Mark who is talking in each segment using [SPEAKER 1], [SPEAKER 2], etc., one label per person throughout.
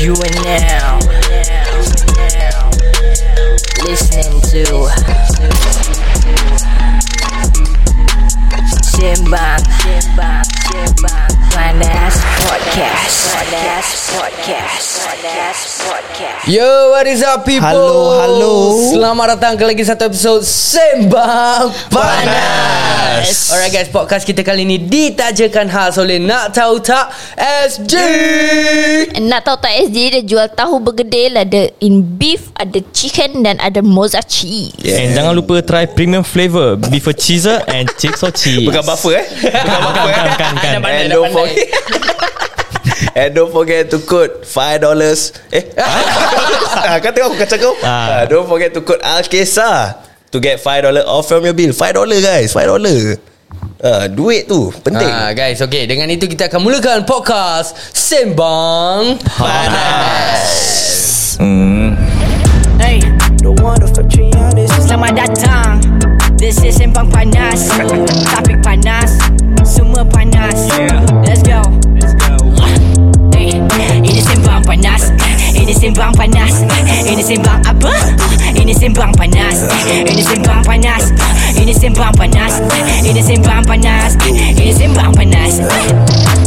[SPEAKER 1] You are now listening to Simbang Finance Podcast. Finance Podcast. Finance Podcast.
[SPEAKER 2] Yo, what is up people?
[SPEAKER 3] Halo, halo.
[SPEAKER 2] Selamat datang ke lagi satu episod Sembang Panas.
[SPEAKER 3] Panas.
[SPEAKER 2] Alright guys, podcast kita kali ini ditajakan khas oleh Nak Tahu Tak SG.
[SPEAKER 4] Nak tahu tak SJ dia jual tahu bergedil Ada in beef Ada chicken Dan ada mozza cheese
[SPEAKER 3] Yeah.
[SPEAKER 5] And jangan lupa try premium flavour beef a cheeser and chips or cheese.
[SPEAKER 3] Bukan buffer eh Bukan buffer eh
[SPEAKER 5] Bukan, bukan, bukan.
[SPEAKER 3] And don't forget And don't forget to code $5 Eh ah, Kau tengok aku kacau kau
[SPEAKER 5] Ah.
[SPEAKER 3] ah. Don't forget to code Al-Kisah To get $5 off from your bill $5 guys $5 ah, Duit tu Penting
[SPEAKER 2] Ah guys, okay. Dengan itu kita akan mulakan podcast Sembang
[SPEAKER 3] Ah,
[SPEAKER 2] Panas.
[SPEAKER 6] Hey, selamat datang. This is sembang panas. Topik panas, semua panas. Let's go. Hey, ini sembang panas. Ini sembang panas. Ini sembang apa? Ini sembang panas. Ini sembang panas. Ini sembang panas. Ini sembang panas. Ini sembang panas.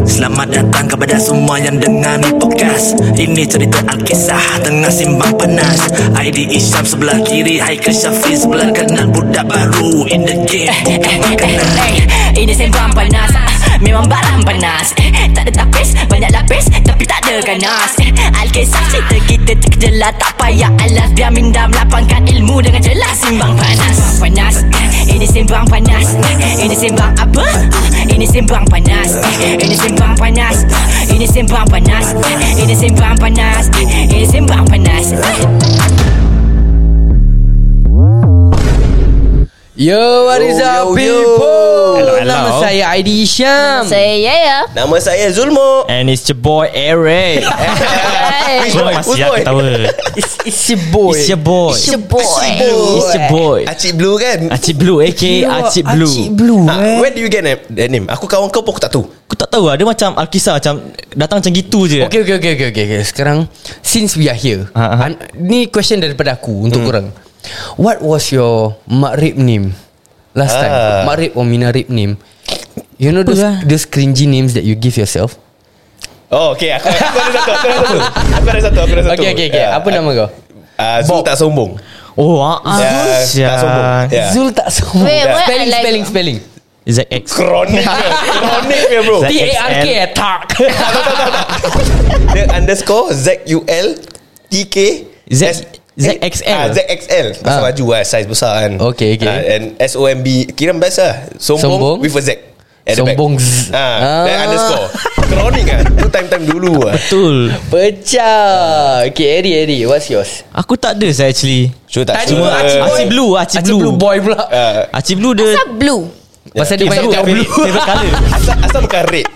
[SPEAKER 7] Selamat datang kepada semua yang dengar ni podcast Ini cerita Alkisah tengah simbang panas ID Isyam sebelah kiri Haikal Syafiq sebelah kanan Budak baru in the game Bukan makanan
[SPEAKER 6] Hey, Eh, ini sembang panas Ah, Memang barang panas Eh, Tak ada tapis, banyak lapis Tapi tak ada ganas Eh, Alkisah cerita kita terkejelah Tak payah alas Biar minda melapangkan ilmu dengan jelas Simbang panas Sembang panas Eh, Ini sembang panas Eh, Ini sembang apa? Ah, Ini sembang panas Eh, Ini sembang panas Ah, Ini sembang panas Eh, Ini sembang panas Eh, Ini sembang panas Eh.
[SPEAKER 2] Yo, what is
[SPEAKER 3] Yo,
[SPEAKER 2] up
[SPEAKER 3] yo, yo.
[SPEAKER 2] people?
[SPEAKER 5] Hello, hello.
[SPEAKER 2] Nama saya Aidy Isyam.
[SPEAKER 4] Saya ya ya
[SPEAKER 3] Nama saya Zulmo
[SPEAKER 5] And it's your boy
[SPEAKER 4] Hey,
[SPEAKER 5] Eric. Kau
[SPEAKER 3] boy? Who's
[SPEAKER 5] masih
[SPEAKER 3] boy?
[SPEAKER 5] aku tahu.
[SPEAKER 2] It's, it's your boy.
[SPEAKER 5] It's your boy.
[SPEAKER 4] It's your boy
[SPEAKER 5] It's your boy.
[SPEAKER 3] Acik Blue kan
[SPEAKER 5] Acik Blue aka Acik Blue. eh?
[SPEAKER 2] Acik Blue. eh.
[SPEAKER 3] Ah, Where do you get that that name? Aku kawan kau pun aku tak tahu
[SPEAKER 5] Aku tak tahu lah Dia macam Alkisah macam Datang macam gitu je
[SPEAKER 2] Okay, okay, okay, okay, okay, okay. Sekarang Since we are here
[SPEAKER 5] Ha, ha.
[SPEAKER 2] an- Ni question daripada aku Untuk korang What was your Makrib name Last time
[SPEAKER 3] Ah.
[SPEAKER 2] Makrib or Minarib name You know those,
[SPEAKER 4] lah?
[SPEAKER 2] those cringy names That you give yourself
[SPEAKER 3] Oh okay Aku, aku ada satu Aku ada satu Aku ada satu, aku ada satu.
[SPEAKER 2] Okay, okay, okay
[SPEAKER 3] Ah,
[SPEAKER 2] Apa nama kau?
[SPEAKER 3] Ah, Zul tak sombong
[SPEAKER 5] Oh ah,
[SPEAKER 3] Ya,
[SPEAKER 5] ah.
[SPEAKER 3] Tak sombong Ya.
[SPEAKER 2] Zul tak sama
[SPEAKER 4] Wait, what
[SPEAKER 2] Spelling,
[SPEAKER 4] I like-
[SPEAKER 2] spelling, spelling
[SPEAKER 5] ZX
[SPEAKER 3] Kronik dia Kronik dia bro
[SPEAKER 5] Zac-
[SPEAKER 2] T-A-R-K
[SPEAKER 5] XL.
[SPEAKER 2] eh, Tak
[SPEAKER 3] Dia underscore Z-U-L T-K S-
[SPEAKER 5] Z- ZXL.
[SPEAKER 3] ah, ZXL Pasal
[SPEAKER 2] Ah.
[SPEAKER 3] baju lah Saiz besar kan
[SPEAKER 2] Okay, okay.
[SPEAKER 3] Ah, And S-O-M-B Kira best lah Sombong,
[SPEAKER 2] Sombong.
[SPEAKER 3] With a Z At the back.
[SPEAKER 2] Sombong Z.
[SPEAKER 3] ah, Then
[SPEAKER 2] Ah.
[SPEAKER 3] underscore Kronik lah Tu time-time dulu lah
[SPEAKER 5] Betul
[SPEAKER 2] Pecah Okay, Eri, Eri What's yours?
[SPEAKER 5] Aku tak ada saya actually
[SPEAKER 3] Sure tak
[SPEAKER 2] Tadi
[SPEAKER 3] sure.
[SPEAKER 2] pun Acik Boy.
[SPEAKER 5] Acik Blue Acik
[SPEAKER 2] Acik
[SPEAKER 5] Blue
[SPEAKER 2] Blue boy pula
[SPEAKER 3] Ah,
[SPEAKER 5] Acik Blue dia Eh,
[SPEAKER 4] Asal blue
[SPEAKER 2] Pasal dia
[SPEAKER 5] Dia
[SPEAKER 2] banyak
[SPEAKER 5] favorite,
[SPEAKER 2] cakap blue
[SPEAKER 5] favorite, favorite colour
[SPEAKER 3] Asal, asal bukan red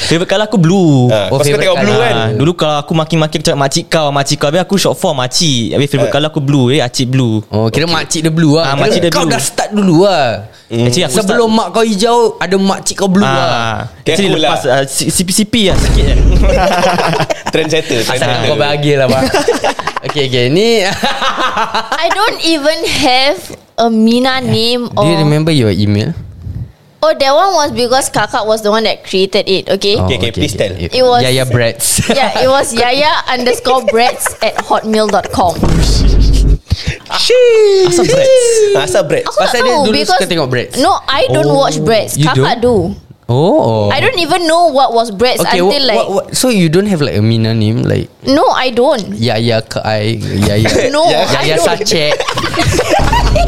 [SPEAKER 5] Favorite colour aku blue
[SPEAKER 3] ah,
[SPEAKER 2] Oh,
[SPEAKER 3] Kau suka
[SPEAKER 2] favourite
[SPEAKER 3] tengok blue
[SPEAKER 2] colour.
[SPEAKER 3] kan
[SPEAKER 5] Ah, dulu kalau aku maki-maki macam makcik kau, makcik kau. Habis aku short form makcik. Habis
[SPEAKER 2] Ya.
[SPEAKER 5] favorite
[SPEAKER 3] Ah.
[SPEAKER 5] colour aku blue, eh acik blue.
[SPEAKER 2] Oh, kira makcik dia blue lah
[SPEAKER 5] Ah,
[SPEAKER 2] Kira
[SPEAKER 5] makcik dia
[SPEAKER 2] Kau
[SPEAKER 5] blue. Eh,
[SPEAKER 2] dah start dulu lah
[SPEAKER 5] Actually aku
[SPEAKER 2] Sebelum mak kau hijau Ada makcik kau blue lah
[SPEAKER 5] Ah,
[SPEAKER 3] Kira
[SPEAKER 5] actually
[SPEAKER 3] cool lah.
[SPEAKER 5] lepas ah, si- CP-CP lah sikit kan.
[SPEAKER 3] Trendsetter
[SPEAKER 2] Asal
[SPEAKER 3] trendsetter.
[SPEAKER 2] kau bahagia lah bang Okay okay Ni
[SPEAKER 4] I don't even have A Mina name
[SPEAKER 2] Do
[SPEAKER 4] or
[SPEAKER 2] you remember your email?
[SPEAKER 4] Oh that one was because Kakak was the one that created it Okay
[SPEAKER 2] Oh,
[SPEAKER 3] okay, please tell.
[SPEAKER 4] It was-
[SPEAKER 2] Yaya Brads
[SPEAKER 4] Yeah, it was Yaya underscore Bretts at hotmail.com.
[SPEAKER 5] Asal bread.
[SPEAKER 3] Asal bread
[SPEAKER 4] Aku
[SPEAKER 2] Pasal
[SPEAKER 4] tak
[SPEAKER 2] dia
[SPEAKER 4] tahu
[SPEAKER 2] dulu
[SPEAKER 4] because
[SPEAKER 2] suka tengok Bratz.
[SPEAKER 4] No, I don't
[SPEAKER 2] Oh,
[SPEAKER 4] watch Bretts.
[SPEAKER 2] you
[SPEAKER 4] Kakak do.
[SPEAKER 2] Oh
[SPEAKER 4] I don't even know what was Bretts
[SPEAKER 2] Okay
[SPEAKER 4] until
[SPEAKER 2] what,
[SPEAKER 4] like
[SPEAKER 2] what, what, So you don't have like a Mina name Like
[SPEAKER 4] No, I don't.
[SPEAKER 2] Yaya Kai Yaya
[SPEAKER 4] No,
[SPEAKER 3] Yeah.
[SPEAKER 4] I
[SPEAKER 2] Yaya
[SPEAKER 4] don't.
[SPEAKER 2] Sachet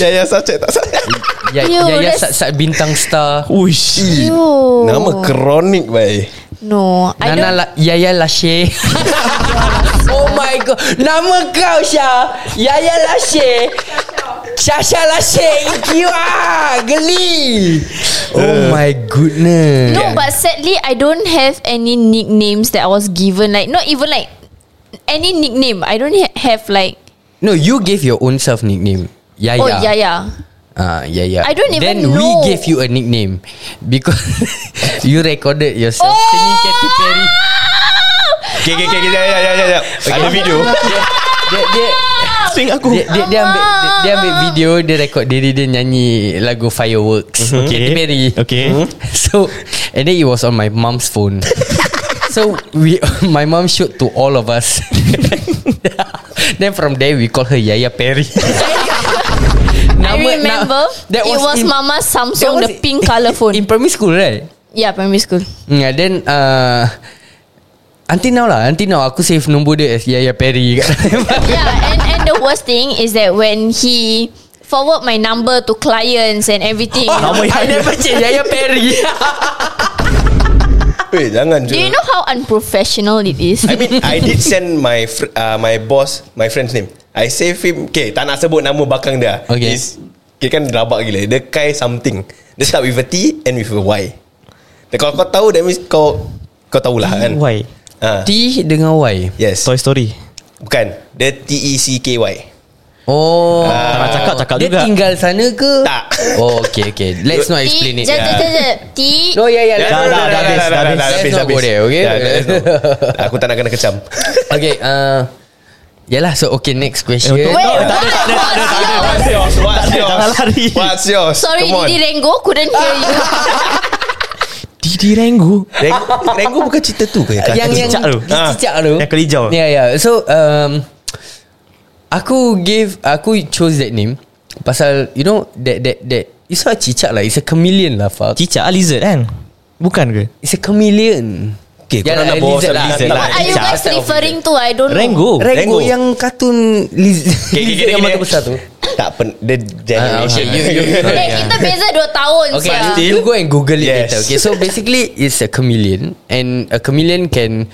[SPEAKER 3] Ya ya sachet tak salah
[SPEAKER 2] Yaya,
[SPEAKER 4] Yo,
[SPEAKER 2] Yaya
[SPEAKER 4] that's-
[SPEAKER 2] Sat, Sat Bintang Star
[SPEAKER 5] Uish.
[SPEAKER 4] Yo.
[SPEAKER 3] Nama kronik baik
[SPEAKER 4] No, I
[SPEAKER 2] Nana
[SPEAKER 4] don't.
[SPEAKER 2] La, Yaya Lashe Oh my god Nama kau Syah Yaya Lashe Sasha Lashe Kiwa Geli Oh my goodness
[SPEAKER 4] no, but sadly, I don't have any nicknames that I was given. Like, not even like any nickname. I don't ha- have like.
[SPEAKER 2] No, you gave your own self nickname. Yaya.
[SPEAKER 4] Oh yeah, yeah.
[SPEAKER 2] Ah, Yaya.
[SPEAKER 4] I don't even
[SPEAKER 2] then
[SPEAKER 4] know.
[SPEAKER 2] we gave you a nickname
[SPEAKER 4] Oh!
[SPEAKER 2] because you recorded yourself singing Katy Perry.
[SPEAKER 3] Okay, okay, ya, okay, kejap, kejap, kejap, kejap. Ada video.
[SPEAKER 2] Dia dia
[SPEAKER 5] Sing
[SPEAKER 4] Oh,
[SPEAKER 5] aku
[SPEAKER 2] dia, dia, dia ambil dia, dia ambil video dia rekod diri dia nyanyi lagu fireworks mm-hmm. Katy Perry
[SPEAKER 5] Mhm. Okay.
[SPEAKER 2] Mhm. so and then it was on my mom's phone so we my mom showed to all of us then from there we call her Yaya Perry
[SPEAKER 4] I remember
[SPEAKER 2] that
[SPEAKER 4] It was
[SPEAKER 2] in-
[SPEAKER 4] Mama
[SPEAKER 2] that
[SPEAKER 4] Samsung
[SPEAKER 2] was
[SPEAKER 4] The pink colour
[SPEAKER 2] in
[SPEAKER 4] phone
[SPEAKER 2] primary school right
[SPEAKER 4] Yeah primary school
[SPEAKER 2] Mm, and then uh, Until now lah Until now aku save nombor dia As Yaya Perry kat dalam.
[SPEAKER 4] yeah, and and the worst thing is that when he forward my number to clients and everything.
[SPEAKER 5] Nama
[SPEAKER 2] I
[SPEAKER 5] yang
[SPEAKER 2] never change Yaya Perry
[SPEAKER 3] Weh, jangan je.
[SPEAKER 4] Do you know how unprofessional it is?
[SPEAKER 3] I mean, I did send my fr- uh, my boss, my friend's name. I save him. Okay, tak nak sebut nama bakang dia.
[SPEAKER 2] Okay.
[SPEAKER 3] He's, dia kan rabak gila. Dia Kai something. Dia start with a T and with a Y. Dia, kalau kau tahu, that means kau kau tahulah kan.
[SPEAKER 5] Why
[SPEAKER 3] Ah,
[SPEAKER 2] T dengan Y
[SPEAKER 3] yes.
[SPEAKER 5] Toy Story Eh,
[SPEAKER 3] Bukan. Dia E T-E-C-K-Y.
[SPEAKER 2] Oh
[SPEAKER 5] Tak
[SPEAKER 3] Ah.
[SPEAKER 5] nak cakap Cakap
[SPEAKER 2] Dia
[SPEAKER 5] juga
[SPEAKER 2] tinggal sana ke
[SPEAKER 3] Tak.
[SPEAKER 2] Oh okay okay Let's not
[SPEAKER 4] T,
[SPEAKER 2] explain it
[SPEAKER 4] just, just, just, just, T.
[SPEAKER 2] No yeah yeah
[SPEAKER 3] Dah, dah, dah, dah,
[SPEAKER 2] ya,
[SPEAKER 3] dah, dah, dah,
[SPEAKER 2] Let's
[SPEAKER 3] habis, Ya,
[SPEAKER 2] not go
[SPEAKER 3] habis.
[SPEAKER 2] there okay
[SPEAKER 3] Dah, let's go. Aku tak nak kena kecam.
[SPEAKER 2] Okay uh, Yalah so okay next question
[SPEAKER 5] Eh,
[SPEAKER 4] Wait,
[SPEAKER 5] tak ada,
[SPEAKER 4] what?
[SPEAKER 3] What's yours? What's yours?
[SPEAKER 5] jangan lari.
[SPEAKER 3] What's yours?
[SPEAKER 4] Sorry,
[SPEAKER 3] Come on.
[SPEAKER 4] Didi Rengo couldn't hear you.
[SPEAKER 5] Didi Renggu
[SPEAKER 3] Reng- Renggu bukan cerita tu ke?
[SPEAKER 2] yang
[SPEAKER 3] Kakak tu? Ah.
[SPEAKER 2] yang
[SPEAKER 5] cicak tu. Ah.
[SPEAKER 2] yang cicak tu.
[SPEAKER 5] Yang kelijau.
[SPEAKER 2] Yeah yeah. So um, aku give aku chose that name pasal you know that that that it's not a cicak lah. It's a chameleon lah. Fuck.
[SPEAKER 5] Cicak ah, lizard kan Bukan ke
[SPEAKER 2] It's a chameleon.
[SPEAKER 3] Okay, korang
[SPEAKER 2] lah,
[SPEAKER 3] nak bawa
[SPEAKER 2] lizard
[SPEAKER 3] pasal
[SPEAKER 2] lah.
[SPEAKER 3] lizard lah.
[SPEAKER 4] What are you guys referring to? I don't know.
[SPEAKER 5] Renggu
[SPEAKER 2] Rengo
[SPEAKER 3] Rengo.
[SPEAKER 2] yang kartun lizard,
[SPEAKER 3] Okay, okay,
[SPEAKER 2] lizard
[SPEAKER 3] okay,
[SPEAKER 2] yang mata
[SPEAKER 3] okay.
[SPEAKER 2] besar tu.
[SPEAKER 3] Tak pen The generation
[SPEAKER 2] Ah, okay, you- you-
[SPEAKER 4] Eh, kita beza 2 tahun.
[SPEAKER 2] Okay,
[SPEAKER 4] sia.
[SPEAKER 2] you go and Google it
[SPEAKER 3] Yes.
[SPEAKER 2] later. Okay, so basically it's a chameleon, and a chameleon can,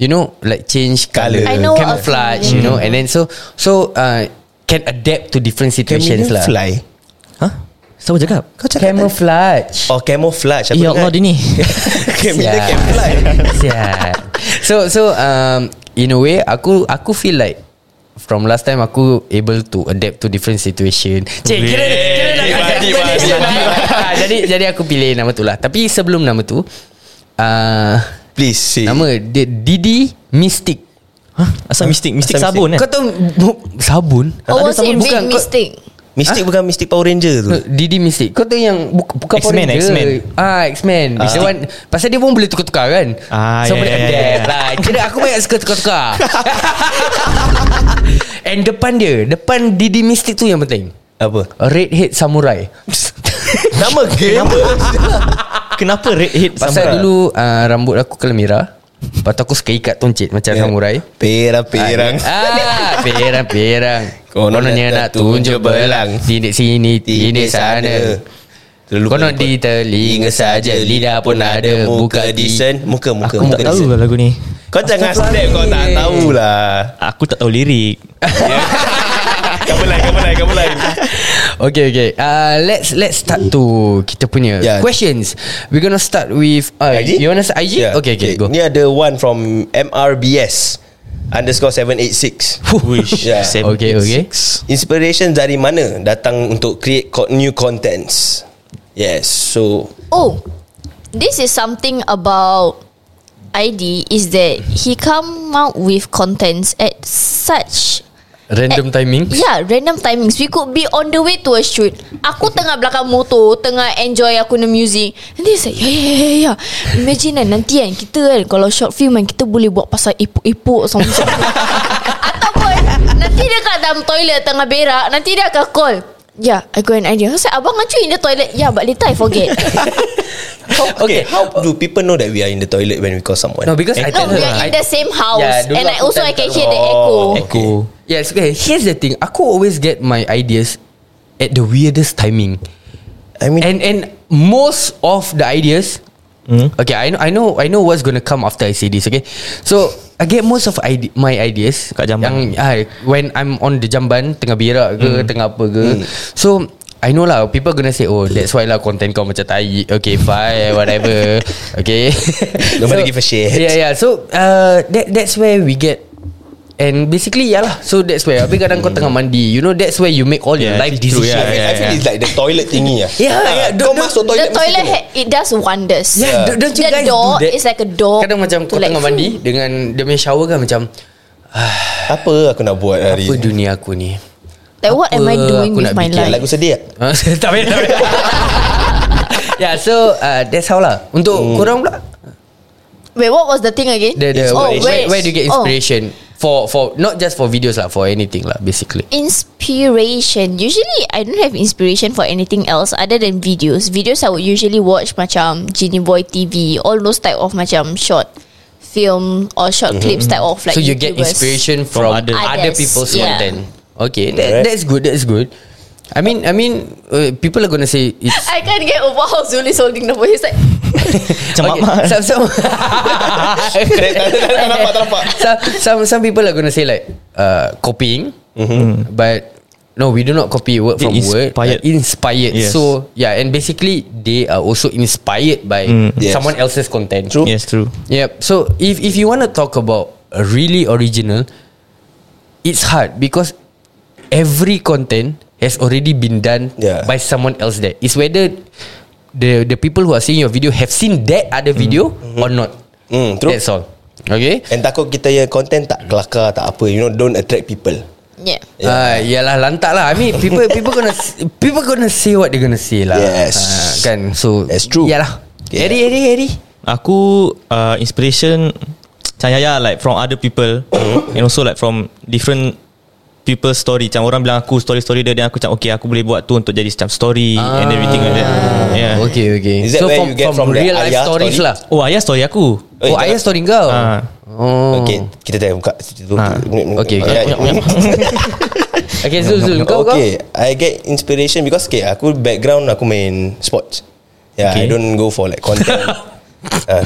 [SPEAKER 2] you know, like change color,
[SPEAKER 3] Colour. I
[SPEAKER 4] know what a
[SPEAKER 2] camouflage, you know, and then so so uh, can adapt to different situations lah.
[SPEAKER 3] Chameleon fly
[SPEAKER 5] Ha? Siapa cakap?
[SPEAKER 3] Kau cakap
[SPEAKER 2] Camouflage.
[SPEAKER 3] Oh camouflage Aku
[SPEAKER 5] Ya Allah
[SPEAKER 3] dengar.
[SPEAKER 5] dia ni
[SPEAKER 3] Chameleon
[SPEAKER 2] Sial.
[SPEAKER 3] can fly
[SPEAKER 2] Sial. So so um in a way aku aku feel like from last time aku able to adapt to different situation. Cik kira kira dah
[SPEAKER 3] Tiba,
[SPEAKER 2] kasi
[SPEAKER 3] tiba,
[SPEAKER 2] explanation
[SPEAKER 3] tiba,
[SPEAKER 2] lah. Ah, Jadi jadi aku pilih nama tu lah. Tapi sebelum nama tu uh,
[SPEAKER 3] Please see
[SPEAKER 2] nama dia Didi Mystic.
[SPEAKER 5] Ha? Asal mistik Mistik
[SPEAKER 3] Asal
[SPEAKER 5] sabun
[SPEAKER 2] Kau
[SPEAKER 5] kan
[SPEAKER 2] tahu bu- sabun? Ada
[SPEAKER 4] Or was it
[SPEAKER 2] sabun?
[SPEAKER 4] big
[SPEAKER 2] Bukan, kau-
[SPEAKER 4] mistake?
[SPEAKER 3] Mystic bukan Mystic Power Ranger tu
[SPEAKER 2] Didi Mystic Kau tahu yang buka, buka
[SPEAKER 5] X-Men, X-Men.
[SPEAKER 2] Ah X-Men uh. One, Pasal dia pun boleh tukar-tukar kan
[SPEAKER 5] Ah,
[SPEAKER 2] So
[SPEAKER 5] ya,
[SPEAKER 2] boleh
[SPEAKER 5] ya, ya,
[SPEAKER 2] adapt
[SPEAKER 5] ya.
[SPEAKER 2] lah Kira aku banyak suka tukar-tukar And depan dia Depan Didi Mystic tu yang penting
[SPEAKER 3] Apa
[SPEAKER 2] Redhead Samurai
[SPEAKER 3] Nama game
[SPEAKER 5] Kenapa red hit
[SPEAKER 2] Pasal dulu uh, Rambut aku kalau merah Lepas tu aku suka ikat tuncit
[SPEAKER 3] Ya.
[SPEAKER 2] Macam samurai
[SPEAKER 3] Perang-perang
[SPEAKER 2] Ah, perang-perang
[SPEAKER 3] Konon
[SPEAKER 2] Kononnya
[SPEAKER 3] tak
[SPEAKER 2] nak tunjuk belang Tindik sini, tindik sana
[SPEAKER 3] Terlupa
[SPEAKER 2] Konon di telinga saja Lidah pun ada Muka
[SPEAKER 3] Muka
[SPEAKER 2] di
[SPEAKER 3] decent Muka muka
[SPEAKER 5] Aku
[SPEAKER 3] muka
[SPEAKER 5] tak tahu
[SPEAKER 3] decent.
[SPEAKER 5] lah lagu ni
[SPEAKER 3] Kau jangan snap Kau tak tahu lah
[SPEAKER 5] Aku tak tahu lirik
[SPEAKER 3] Kamu lain Kamu lain Kamu lain
[SPEAKER 2] Okay okay uh, Let's let's start to Kita punya
[SPEAKER 3] Yeah.
[SPEAKER 2] Questions We're gonna start with uh,
[SPEAKER 3] IG?
[SPEAKER 2] You wanna start IG?
[SPEAKER 3] Yeah.
[SPEAKER 2] Okay okay go
[SPEAKER 3] Ya. Ni ada one from MRBS Underscore 786
[SPEAKER 5] Wish
[SPEAKER 3] Yeah.
[SPEAKER 5] Seven,
[SPEAKER 2] Okay,
[SPEAKER 5] eight,
[SPEAKER 2] okay.
[SPEAKER 5] six.
[SPEAKER 3] Inspiration dari mana datang untuk create co- new contents? Yes, so
[SPEAKER 4] Oh, this is something about ID is that he come out with contents at such
[SPEAKER 2] Random timing
[SPEAKER 4] Yeah Ya, random timings We could be on the way to a shoot Aku tengah belakang motor Tengah enjoy aku ni music Nanti saya Ya ya ya ya, ya Imagine kan nanti kan Kita kan Kalau short film kan Kita boleh buat pasal ipuk-ipuk Something Ataupun Nanti dia kat dalam toilet Tengah berak Nanti dia akan call Yeah I got an idea I said abang ngacu in the toilet Yeah but later I forget
[SPEAKER 3] how, okay, how do people know that we are in the toilet when we call someone?
[SPEAKER 2] No because I
[SPEAKER 4] No
[SPEAKER 2] tell
[SPEAKER 4] we
[SPEAKER 2] her
[SPEAKER 4] are in the same house
[SPEAKER 2] Yeah, dulu
[SPEAKER 4] And I
[SPEAKER 2] aku
[SPEAKER 4] also
[SPEAKER 2] tell
[SPEAKER 4] I can
[SPEAKER 2] her.
[SPEAKER 4] hear the
[SPEAKER 3] Oh,
[SPEAKER 4] echo
[SPEAKER 5] Echo
[SPEAKER 2] Yes, okay. Here's the thing. Aku always get my ideas at the weirdest timing.
[SPEAKER 3] I mean,
[SPEAKER 2] And and most of the ideas
[SPEAKER 5] Hmm?
[SPEAKER 2] Okay, I know I know I know what's going to come after I say this, okay? So, I get most of ide- my ideas
[SPEAKER 5] Kat jamban. Hmm.
[SPEAKER 2] yang ah, when I'm on the jamban tengah berak ke, tengah apa ke.
[SPEAKER 3] Hmm.
[SPEAKER 2] So, I know lah People gonna say Oh that's why lah Content kau macam tai Okay fine Whatever Okay
[SPEAKER 3] Nobody give a shit.
[SPEAKER 2] Yeah yeah So uh, that That's where we get And basically ya lah So that's where Habis kadang kau tengah mandi You know that's where you make all your
[SPEAKER 5] Yeah,
[SPEAKER 2] life
[SPEAKER 5] true,
[SPEAKER 2] decision
[SPEAKER 3] I feel,
[SPEAKER 5] yeah,
[SPEAKER 3] I feel
[SPEAKER 5] yeah.
[SPEAKER 3] it's like the toilet thingy ah.
[SPEAKER 2] Yeah,
[SPEAKER 3] Ah,
[SPEAKER 2] yeah,
[SPEAKER 3] Kau
[SPEAKER 2] the- the-
[SPEAKER 3] masuk toilet
[SPEAKER 4] The toilet
[SPEAKER 3] mesti
[SPEAKER 4] ha- It does wonders
[SPEAKER 2] Yeah, don't- don't you
[SPEAKER 4] The
[SPEAKER 2] guys
[SPEAKER 4] door
[SPEAKER 2] do that?
[SPEAKER 4] is like a door
[SPEAKER 2] Kadang macam
[SPEAKER 4] to
[SPEAKER 2] kau
[SPEAKER 4] like-
[SPEAKER 2] tengah mandi Dengan dia punya shower kan macam
[SPEAKER 3] tu. Apa aku nak buat hari
[SPEAKER 2] Apa
[SPEAKER 3] ni?
[SPEAKER 2] dunia aku ni
[SPEAKER 4] Like what am I
[SPEAKER 2] Apa
[SPEAKER 4] doing
[SPEAKER 2] aku
[SPEAKER 4] with
[SPEAKER 2] nak
[SPEAKER 4] my
[SPEAKER 2] bikin?
[SPEAKER 3] Okay,
[SPEAKER 4] life
[SPEAKER 3] lagu sedih tak?
[SPEAKER 2] Ha? Tak payah tak payah Yeah so uh, That's how lah Untuk hmm. korang pula
[SPEAKER 4] Wait what was the thing again
[SPEAKER 2] the, the,
[SPEAKER 4] Oh
[SPEAKER 2] where, where,
[SPEAKER 4] wait
[SPEAKER 2] where do you get
[SPEAKER 4] Oh.
[SPEAKER 2] inspiration For for Not just for videos lah For anything lah basically
[SPEAKER 4] Inspiration Usually I don't have inspiration For anything else Other than videos Videos I would usually watch Macam Genie Boy TV All those type of Macam short Film Or short clips type of like
[SPEAKER 2] Mm-hmm. So you get
[SPEAKER 4] YouTubers.
[SPEAKER 2] inspiration
[SPEAKER 5] From
[SPEAKER 2] from,
[SPEAKER 5] others.
[SPEAKER 2] other
[SPEAKER 4] Others,
[SPEAKER 2] people's
[SPEAKER 4] yeah.
[SPEAKER 2] content Okay that,
[SPEAKER 3] Correct.
[SPEAKER 2] That's good That's good I mean I mean uh, People are gonna say It's
[SPEAKER 4] I can't get over How Zul is holding the boy He's like
[SPEAKER 5] Macam okay. mak
[SPEAKER 2] some, some,
[SPEAKER 3] Tak nampak, tak nampak.
[SPEAKER 2] some, some, some people are gonna say like uh, copying, mm-hmm. but no, we do not copy word
[SPEAKER 5] They
[SPEAKER 2] from word.
[SPEAKER 5] inspired.
[SPEAKER 2] uh, inspired.
[SPEAKER 5] Yes.
[SPEAKER 2] So yeah, and basically they are also inspired by
[SPEAKER 3] Yes.
[SPEAKER 2] someone else's content.
[SPEAKER 3] Mm. True.
[SPEAKER 5] Yes true
[SPEAKER 2] Yep. So if if you want to talk about a really original, it's hard because every content has already been done
[SPEAKER 3] Yeah.
[SPEAKER 2] by someone else. There is whether the the people who are seeing your video have seen that other video or not.
[SPEAKER 3] Mm, true.
[SPEAKER 2] That's all. Okay.
[SPEAKER 3] And takut kita yang content tak kelakar tak apa You know don't attract people
[SPEAKER 4] Yeah
[SPEAKER 2] Yeah. Uh, yalah lantak lah I mean people people gonna People gonna say what they gonna say lah
[SPEAKER 3] Yes.
[SPEAKER 2] uh, Kan so
[SPEAKER 3] That's true.
[SPEAKER 2] Yalah
[SPEAKER 3] Yeah.
[SPEAKER 2] Eri Eri Eri
[SPEAKER 5] Aku uh, Inspiration Macam Yaya like From other people And also like from Different People story Macam orang bilang aku Story-story dia Dan aku macam Okay aku boleh buat tu Untuk jadi macam story And everything like that Yeah
[SPEAKER 2] Ah. Okay okay
[SPEAKER 3] Is that where
[SPEAKER 2] from,
[SPEAKER 3] you get
[SPEAKER 2] from,
[SPEAKER 3] from the
[SPEAKER 2] real life
[SPEAKER 3] Ayah
[SPEAKER 2] stories
[SPEAKER 3] story?
[SPEAKER 2] lah
[SPEAKER 5] Oh ayah story aku
[SPEAKER 3] Eh,
[SPEAKER 2] Oh
[SPEAKER 3] jangan-
[SPEAKER 2] ayah story kau
[SPEAKER 5] Ah.
[SPEAKER 2] Oh Ha.
[SPEAKER 3] Okay Kita dah buka
[SPEAKER 5] Ah,
[SPEAKER 2] okay, okay. Okay Zul Zul Kau
[SPEAKER 3] Okay I get inspiration Because okay, aku background Aku main sports Yeah okay. I
[SPEAKER 5] Okay.
[SPEAKER 3] don't go for like content uh,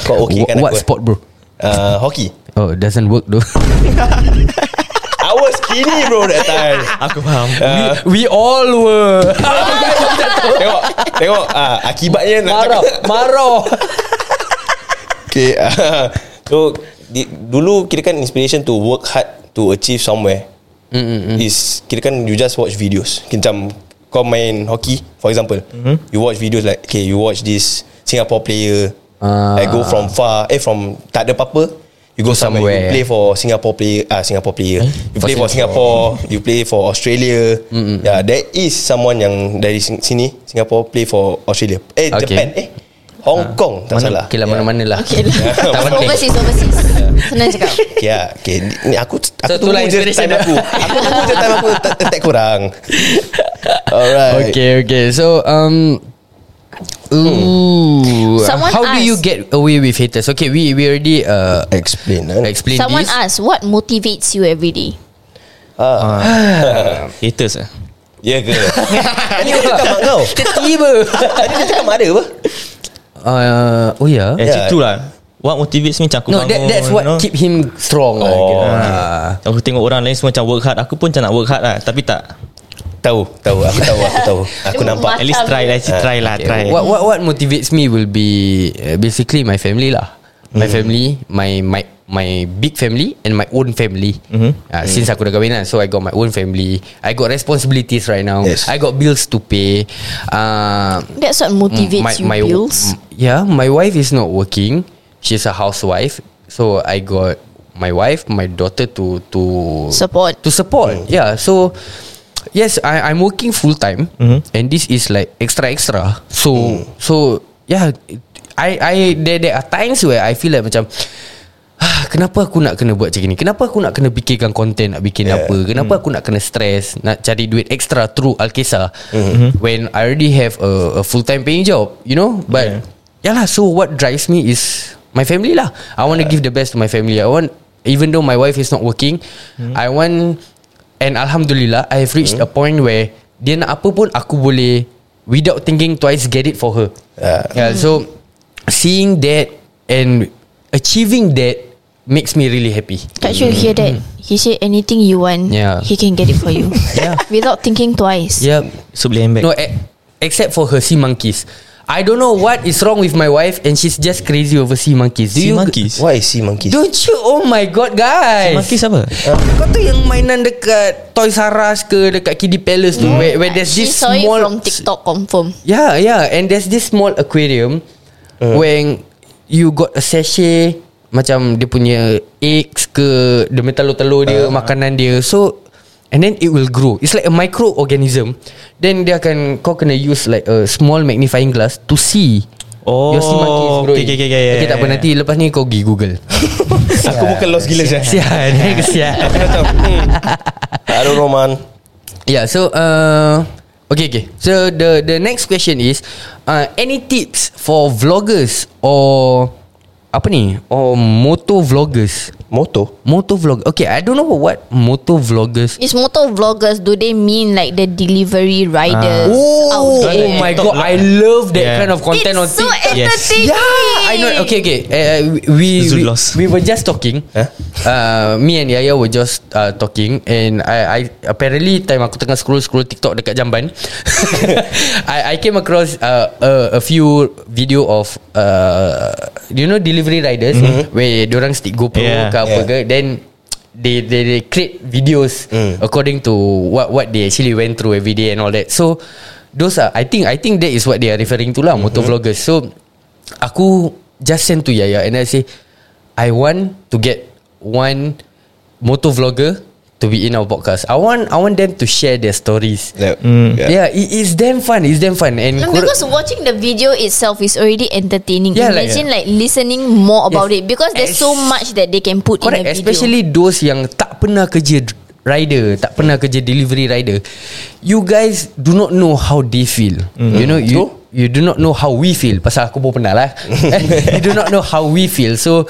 [SPEAKER 2] kau eh?
[SPEAKER 3] Kau okay
[SPEAKER 2] Wh-
[SPEAKER 3] kan
[SPEAKER 2] What
[SPEAKER 3] aku
[SPEAKER 2] sport bro
[SPEAKER 3] Uh, hockey
[SPEAKER 2] Oh it doesn't work though
[SPEAKER 3] I was skinny bro that time
[SPEAKER 5] Aku faham
[SPEAKER 2] Uh, We all were
[SPEAKER 3] Tengok Tengok uh, Akibatnya nak
[SPEAKER 2] Marah
[SPEAKER 3] cakap-
[SPEAKER 2] Marah
[SPEAKER 3] Okay uh, So di, Dulu kira kan inspiration to work hard To achieve somewhere mm-hmm. Is Kira kan you just watch videos Macam Kau main hockey For example mm-hmm. You watch videos like Okay you watch this Singapore player
[SPEAKER 2] Ah.
[SPEAKER 3] uh. I go from far Eh from Tak ada apa-apa You
[SPEAKER 2] To
[SPEAKER 3] go somewhere,
[SPEAKER 2] somewhere. Eh?
[SPEAKER 3] You play for Singapore player ah Singapore player You
[SPEAKER 2] For
[SPEAKER 3] play for Singapore You play for Australia mm-hmm. Yeah there is someone yang Dari sing- sini Singapore play for Australia
[SPEAKER 2] Okay.
[SPEAKER 3] Eh okay. Japan eh Hong Kong Tak salah
[SPEAKER 2] Okay lah
[SPEAKER 3] Yeah.
[SPEAKER 2] mana-mana lah
[SPEAKER 4] Okay lah
[SPEAKER 2] Tak penting
[SPEAKER 4] Overseas overseas Senang cakap
[SPEAKER 3] Okay lah okay. Ni- Ni aku Aku
[SPEAKER 2] So,
[SPEAKER 3] tunggu
[SPEAKER 2] itulah
[SPEAKER 3] je
[SPEAKER 2] inspiration
[SPEAKER 3] time
[SPEAKER 2] dia.
[SPEAKER 3] lah aku Aku tunggu je time aku ta- Attack korang Alright
[SPEAKER 2] Okay, okay. So, um, ooh,
[SPEAKER 4] Someone
[SPEAKER 2] how do
[SPEAKER 4] asked-
[SPEAKER 2] you get away with haters? Okay, we we already uh
[SPEAKER 3] Explain eh.
[SPEAKER 2] explained
[SPEAKER 4] Someone
[SPEAKER 2] this.
[SPEAKER 4] asked What motivates you every day
[SPEAKER 5] Haters lah
[SPEAKER 3] Ya ke Tadi aku cakap mak kau
[SPEAKER 2] Tiba.
[SPEAKER 3] Tadi aku cakap mak ada apa
[SPEAKER 2] Uh, oh yeah.
[SPEAKER 5] Actually
[SPEAKER 3] Yeah.
[SPEAKER 5] yeah. true lah What motivates me Macam aku
[SPEAKER 2] No, that,
[SPEAKER 5] bangun
[SPEAKER 2] that's what
[SPEAKER 5] you know?
[SPEAKER 2] keep him strong. lah,
[SPEAKER 3] Oh,
[SPEAKER 2] kira. Ah.
[SPEAKER 3] okay.
[SPEAKER 5] Macam Aku tengok orang lain semua Macam work hard Aku pun macam nak work hard lah Tapi tak
[SPEAKER 3] Tahu Tahu aku tahu Aku tahu Aku nampak
[SPEAKER 5] At least try lah actually Try lah try
[SPEAKER 2] What what what motivates me will be uh, basically my family lah. My family, my my my big family and my own family. Mm-hmm. Uh, Since aku dah kahwin lah, so I got my own family. I got responsibilities right now.
[SPEAKER 3] Yes.
[SPEAKER 2] I got bills to pay. Uh,
[SPEAKER 4] That's what motivates you
[SPEAKER 2] m-
[SPEAKER 4] Bills
[SPEAKER 2] yeah, my wife is not working. She's a housewife. So I got my wife, my daughter to to
[SPEAKER 4] Support.
[SPEAKER 2] to support. Yeah, so yes, I I'm working full time, and this is like extra extra. So so yeah, I I there there are times where I feel like macam. "Ah, Kenapa aku nak kena buat macam ni Kenapa aku nak kena fikirkan content Nak bikin
[SPEAKER 3] Yeah.
[SPEAKER 2] apa Kenapa aku nak kena stress Nak cari duit extra Through Alkisah mm-hmm. When I already have a, a Full time paying job You know But yeah. Yalah so what drives me is My family lah I want to give the best to my family I want Even though my wife is not working
[SPEAKER 5] Hmm.
[SPEAKER 2] I want And Alhamdulillah I have reached a point where Dia nak apa pun Aku boleh Without thinking twice Get it for her
[SPEAKER 3] Yeah.
[SPEAKER 2] yeah so Seeing that And Achieving that Makes me really happy
[SPEAKER 4] Can't you hear that He said anything you want
[SPEAKER 2] Yeah.
[SPEAKER 4] He can get it for you
[SPEAKER 2] Yeah.
[SPEAKER 4] Without thinking twice
[SPEAKER 2] Yep
[SPEAKER 5] So beli handbag
[SPEAKER 2] No, e- except for her sea monkeys. I don't know what is wrong with my wife and she's just crazy over sea monkeys. Do you
[SPEAKER 5] Sea monkeys
[SPEAKER 3] Why sea monkeys?
[SPEAKER 2] Don't you? Oh my god, guys.
[SPEAKER 5] Sea monkeys apa?
[SPEAKER 2] Kau tu yang mainan dekat Toys R Us ke dekat Kiddy Palace
[SPEAKER 5] Hmm.
[SPEAKER 2] tu where, where there's
[SPEAKER 4] She
[SPEAKER 2] this
[SPEAKER 4] saw it
[SPEAKER 2] small
[SPEAKER 4] from TikTok confirm
[SPEAKER 2] Yeah, yeah, and there's this small aquarium
[SPEAKER 5] Uh.
[SPEAKER 2] when you got a sachet macam dia punya eggs ke dia punya telur-telur dia,
[SPEAKER 5] Uh.
[SPEAKER 2] makanan dia. So and then it will grow. It's like a microorganism. Then dia akan kau kena use like a small magnifying glass to see
[SPEAKER 5] Oh,
[SPEAKER 2] Your sea monkeys growing.
[SPEAKER 5] okay, okay, okay, yeah,
[SPEAKER 2] okay tak apa
[SPEAKER 5] yeah,
[SPEAKER 2] nanti lepas ni kau pergi Google.
[SPEAKER 3] Aku bukan lost gila je.
[SPEAKER 2] Kesian, kesian.
[SPEAKER 3] Aku macam hmm. I don't know man.
[SPEAKER 2] Yeah, so uh, okay, okay. So the the next question is, uh, any tips for vloggers or apa ni? Or moto vloggers,
[SPEAKER 3] Motor.
[SPEAKER 2] moto vlog. Okay, I don't know what moto vloggers.
[SPEAKER 4] Is motor vloggers Do they mean like The delivery riders out
[SPEAKER 2] Oh,
[SPEAKER 4] there?
[SPEAKER 2] my
[SPEAKER 5] TikTok
[SPEAKER 2] god,
[SPEAKER 5] lah.
[SPEAKER 2] I love that
[SPEAKER 5] Yeah.
[SPEAKER 2] kind of content on
[SPEAKER 4] It's so
[SPEAKER 2] TikTok.
[SPEAKER 5] Yes.
[SPEAKER 4] entertaining
[SPEAKER 2] Yeah, Ya, I know. Okay, okay. Uh, we, we
[SPEAKER 5] Zulos.
[SPEAKER 2] we were just talking.
[SPEAKER 3] Huh?
[SPEAKER 2] Uh, me and Yaya were just uh, talking, and I, I apparently time aku tengah scroll scroll TikTok dekat jamban, I I came across uh, a, a few video of uh, you know delivery riders mm-hmm. where orang stick GoPro
[SPEAKER 5] Yeah.
[SPEAKER 2] yeah. ke apa
[SPEAKER 3] Yeah.
[SPEAKER 2] ke, then they they, they create videos mm. according to what what they actually went through every day and all that. So those are I think I think that is what they are referring to lah mm-hmm. motor vloggers. So aku just send to Yaya and I say I want to get one motor vlogger to be in our podcast. I want I want them to share their stories. Yeah,
[SPEAKER 5] Ya.
[SPEAKER 3] Like, mm. yeah.
[SPEAKER 2] yeah it, it's damn fun. It's damn fun and
[SPEAKER 4] No,
[SPEAKER 2] kor-
[SPEAKER 4] because watching the video itself is already entertaining.
[SPEAKER 2] Yeah, like-
[SPEAKER 4] Imagine like, listening more about
[SPEAKER 2] Yes.
[SPEAKER 4] it because there's so
[SPEAKER 2] Es-
[SPEAKER 4] much that they can put
[SPEAKER 2] Correct
[SPEAKER 4] in a video.
[SPEAKER 2] Especially those yang Tak pernah kerja d- Rider Tak pernah kerja delivery rider You guys Do not know how they feel
[SPEAKER 3] Mm-hmm.
[SPEAKER 2] mm. You know You you do not know how we feel Pasal aku pun pernah lah You do not know how we feel So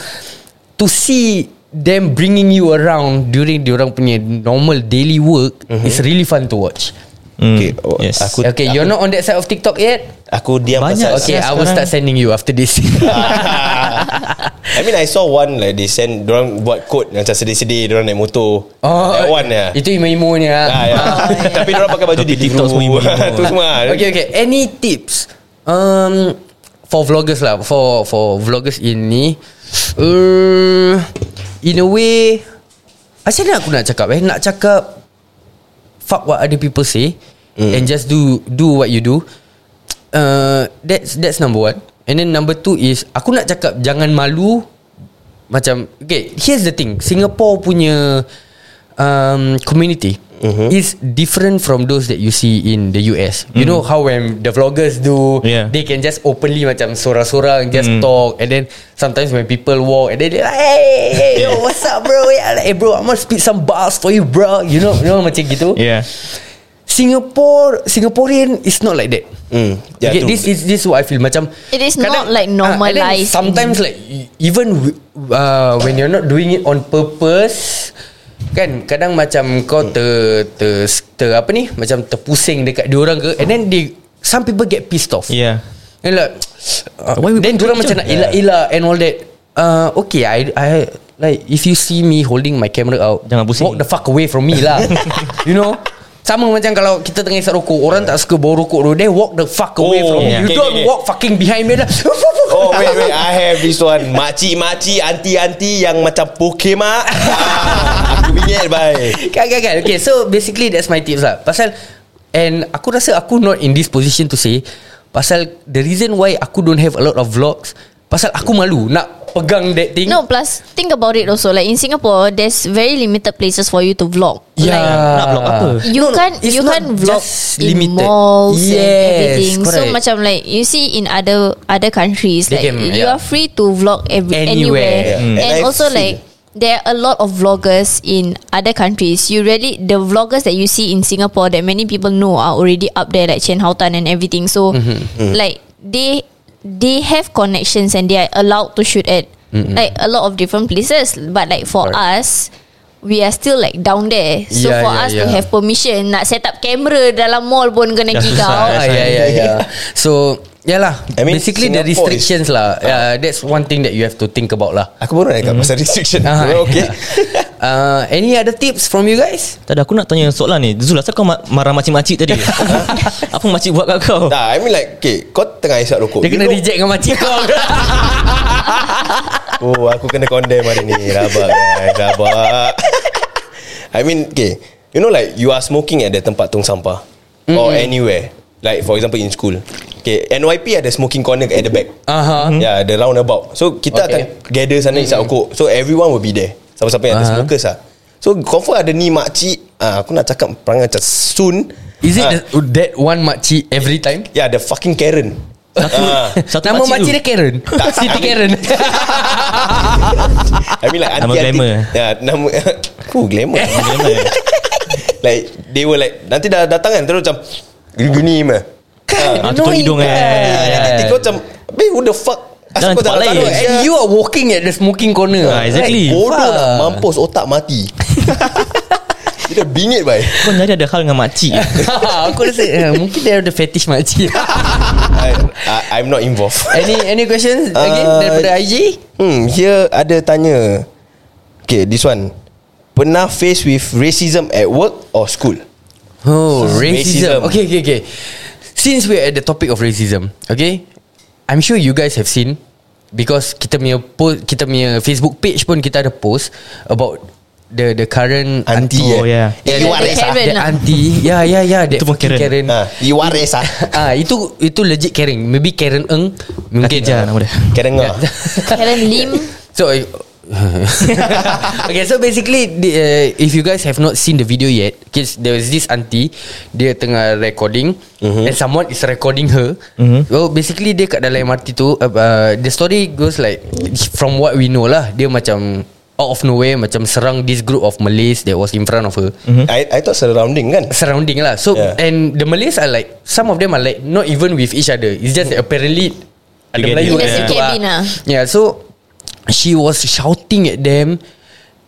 [SPEAKER 2] To see Them bringing you around During diorang punya Normal daily work mm-hmm. It's really fun to watch
[SPEAKER 3] Okay.
[SPEAKER 5] Mm, yes.
[SPEAKER 3] oh, Aku
[SPEAKER 2] Okay you're not on that side of TikTok yet
[SPEAKER 3] aku diam
[SPEAKER 5] Banyak
[SPEAKER 3] pasal.
[SPEAKER 2] Okay
[SPEAKER 5] Sekarang-
[SPEAKER 2] I will start sending you After this
[SPEAKER 3] I mean I saw one like they send orang buat code macam sedih-sedih orang naik motor.
[SPEAKER 5] Oh.
[SPEAKER 3] that one ya.
[SPEAKER 2] Itu imo-imo ni lah
[SPEAKER 3] Ah, ya. Tapi orang pakai baju
[SPEAKER 5] Tapi
[SPEAKER 3] di
[SPEAKER 5] TikTok semua ibu-ibu.
[SPEAKER 3] Itu semua.
[SPEAKER 2] Okay, okay. Any tips um for vloggers lah, for for vloggers ini, uh, in a way, macam mana aku nak cakap eh? Nak cakap fuck what other people say mm. and just do do what you do. Uh, that's that's number one. And then number two is aku nak cakap jangan malu macam okay. Here's the thing, Singapore punya um, community
[SPEAKER 5] Mhm.
[SPEAKER 2] mm-hmm. is different from those that you see in the US. You know how when the vloggers do,
[SPEAKER 5] Yeah.
[SPEAKER 2] they can just openly macam sorang-sorang just mm. talk, and then sometimes when people walk, and then they like, hey, hey, yo, what's up, bro? Yeah, like, hey, bro, I'm gonna spit some bars for you, bro. You know, you know macam gitu.
[SPEAKER 5] Yeah
[SPEAKER 2] Singapore Singaporean is not like that.
[SPEAKER 3] Mm. Yeah,
[SPEAKER 2] okay,
[SPEAKER 3] true.
[SPEAKER 2] this is this is what I feel macam
[SPEAKER 4] It is
[SPEAKER 2] kadang-
[SPEAKER 4] not
[SPEAKER 2] Ah,
[SPEAKER 4] like
[SPEAKER 2] and then
[SPEAKER 4] normalised.
[SPEAKER 2] sometimes like e- even w- uh, when you're not doing it on purpose kan kadang macam kau ter ter, ter apa ni macam terpusing dekat diorang ke and then they some people get pissed off.
[SPEAKER 5] Yeah
[SPEAKER 2] And like uh,
[SPEAKER 5] Why we
[SPEAKER 2] Eh, Then
[SPEAKER 5] buat
[SPEAKER 2] diorang
[SPEAKER 5] picture?
[SPEAKER 2] macam nak elak-elak And all that uh, Okay I, I Like if you see me Holding my camera out
[SPEAKER 5] Jangan pusing.
[SPEAKER 2] Walk the fuck away from me lah You know sama macam kalau kita tengah isap rokok Orang tak suka bau rokok tu They walk the fuck away
[SPEAKER 3] Oh,
[SPEAKER 2] from me
[SPEAKER 5] yeah.
[SPEAKER 2] You
[SPEAKER 3] Okay,
[SPEAKER 2] don't
[SPEAKER 3] okay, okay.
[SPEAKER 2] walk fucking behind me dah.
[SPEAKER 3] Oh wait wait I have this one Makcik-makcik Anti-anti Yang macam Pokemon ah, Aku bingit bye
[SPEAKER 2] Kan kan kan Okay so basically That's my tips lah Pasal And aku rasa Aku not in this position to say Pasal The reason why Aku don't have a lot of vlogs Pasal aku malu Nak pegang that thing
[SPEAKER 4] No, plus think about it also. Like in Singapore, there's very limited places for you to vlog.
[SPEAKER 2] Yeah.
[SPEAKER 5] Nak vlog apa?
[SPEAKER 4] You
[SPEAKER 2] No, no,
[SPEAKER 4] can't
[SPEAKER 2] it's
[SPEAKER 4] you
[SPEAKER 2] not
[SPEAKER 4] can't vlog
[SPEAKER 2] just
[SPEAKER 4] in
[SPEAKER 2] limited.
[SPEAKER 4] malls and
[SPEAKER 2] Yes,
[SPEAKER 4] everything.
[SPEAKER 2] correct.
[SPEAKER 4] So macam like you see in other other countries,
[SPEAKER 2] They
[SPEAKER 4] like
[SPEAKER 2] can-
[SPEAKER 4] you
[SPEAKER 2] yeah.
[SPEAKER 4] are free to vlog every,
[SPEAKER 2] Anywhere.
[SPEAKER 4] anywhere,
[SPEAKER 2] Yeah.
[SPEAKER 3] Mm.
[SPEAKER 4] and
[SPEAKER 3] And I
[SPEAKER 4] also
[SPEAKER 3] feel-
[SPEAKER 4] like there are a lot of vloggers in other countries. You really the vloggers that you see in Singapore that many people know are already up there, like Chen Hao Tan and everything. So
[SPEAKER 2] Mm-hmm.
[SPEAKER 4] like they they have connections and they are allowed to shoot at like a lot of different places. But like for
[SPEAKER 2] Correct.
[SPEAKER 4] us. We are still like down there So
[SPEAKER 2] Yeah,
[SPEAKER 4] yeah, for
[SPEAKER 2] yeah,
[SPEAKER 4] yeah, us yeah. to
[SPEAKER 2] yeah.
[SPEAKER 4] have permission Nak set up kamera dalam mall pun kena
[SPEAKER 5] Dah
[SPEAKER 4] gigau
[SPEAKER 5] susah,
[SPEAKER 2] Ah,
[SPEAKER 5] That's
[SPEAKER 2] yeah,
[SPEAKER 5] right.
[SPEAKER 2] yeah, yeah. So Yalah I
[SPEAKER 3] I
[SPEAKER 2] mean,
[SPEAKER 3] mean,
[SPEAKER 2] Basically the
[SPEAKER 3] Singapore is- Ah.
[SPEAKER 2] restrictions lah uh, That's one thing that you have to think about lah
[SPEAKER 3] Aku baru nak cakap pasal restriction
[SPEAKER 2] Ah,
[SPEAKER 3] Okay
[SPEAKER 2] uh, Any other tips from you guys?
[SPEAKER 5] Tak ada aku nak tanya soalan ni Zul asal kau ma- marah makcik-makcik tadi Ha? Apa makcik buat kat kau
[SPEAKER 3] Nah, I mean like okay, Kau tengah isap rokok
[SPEAKER 2] Dia
[SPEAKER 3] You
[SPEAKER 2] kena
[SPEAKER 3] know-
[SPEAKER 2] reject dengan makcik kau
[SPEAKER 3] Oh aku kena condemn hari ni Rabak guys Rabak I mean okay You know like You are smoking at the tempat tong sampah mm-hmm. Or anywhere Like for example in school Okay NYP ada smoking corner at the back
[SPEAKER 2] Aha.
[SPEAKER 3] mm-hmm. Yeah the roundabout So kita
[SPEAKER 2] Hmm?
[SPEAKER 3] okay.
[SPEAKER 2] Okay. Hmm.
[SPEAKER 3] akan gather sana mm-hmm. isap rokok So everyone will be there Siapa-siapa yang ada
[SPEAKER 2] Aha.
[SPEAKER 3] smokers lah So confirm ada ni makcik ah, Aku nak cakap perangai macam soon
[SPEAKER 2] Is it
[SPEAKER 3] Ah,
[SPEAKER 2] the, oh, that one makcik every time?
[SPEAKER 3] Yeah the fucking Karen Ah.
[SPEAKER 5] Satu
[SPEAKER 2] Nama makcik dia
[SPEAKER 5] makcik tu.
[SPEAKER 2] Karen
[SPEAKER 3] Tak,
[SPEAKER 2] Siti Karen
[SPEAKER 5] Ah,
[SPEAKER 3] I mean like
[SPEAKER 5] Nama
[SPEAKER 3] anti-anti-
[SPEAKER 5] glamour.
[SPEAKER 2] eh?
[SPEAKER 3] Ya nama Oh glamour Like They were like Nanti dah datang kan Terus macam Gini mah
[SPEAKER 5] Ah, tutup
[SPEAKER 2] Annoying
[SPEAKER 5] hidung, eh.
[SPEAKER 2] kan?
[SPEAKER 3] Nanti kau macam Babe who the fuck
[SPEAKER 5] Jalan
[SPEAKER 3] Asal kau
[SPEAKER 5] tempat
[SPEAKER 3] tak
[SPEAKER 5] lain.
[SPEAKER 3] tahu
[SPEAKER 2] And you are walking at the smoking corner
[SPEAKER 5] Ah, exactly.
[SPEAKER 3] Bodoh lah, nak
[SPEAKER 2] Fuck.
[SPEAKER 3] mampus Otak mati Kita bingit bye
[SPEAKER 5] Kau nyari ada hal dengan makcik
[SPEAKER 2] Aku rasa eh, Mungkin dia ada fetish makcik
[SPEAKER 3] I, I, I'm not involved
[SPEAKER 2] Any any questions Again
[SPEAKER 3] Uh,
[SPEAKER 2] daripada IG
[SPEAKER 3] Hmm Here ada tanya Okay this one Pernah faced with racism at work or school?
[SPEAKER 2] Oh,
[SPEAKER 3] Racism.
[SPEAKER 2] racism. Okay, okay, okay. Since we're at the topic of racism, okay, I'm sure you guys have seen because kita punya post, kita punya Facebook page pun kita ada post about the the current
[SPEAKER 3] Auntie,
[SPEAKER 2] auntie.
[SPEAKER 5] Oh, yeah.
[SPEAKER 2] yeah.
[SPEAKER 3] Iwan
[SPEAKER 2] that-
[SPEAKER 3] Reza.
[SPEAKER 2] that
[SPEAKER 4] Karen lah.
[SPEAKER 2] auntie. Yeah, yeah, yeah. That
[SPEAKER 5] Itu pun
[SPEAKER 2] fucking
[SPEAKER 5] Karen.
[SPEAKER 2] Karen.
[SPEAKER 3] Ha, Iwan Reza
[SPEAKER 2] Ah, itu itu legit Karen. Maybe Karen Eng, mungkin.
[SPEAKER 5] Katijah nama dia
[SPEAKER 3] Karen ngah
[SPEAKER 4] Karen Lim
[SPEAKER 2] So I- okay, so basically, the, uh, if you guys have not seen the video yet, kids, there was this auntie dia tengah recording and someone is recording her. So basically, dia kat dalam MRT tu, uh, uh, the story goes like from what we know lah, dia macam out of nowhere macam serang this group of Malays that was in front of her.
[SPEAKER 3] Hmm. I, I thought surrounding kan
[SPEAKER 2] Surrounding lah So
[SPEAKER 3] Yeah.
[SPEAKER 2] And the Malays are like Some of them are like Not even with each other It's just that apparently Ada
[SPEAKER 5] Together.
[SPEAKER 2] Melayu
[SPEAKER 5] In the
[SPEAKER 2] kat
[SPEAKER 5] same
[SPEAKER 2] situ
[SPEAKER 4] cabin ah.
[SPEAKER 2] Yeah so She was shouting at them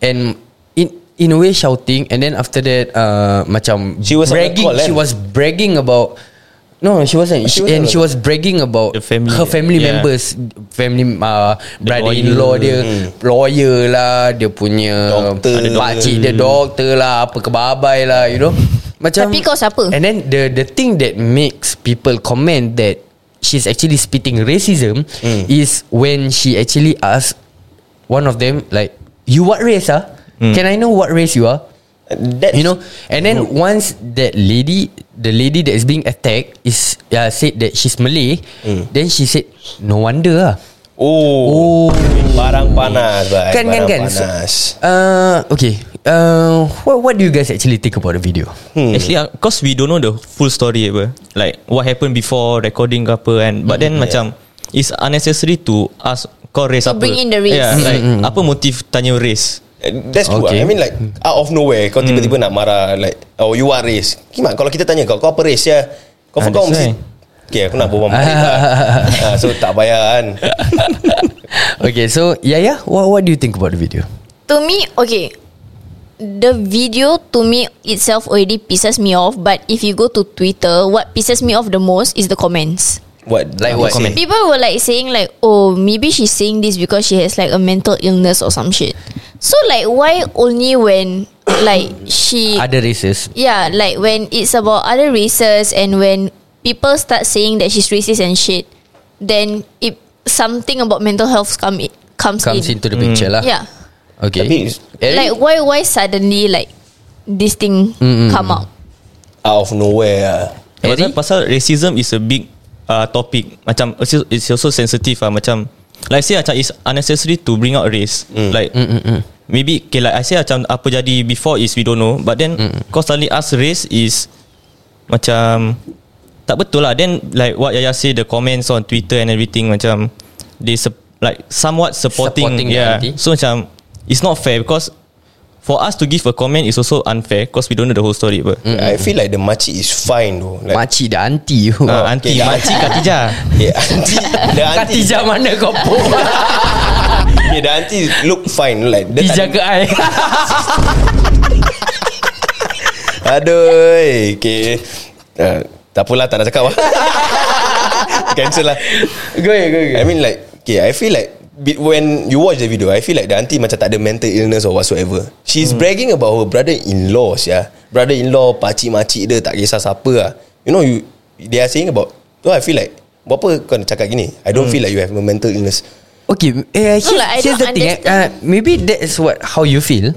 [SPEAKER 2] And In in a way shouting And then after that uh, Macam
[SPEAKER 3] She was on the
[SPEAKER 2] bragging,
[SPEAKER 3] call,
[SPEAKER 2] She
[SPEAKER 3] kan?
[SPEAKER 2] was bragging about No she wasn't
[SPEAKER 3] She
[SPEAKER 2] she
[SPEAKER 3] was on
[SPEAKER 2] And
[SPEAKER 3] the
[SPEAKER 2] she was bragging about
[SPEAKER 5] The family.
[SPEAKER 2] Her family
[SPEAKER 5] Yeah.
[SPEAKER 2] members Family uh, Brother-in-law
[SPEAKER 5] lawyer.
[SPEAKER 2] dia
[SPEAKER 3] Hmm.
[SPEAKER 2] Lawyer lah Dia punya
[SPEAKER 3] Doctor. Ada doctor.
[SPEAKER 2] Pakcik dia Doktor lah Apa kebabai lah You know Macam
[SPEAKER 4] Tapi kau siapa?
[SPEAKER 2] And then the the thing that makes people comment that she's actually spitting racism is when she actually asks one of them like, "You what race ah? Can I know what race you are?"
[SPEAKER 3] That's,
[SPEAKER 2] You know. And then once that lady, the lady that is being attacked is uh, said that she's Malay, then she said, "No wonder ah."
[SPEAKER 3] Oh,
[SPEAKER 2] Oh.
[SPEAKER 3] Barang panas bye.
[SPEAKER 2] Kan kan kan.
[SPEAKER 3] Barang
[SPEAKER 2] So,
[SPEAKER 3] panas
[SPEAKER 2] uh, okay. Uh, what what do you guys actually think about the video?
[SPEAKER 5] Actually uh, Cause we don't know the full story apa Like what happened before Recording ke apa kan But then macam It's unnecessary to Ask kau race
[SPEAKER 4] To
[SPEAKER 5] apa
[SPEAKER 4] bring in the race.
[SPEAKER 5] yeah, like,
[SPEAKER 2] Mm-hmm.
[SPEAKER 5] Apa motif tanya race
[SPEAKER 3] Eh, That's true
[SPEAKER 2] Okay. Hmm.
[SPEAKER 3] okay. I mean like Out of nowhere Kau tiba-tiba nak marah Like Oh you are race Kimak kalau kita tanya kau Kau apa race ya Kau
[SPEAKER 5] Ah,
[SPEAKER 3] kau
[SPEAKER 5] that's
[SPEAKER 3] mesti Okay aku nak berbual Melayu lah Ah, So tak payah kan
[SPEAKER 2] Okay, so Yaya, what what do you think about the video?
[SPEAKER 4] To me, okay. The video to me itself already pisses me off. But if you go to Twitter, what pisses me off the most is the comments.
[SPEAKER 3] What
[SPEAKER 2] Like
[SPEAKER 3] what
[SPEAKER 2] what?
[SPEAKER 3] say?
[SPEAKER 4] People were like saying like, oh, maybe she's saying this because she has like a mental illness or some shit. So like, why only when like she
[SPEAKER 2] Other races.
[SPEAKER 4] Yeah, like when it's about other races and when people start saying that she's racist and shit, then it something about mental health come i- comes,
[SPEAKER 2] comes
[SPEAKER 4] in.
[SPEAKER 2] into the picture lah.
[SPEAKER 4] Yeah.
[SPEAKER 2] Okay.
[SPEAKER 3] Tapi is-
[SPEAKER 2] Eh,
[SPEAKER 4] Like why why suddenly like this thing come out?
[SPEAKER 3] Out of nowhere lah.
[SPEAKER 5] Pasal, pasal racism is a big uh, topic. Macam it's also- it's also sensitive ah macam like say macam it's unnecessary to bring out race. Mm. Like mm, mm, mm. maybe okay like I say macam apa jadi before is we don't know but then mm. kau suddenly ask race is macam tak betul lah. Then like what Yaya say the comments on Twitter and everything macam they sup- like somewhat supporting,
[SPEAKER 2] Supporting the
[SPEAKER 5] yeah.
[SPEAKER 2] auntie.
[SPEAKER 5] So macam it's not fair because for us to give a comment is also unfair because we don't know the whole story but mm.
[SPEAKER 3] I feel like the makcik is fine though Like
[SPEAKER 2] Makcik dan auntie you.
[SPEAKER 5] uh, auntie
[SPEAKER 3] Okay,
[SPEAKER 5] makcik Katijah
[SPEAKER 3] yeah, auntie, The auntie
[SPEAKER 2] Katijah mana kau pun
[SPEAKER 3] yeah, The auntie look fine like, dia
[SPEAKER 2] Katijah
[SPEAKER 3] tak
[SPEAKER 2] ke I
[SPEAKER 3] eh, Aduh Okay uh, Tak apalah tak nak cakap lah Cancel lah
[SPEAKER 2] Go ahead, go ahead.
[SPEAKER 3] I mean like Okay I feel like be- When you watch the video I feel like the auntie Macam tak ada mental illness Or whatsoever She's
[SPEAKER 2] Hmm.
[SPEAKER 3] bragging about her Brother-in-law yeah. Brother-in-law Pakcik-makcik dia Tak kisah siapa lah You know you They are saying about So I feel like Buat apa kau nak cakap gini I
[SPEAKER 2] Hmm.
[SPEAKER 3] don't feel like you have a mental illness
[SPEAKER 2] Okay, uh, here's,
[SPEAKER 4] like, I
[SPEAKER 2] here's the
[SPEAKER 4] don't
[SPEAKER 2] thing. eh. Uh,
[SPEAKER 4] understand.
[SPEAKER 2] maybe that is what how you feel,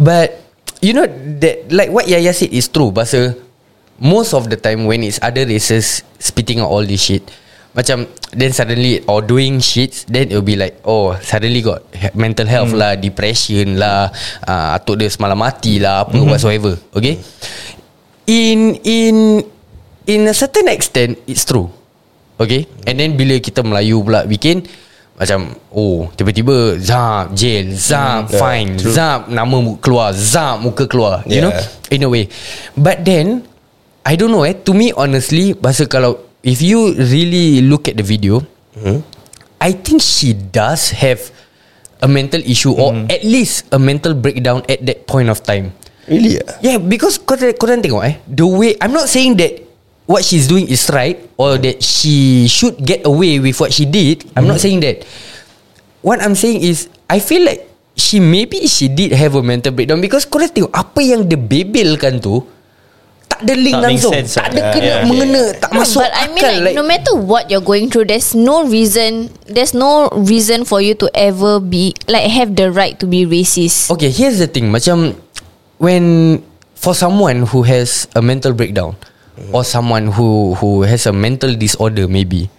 [SPEAKER 2] but you know that like what Yaya said is true. Bahasa most of the time when it's other races spitting out all this shit, macam then suddenly or doing shit, then it'll be like oh suddenly got he- mental health lah, depression lah, uh, atuk dia semalam mati lah, apa whatsoever. Okay, in in in a certain extent it's true okay and then bila kita Melayu pula bikin macam oh tiba-tiba zap jail zap
[SPEAKER 3] Hmm. yeah,
[SPEAKER 2] fine zap nama mu- keluar zap muka keluar you
[SPEAKER 3] Yeah.
[SPEAKER 2] know in a way but then I don't know eh to me honestly bahasa kalau if you really look at the video
[SPEAKER 3] Hmm?
[SPEAKER 2] I think she does have a mental issue or
[SPEAKER 3] Hmm.
[SPEAKER 2] at least a mental breakdown at that point of time
[SPEAKER 3] Really ah?
[SPEAKER 2] Yeah because kau tak- korang tengok eh The way I'm not saying that What she's doing is right Or that she should get away With what she did I'm
[SPEAKER 5] Mm.
[SPEAKER 2] not saying that What I'm saying is I feel like She maybe she did have a mental breakdown Because korang tengok Apa yang dia bebelkan tu Tak ada link
[SPEAKER 5] Tak make
[SPEAKER 2] langsung
[SPEAKER 5] sense,
[SPEAKER 2] Tak ada
[SPEAKER 5] ah.
[SPEAKER 2] kena
[SPEAKER 5] Yeah.
[SPEAKER 2] mengena Tak
[SPEAKER 4] No,
[SPEAKER 2] masuk
[SPEAKER 4] but I mean,
[SPEAKER 2] akal
[SPEAKER 4] like, no matter what you're going through, there's no reason, there's no reason for you to ever be like have the right to be racist.
[SPEAKER 2] Okay, here's the thing. Macam when for someone who has a mental breakdown or someone who who has a mental disorder maybe,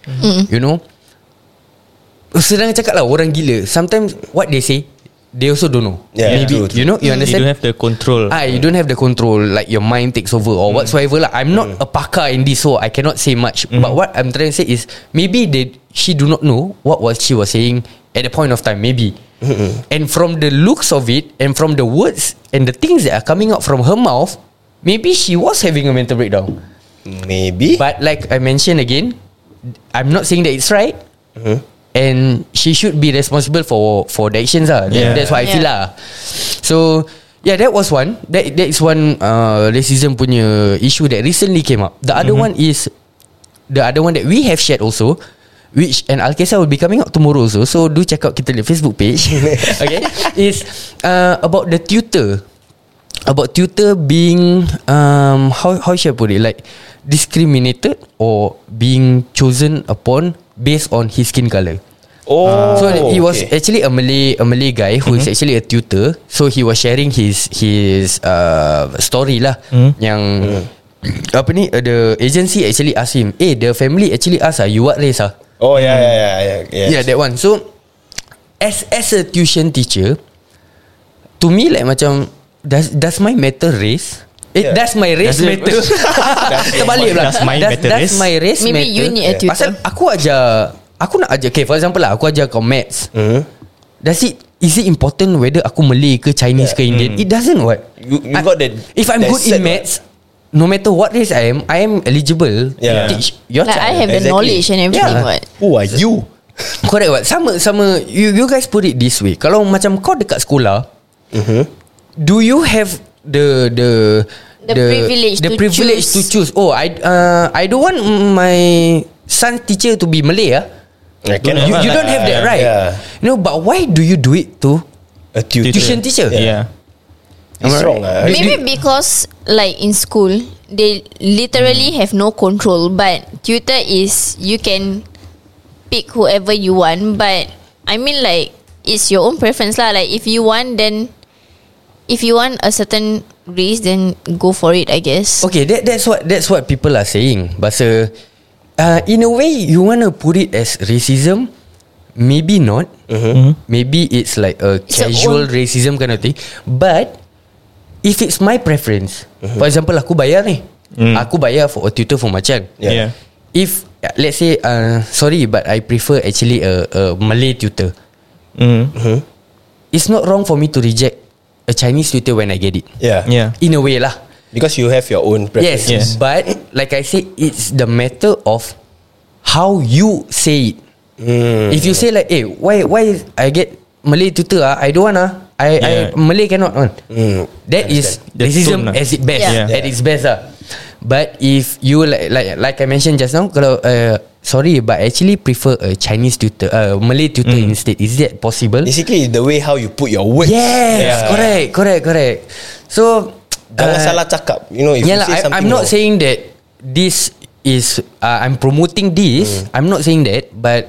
[SPEAKER 2] you know, sedang cakap lah orang gila. Sometimes what they say, they also don't know.
[SPEAKER 3] Yeah,
[SPEAKER 2] maybe
[SPEAKER 3] true, true.
[SPEAKER 2] you know you
[SPEAKER 5] You
[SPEAKER 2] understand.
[SPEAKER 5] don't have the control
[SPEAKER 2] Ah, you don't have the control Like your mind takes over Or whatsoever lah I'm not a pakar in this So I cannot say much But what I'm trying to say is Maybe they, she do not know What was she was saying At the point of time Maybe And from the looks of it And from the words And the things that are coming out From her mouth Maybe she was having a mental breakdown
[SPEAKER 3] Maybe
[SPEAKER 2] But like I mentioned again I'm not saying that it's right And she should be responsible for for the actions lah. That,
[SPEAKER 5] Yeah.
[SPEAKER 2] That's what I feel lah.
[SPEAKER 4] Yeah.
[SPEAKER 2] So yeah, that was one. That that is one uh, racism punya issue that recently came up. The other one is the other one that we have shared also, which and Alkesa will be coming out tomorrow also. So do check out kita the Facebook page. okay, is uh, about the tutor, about tutor being um how how should I put it like discriminated or being chosen upon based on his skin color.
[SPEAKER 3] Oh
[SPEAKER 2] So he was
[SPEAKER 3] okay. Mhm.
[SPEAKER 2] actually a Malay a Malay guy who is actually a tutor. So he was sharing his his uh, story lah
[SPEAKER 3] Mm.
[SPEAKER 2] yang apa ni uh, the agency actually asked him, "Eh, the family actually asked ah, you what race ah?"
[SPEAKER 3] Oh yeah yeah yeah yeah, yeah.
[SPEAKER 2] Yeah, that one. So as as a tuition teacher, to me like macam does does my matter race? It,
[SPEAKER 3] Yeah.
[SPEAKER 2] yeah. Does my race
[SPEAKER 5] Does it-
[SPEAKER 2] matter Terbalik pula
[SPEAKER 5] Does my matter
[SPEAKER 2] does
[SPEAKER 5] race?
[SPEAKER 2] my race
[SPEAKER 4] Maybe
[SPEAKER 2] matter
[SPEAKER 4] you need a tutor.
[SPEAKER 2] Pasal aku ajar Aku nak ajar Okay for example lah Aku ajar kau maths
[SPEAKER 3] Mm-hmm.
[SPEAKER 2] Does it Is it important whether aku Malay ke Chinese ke Indian
[SPEAKER 5] Mm.
[SPEAKER 2] It doesn't what
[SPEAKER 3] You- you
[SPEAKER 2] I-
[SPEAKER 3] got the-
[SPEAKER 2] If I'm
[SPEAKER 3] that
[SPEAKER 2] good in
[SPEAKER 3] cert what?
[SPEAKER 2] maths No matter what race I am I am eligible To
[SPEAKER 3] Yeah.
[SPEAKER 2] teach your
[SPEAKER 4] Like
[SPEAKER 2] child
[SPEAKER 4] I have the
[SPEAKER 3] Exactly.
[SPEAKER 4] knowledge and everything.
[SPEAKER 2] Yeah.
[SPEAKER 4] What?
[SPEAKER 3] Who are you?
[SPEAKER 2] Correct what Sama sama you, you guys put it this way Kalau macam kau dekat sekolah
[SPEAKER 3] Mm-hmm.
[SPEAKER 2] Do you have The The
[SPEAKER 4] The privilege
[SPEAKER 2] the
[SPEAKER 4] to
[SPEAKER 2] privilege
[SPEAKER 4] choose.
[SPEAKER 2] to choose Oh I uh, I don't want my Son teacher to be Malay ah.
[SPEAKER 3] I
[SPEAKER 5] Don't
[SPEAKER 2] You,
[SPEAKER 5] Yeah,
[SPEAKER 2] you
[SPEAKER 5] but
[SPEAKER 2] don't
[SPEAKER 5] like,
[SPEAKER 2] have that
[SPEAKER 3] uh,
[SPEAKER 2] right
[SPEAKER 3] yeah.
[SPEAKER 2] No but why do you do it to
[SPEAKER 3] A tutor.
[SPEAKER 2] Tuition teacher
[SPEAKER 5] Yeah,
[SPEAKER 3] It's wrong lah.
[SPEAKER 4] Maybe because like in school they literally have no control but tutor is you can pick whoever you want but I mean like it's your own preference lah like if you want then if you want a certain race then go for it I guess.
[SPEAKER 2] Okay, that that's what that's what people are saying. Bahasa uh, in a way you want to put it as racism, maybe not. Maybe it's like a
[SPEAKER 4] Mm-hmm. It's a
[SPEAKER 2] casual
[SPEAKER 4] own-
[SPEAKER 2] racism kind of thing. But if it's my preference,
[SPEAKER 4] Mm-hmm.
[SPEAKER 2] for example aku bayar ni. Aku bayar for a tutor for my child.
[SPEAKER 5] Yeah.
[SPEAKER 2] If uh, let's say uh, sorry but I prefer actually a, a Malay tutor.
[SPEAKER 5] Mm.
[SPEAKER 2] It's not wrong for me to reject a Chinese tutor when I get it.
[SPEAKER 3] Yeah.
[SPEAKER 5] Yeah.
[SPEAKER 2] In a way lah.
[SPEAKER 3] Because you have your
[SPEAKER 2] Yes,
[SPEAKER 3] own preferences.
[SPEAKER 5] Yes.
[SPEAKER 2] but like I said, it's the matter of how you say it. If you say like, "Hey, why why I get Malay tutor? Ah, I don't want ah. I,
[SPEAKER 5] Yeah.
[SPEAKER 2] I Malay cannot on."
[SPEAKER 3] Mm.
[SPEAKER 2] That is
[SPEAKER 5] The
[SPEAKER 2] racism
[SPEAKER 5] tone lah.
[SPEAKER 2] as it best.
[SPEAKER 4] Yeah.
[SPEAKER 5] Yeah.
[SPEAKER 2] At its best ah. But if you like like like I mentioned just now, kalau uh, sorry but I actually prefer a Chinese tutor, uh, Malay tutor instead. Is that possible?
[SPEAKER 3] Basically the way how you put your words
[SPEAKER 2] Yes,
[SPEAKER 3] Yeah.
[SPEAKER 2] correct, correct, correct. So
[SPEAKER 3] Jangan salah cakap You know if
[SPEAKER 2] yeah,
[SPEAKER 3] you
[SPEAKER 2] lah, Uh,
[SPEAKER 3] say
[SPEAKER 2] I,
[SPEAKER 3] something
[SPEAKER 2] I'm not
[SPEAKER 3] wrong,
[SPEAKER 2] saying that this is uh, I'm promoting this.
[SPEAKER 3] Hmm.
[SPEAKER 2] I'm not saying that, but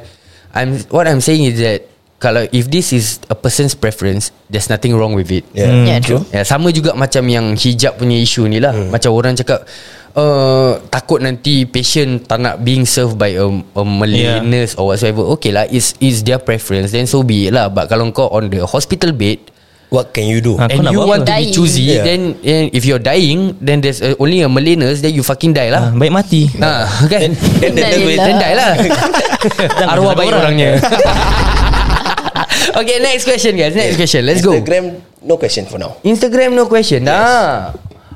[SPEAKER 2] I'm what I'm saying is that kalau if this is a person's preference, there's nothing wrong with it.
[SPEAKER 3] Yeah.
[SPEAKER 4] Yeah, true.
[SPEAKER 2] Yeah, sama juga macam yang hijab punya isu ni lah.
[SPEAKER 3] Hmm.
[SPEAKER 2] Macam orang cakap uh, takut nanti patient tak nak being served by a, a Malay
[SPEAKER 5] Yeah.
[SPEAKER 2] nurse or whatsoever. Okay lah, is is their preference. Then so be it lah. But kalau kau on the hospital bed,
[SPEAKER 3] What can you do
[SPEAKER 5] Ah,
[SPEAKER 2] and you
[SPEAKER 5] nak buat
[SPEAKER 2] want
[SPEAKER 5] apa?
[SPEAKER 2] to be
[SPEAKER 4] Dying.
[SPEAKER 2] choosy,
[SPEAKER 3] Yeah.
[SPEAKER 2] then and if you're dying, then there's uh, only a Malay nurse, then you fucking die
[SPEAKER 5] Ah,
[SPEAKER 2] lah.
[SPEAKER 5] baik mati.
[SPEAKER 2] Nah, kan?
[SPEAKER 3] Then the nurse will-
[SPEAKER 4] Dah.
[SPEAKER 2] Then die lah. Arwah baik orangnya. okay, next question guys. Next question. Let's go.
[SPEAKER 3] Instagram No question for now
[SPEAKER 2] Instagram no question dah.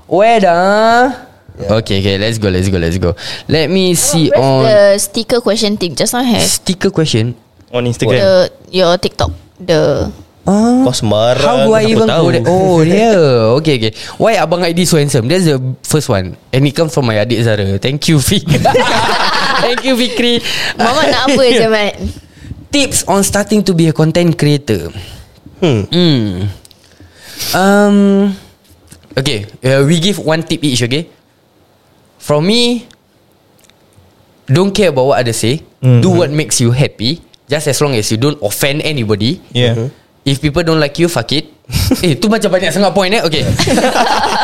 [SPEAKER 2] Where dah? Okay, okay, let's go, let's go, let's go. Let me see
[SPEAKER 4] Where's
[SPEAKER 2] on
[SPEAKER 4] the sticker question thing just now have
[SPEAKER 2] sticker question.
[SPEAKER 5] On Instagram.
[SPEAKER 4] the your TikTok the
[SPEAKER 2] Ah.
[SPEAKER 3] Kau
[SPEAKER 2] How
[SPEAKER 3] semarang
[SPEAKER 2] do I
[SPEAKER 5] kenapa
[SPEAKER 2] even
[SPEAKER 5] tahu?
[SPEAKER 2] go there? Oh, yeah. Okay, okay. Why Abang Aidi so handsome? That's the first one. And it comes from my adik Zara. Thank you, Fikri. Thank you, Fikri.
[SPEAKER 4] Mama nak apa je Mat
[SPEAKER 2] Tips on starting to be a content creator. Hmm. Um. Okay, uh, we give one tip each. Okay. From me, don't care about what others say. Do what makes you happy. Just as long as you don't offend anybody.
[SPEAKER 5] Yeah.
[SPEAKER 2] If people don't like you, fuck it. eh, tu macam banyak sangat point eh. Okay.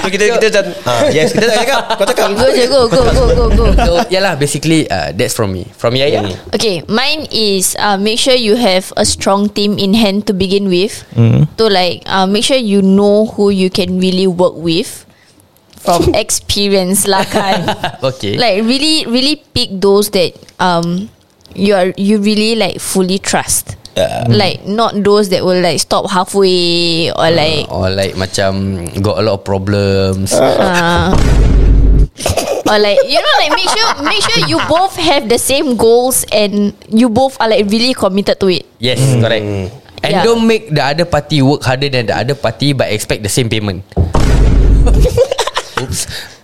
[SPEAKER 3] So kita kita macam ah, Yes kita tak cakap Kau cakap
[SPEAKER 4] Go je go go go go go
[SPEAKER 2] so, yalah, basically, uh, that's from me. From Yaya.
[SPEAKER 4] Okay Mine is uh, Make sure you have A strong team in hand To begin with To like uh, Make sure you know Who you can really work with From experience lah kan
[SPEAKER 2] Okay.
[SPEAKER 4] Like really really pick those that um you are you really like fully trust.
[SPEAKER 3] Yeah.
[SPEAKER 4] Like not those that will like stop halfway or like
[SPEAKER 2] or like macam got a lot of problems.
[SPEAKER 4] uh, or like you know like make sure make sure you both have the same goals and you both are like really committed to it.
[SPEAKER 2] Yes,
[SPEAKER 3] Hmm.
[SPEAKER 2] correct. And
[SPEAKER 4] Yeah.
[SPEAKER 2] don't make the other party work harder than the other party but expect the same payment. Oops.